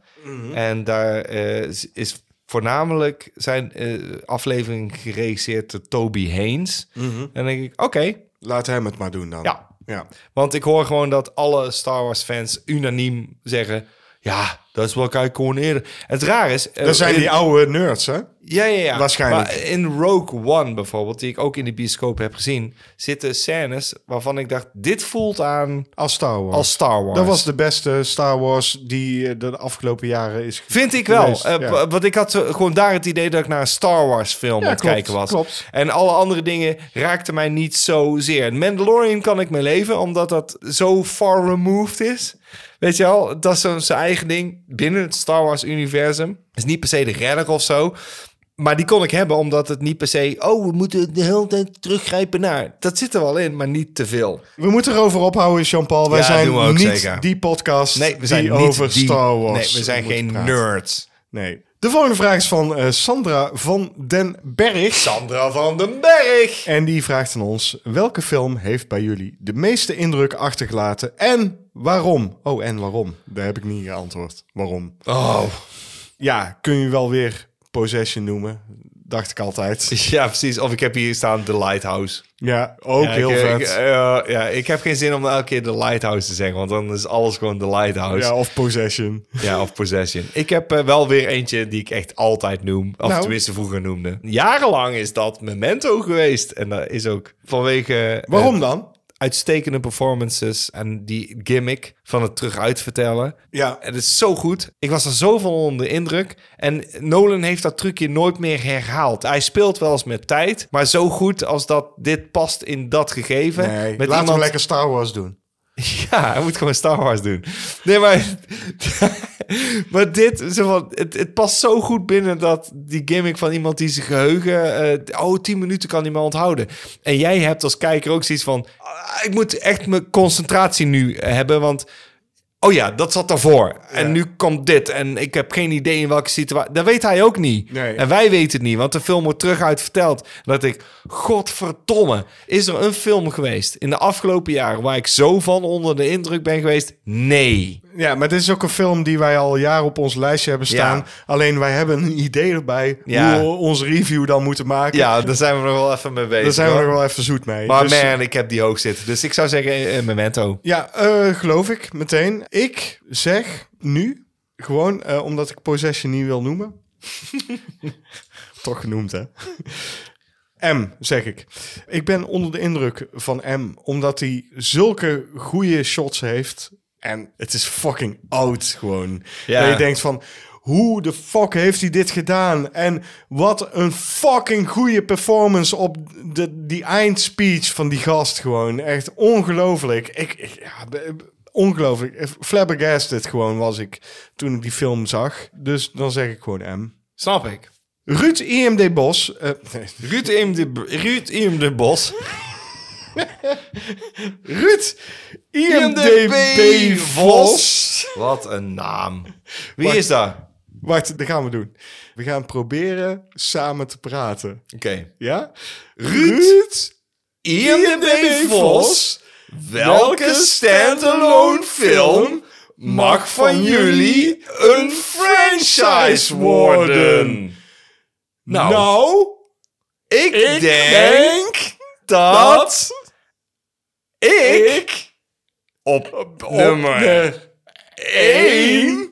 En daar eh, is- is voornamelijk zijn eh, afleveringen geregisseerd door Toby Haynes. En dan denk ik, oké, Laat hem het maar doen dan. Ja. ja. Want ik hoor gewoon dat alle Star Wars fans unaniem zeggen... Ja, dat is wel kijk gewoon eerder. Het raar is... eh, Dat zijn in- die oude nerds, hè? Ja, ja, ja. waarschijnlijk. Maar in Rogue One bijvoorbeeld, die ik ook in de bioscoop heb gezien... zitten scènes waarvan ik dacht, dit voelt aan Als Star Wars. als Star Wars. Dat was de beste Star Wars die eh, de afgelopen jaren is ge- Vind ik wel. geweest, Eh, ja. b- Want ik had eh, gewoon daar het idee dat ik naar een Star Wars film aan het klopt, kijken was. klopt. En alle andere dingen raakten mij niet zozeer. Mandalorian kan ik mee leven, omdat dat zo far removed is. Weet je wel, dat is zo'n zijn eigen ding binnen het Star Wars universum. Is niet per se de redder of zo. Maar die kon ik hebben, omdat het niet per se... Oh, we moeten de hele tijd teruggrijpen naar... Dat zit er wel in, maar niet te veel. We moeten erover ophouden, Jean-Paul. Wij Ja, zijn doen we ook niet zeker. die podcast Nee, we zijn die niet over die- Star Wars Nee, we zijn moet geen praten. nerds. Nee. De volgende vraag is van eh, Sandra van den Berg. Sandra van den Berg. En die vraagt aan ons: welke film heeft bij jullie de meeste indruk achtergelaten en waarom? Oh, en waarom? Daar heb ik niet geantwoord. Waarom? Oh, Ja, kun je wel weer Possession noemen? Dacht ik altijd. Ja, precies. Of ik heb hier staan The Lighthouse. Ja, ook Ja, heel ik, vet. Ik, eh, ja, ik heb geen zin om elke keer The Lighthouse te zeggen, want dan is alles gewoon The Lighthouse. ja, Ja, of Possession. of Possession. Ik heb eh, wel weer eentje die ik echt altijd noem, of Nou. tenminste vroeger noemde. Jarenlang is dat Memento geweest en dat is ook vanwege... eh, Waarom dan? uitstekende performances en die gimmick van het terug uitvertellen. Ja. Het is zo goed. Ik was er zo van onder de indruk. En Nolan heeft dat trucje nooit meer herhaald. Hij speelt wel eens met tijd, maar zo goed als dat dit past in dat gegeven. Nee, met laten we lekker Star Wars doen. ja, hij moet gewoon Star Wars doen. Nee, maar, maar dit, zo van, het, het past zo goed binnen dat die gimmick van iemand die zijn geheugen, eh oh, 10 minuten kan hij maar onthouden. En jij hebt als kijker ook zoiets van, ah, ik moet echt mijn concentratie nu hebben, want oh ja, dat zat daarvoor. En nu komt dit. En ik heb geen idee in welke situatie. Dat weet hij ook niet. Nee. En wij weten het niet, want de film wordt terug uit verteld. Dat ik, godverdomme, is er een film geweest in de afgelopen jaren waar ik zo van onder de indruk ben geweest? Nee. Ja, maar dit is ook een film die wij al jaren op ons lijstje hebben staan. Ja. Alleen wij hebben een idee erbij Ja. hoe we onze review dan moeten maken. Ja, daar zijn we nog wel even mee bezig. Daar zijn we hoor. nog wel even zoet mee. Maar Dus, man, ik heb die hoog zitten. Dus ik zou zeggen, eh, eh, memento. Ja, eh, geloof ik meteen. Ik zeg nu, gewoon eh, omdat ik Possession niet wil noemen. Toch genoemd, hè? M, zeg ik. Ik ben onder de indruk van M, omdat hij zulke goede shots heeft. En het is fucking oud gewoon. Ja. Dat je denkt van, hoe de fuck heeft hij dit gedaan? En wat een fucking goede performance op de, die eindspeech van die gast gewoon. Echt ongelooflijk. Ik, ik, ja, be- be- ongelooflijk. Flabbergasted gewoon was ik toen ik die film zag. Dus dan zeg ik gewoon M. Snap ik. Ruud IMD Bos. eh, nee, Ruud in de, Ruud in de Bos. Ruud IMDb IMDB Vos. Wat een naam. Wie Wacht. is dat? Wacht, dat gaan we doen. We gaan proberen samen te praten. Oké. Ja? Ruud IMDb Vos. Welke standalone film mag van jullie een franchise worden? Nou, ik, denk, dat ik op, nummer 1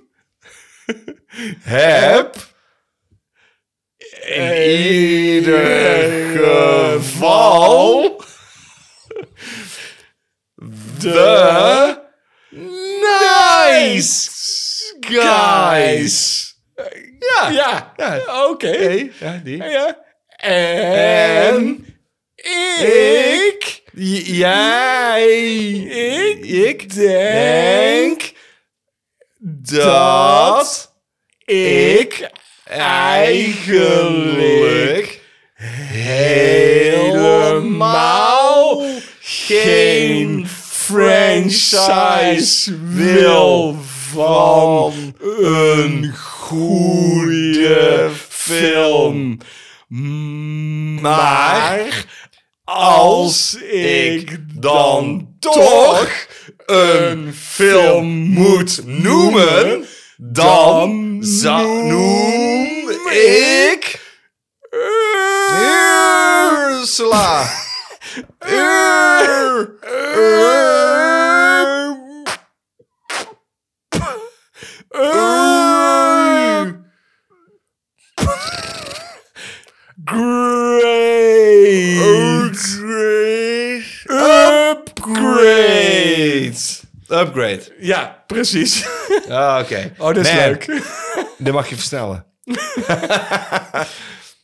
heb in ieder geval de nice guys. Ja, ja, oké. Ja, die. En ik, jij, ik, denk dat ik eigenlijk helemaal geen franchise wil van een goede film. Maar als ik dan toch een film moet noemen, dan zou noem ik Ursula. Ur- Ur- Ur- Upgrade. Upgrade. Upgrade. Ja, precies. Ah, Oké. Oh, dat is Man, leuk. Dan mag je versnellen.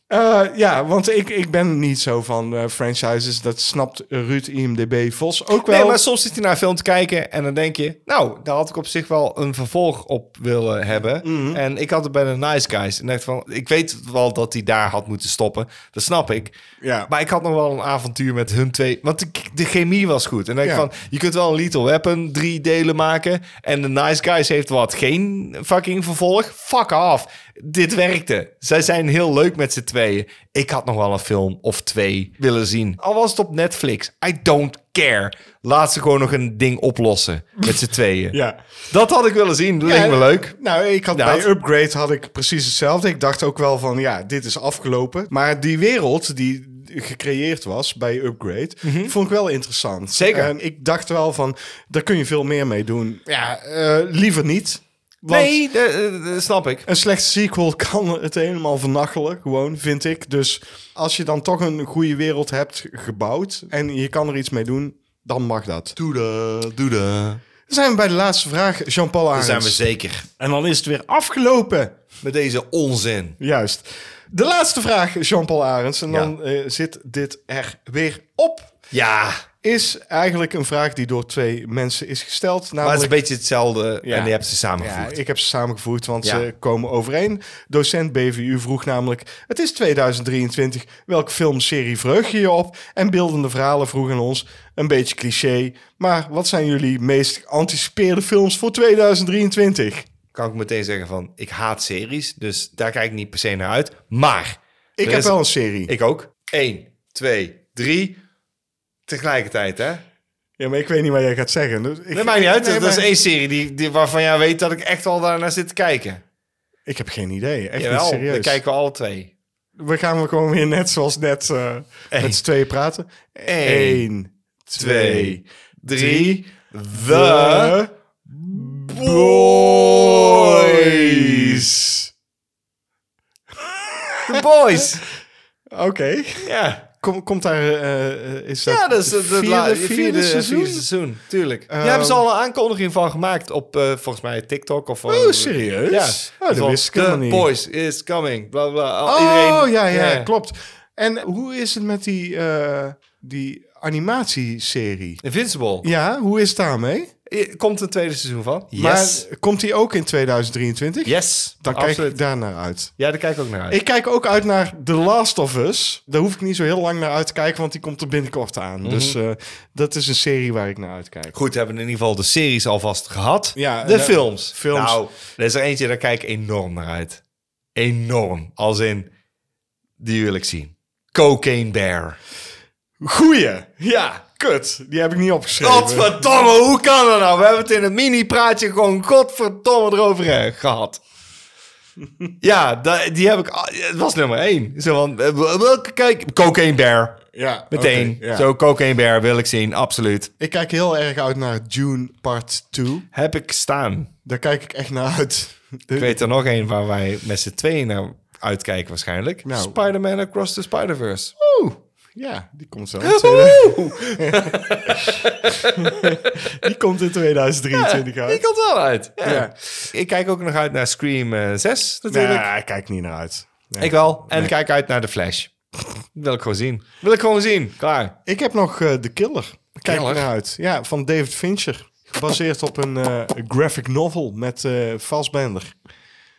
Eh, ja, want ik, ik ben niet zo van eh, franchises. Dat snapt Ruud IMDB Vos ook wel. Nee, maar soms zit je naar een film te kijken en dan denk je... Nou, daar had ik op zich wel een vervolg op willen hebben. Mhm. En ik had het bij de Nice Guys. En dacht van, ik weet wel dat hij daar had moeten stoppen. Dat snap ik. Ja. Maar ik had nog wel een avontuur met hun twee. Want de, de chemie was goed. En dan denk ik Ja. van, je kunt wel een Little Weapon drie delen maken. En de Nice Guys heeft wat. Geen fucking vervolg. Fuck off. Dit werkte. Zij zijn heel leuk met z'n tweeën. Ik had nog wel een film of twee willen zien. Al was het op Netflix. I don't care. Laat ze gewoon nog een ding oplossen met z'n tweeën. ja. Dat had ik willen zien. Dat leek me Ja, leuk. Nou, ik had Ja, bij het- Upgrade had ik precies hetzelfde. Ik dacht ook wel van, ja, dit is afgelopen. Maar die wereld die gecreëerd was bij Upgrade, vond ik wel interessant. Mhm. Zeker. En ik dacht wel van, daar kun je veel meer mee doen. Ja, eh, liever niet. Want nee, dat dat snap ik. een slechte sequel kan het helemaal vernachelen, gewoon, vind ik. Dus als je dan toch een goede wereld hebt gebouwd en je kan er iets mee doen, dan mag dat. Doe de, doe de. Dan zijn we bij de laatste vraag, Jean-Paul Dan Arends. zijn we zeker en dan is het weer afgelopen. met deze onzin. Juist. De laatste vraag, Jean-Paul Arends. En Ja. dan eh, zit dit er weer op. Ja, Is eigenlijk een vraag die door twee mensen is gesteld. maar het is Namelijk, een beetje hetzelfde Ja. en je hebt ze ja, samengevoegd. ik heb ze samengevoegd, want Ja. ze komen overeen. Docent BVU vroeg namelijk... Het is 2023. Welke film, serie vreug je je op? En beeldende verhalen vroegen ons... Een beetje cliché, maar wat zijn jullie meest geanticipeerde films voor 2023? Kan ik meteen zeggen van, ik haat series, dus daar kijk ik niet per se naar uit. Maar, Ik er heb is- wel een serie. Ik ook. 1, 2, 3. Tegelijkertijd, hè? Ja, maar ik weet niet wat jij gaat zeggen. Dus ik, Dat maakt niet uit. Nee, dat maar- is één serie die, die, waarvan jij weet dat ik echt al daarnaar zit te kijken. Ik heb geen idee. Echt niet Jawel, serieus. dan kijken we alle twee. We gaan we gewoon weer net zoals net eh, met z'n tweeën praten. Eén, twee, Twee, drie, the de boys. The Boys. Oké. ja. Kom, komt daar, eh, eh, is dat ja, dat is het het vierde, la- vierde, seizoen? vierde seizoen. Tuurlijk. Daar Ehm. hebben ze al een aankondiging van gemaakt op eh, volgens mij TikTok. Of, eh, Oh, serieus? Oh, dat Van, wist ik helemaal The niet. Boys is coming. Bla, bla. Al- Oh, iedereen, ja, ja, klopt. En hoe is het met die, eh, die animatieserie? Invincible. Ja, hoe is het daarmee? Eh, Komt een tweede seizoen van. Maar komt die ook in 2023? yes. Dan kijk Absoluut. ik daar naar uit. Ja, daar kijk ik ook naar uit. Ik kijk ook uit naar The Last of Us. Daar hoef ik niet zo heel lang naar uit te kijken, want die komt er binnenkort aan. Mhm. Dus eh, dat is een serie waar ik naar uitkijk. Goed, hebben we in ieder geval de series alvast gehad. Ja, de ja, films. films. Nou, er is er eentje, daar kijk ik enorm naar uit. Enorm. Als in, die wil ik zien. Cocaine Bear. Goeie! Ja. Kut, die heb ik niet opgeschreven. Godverdomme, hoe kan dat nou? We hebben het in een mini-praatje gewoon godverdomme erover eh, gehad. ja, da- die heb ik... al- Het was nummer één. Zo van, eh, welke kijk... Cocaine Bear. Ja, Meteen. oké, ja. Zo, Cocaine Bear wil ik zien, absoluut. Ik kijk heel erg uit naar June Part 2. Heb ik staan. Daar kijk ik echt naar uit. Ik weet er nog één waar wij met z'n tweeën naar uitkijken waarschijnlijk. Nou. Spider-Man Across the Spider-Verse. Oeh, ja, die komt zo. in tweede- Die komt in 2023 Die uit. komt wel uit. Ja. Ja. Ik kijk ook nog uit naar Scream eh, 6 natuurlijk. Nee, ik kijk niet naar uit. Nee. Ik wel. En ik kijk uit naar The Flash. Wil ik gewoon zien. Wil ik gewoon zien. Klaar. Ik heb nog eh The Killer. Kijk Killer? er naar uit. Ja, van David Fincher. Gebaseerd op een eh, graphic novel met eh Fassbender.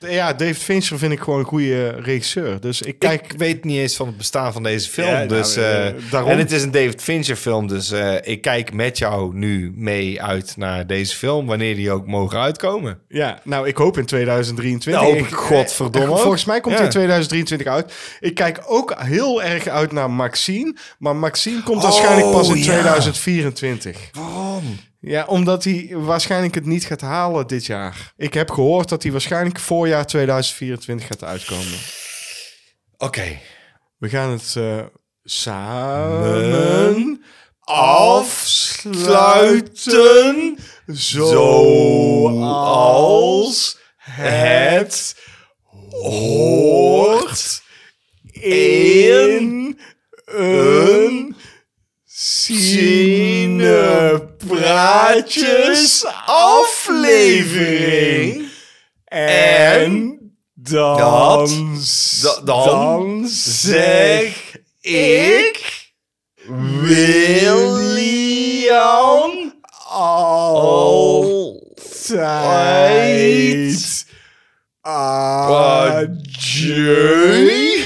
Ja, David Fincher vind ik gewoon een goede regisseur. Dus ik kijk... Ik weet niet eens van het bestaan van deze film. Ja, nou, dus, eh, eh, daarom. En het is een David Fincher film. Dus eh, ik kijk met jou nu mee uit naar deze film. Wanneer die ook mogen uitkomen. Ja, nou, ik hoop in 2023. Nou, hoop ik godverdomme ook. Volgens mij komt hij Ja. in 2023 uit. Ik kijk ook heel erg uit naar Maxine. Maar Maxine komt waarschijnlijk pas in Oh, ja. 2024. Waarom? Ja, omdat hij waarschijnlijk het niet gaat halen dit jaar. Ik heb gehoord dat hij waarschijnlijk voorjaar 2024 gaat uitkomen. Oké. We gaan het eh, samen afsluiten. Zoals het hoort in een Cinepraatjes aflevering. En dan, Dat- da- dan, dan zeg ik William altijd adieu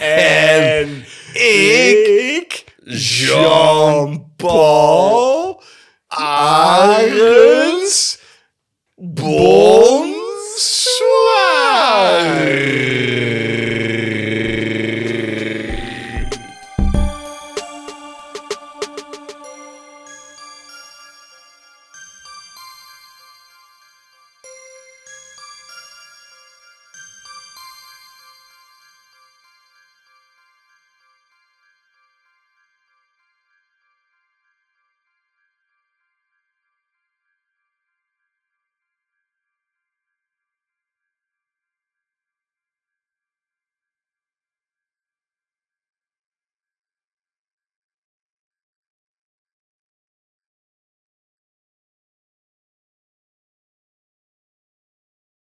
en ik Jean-Paul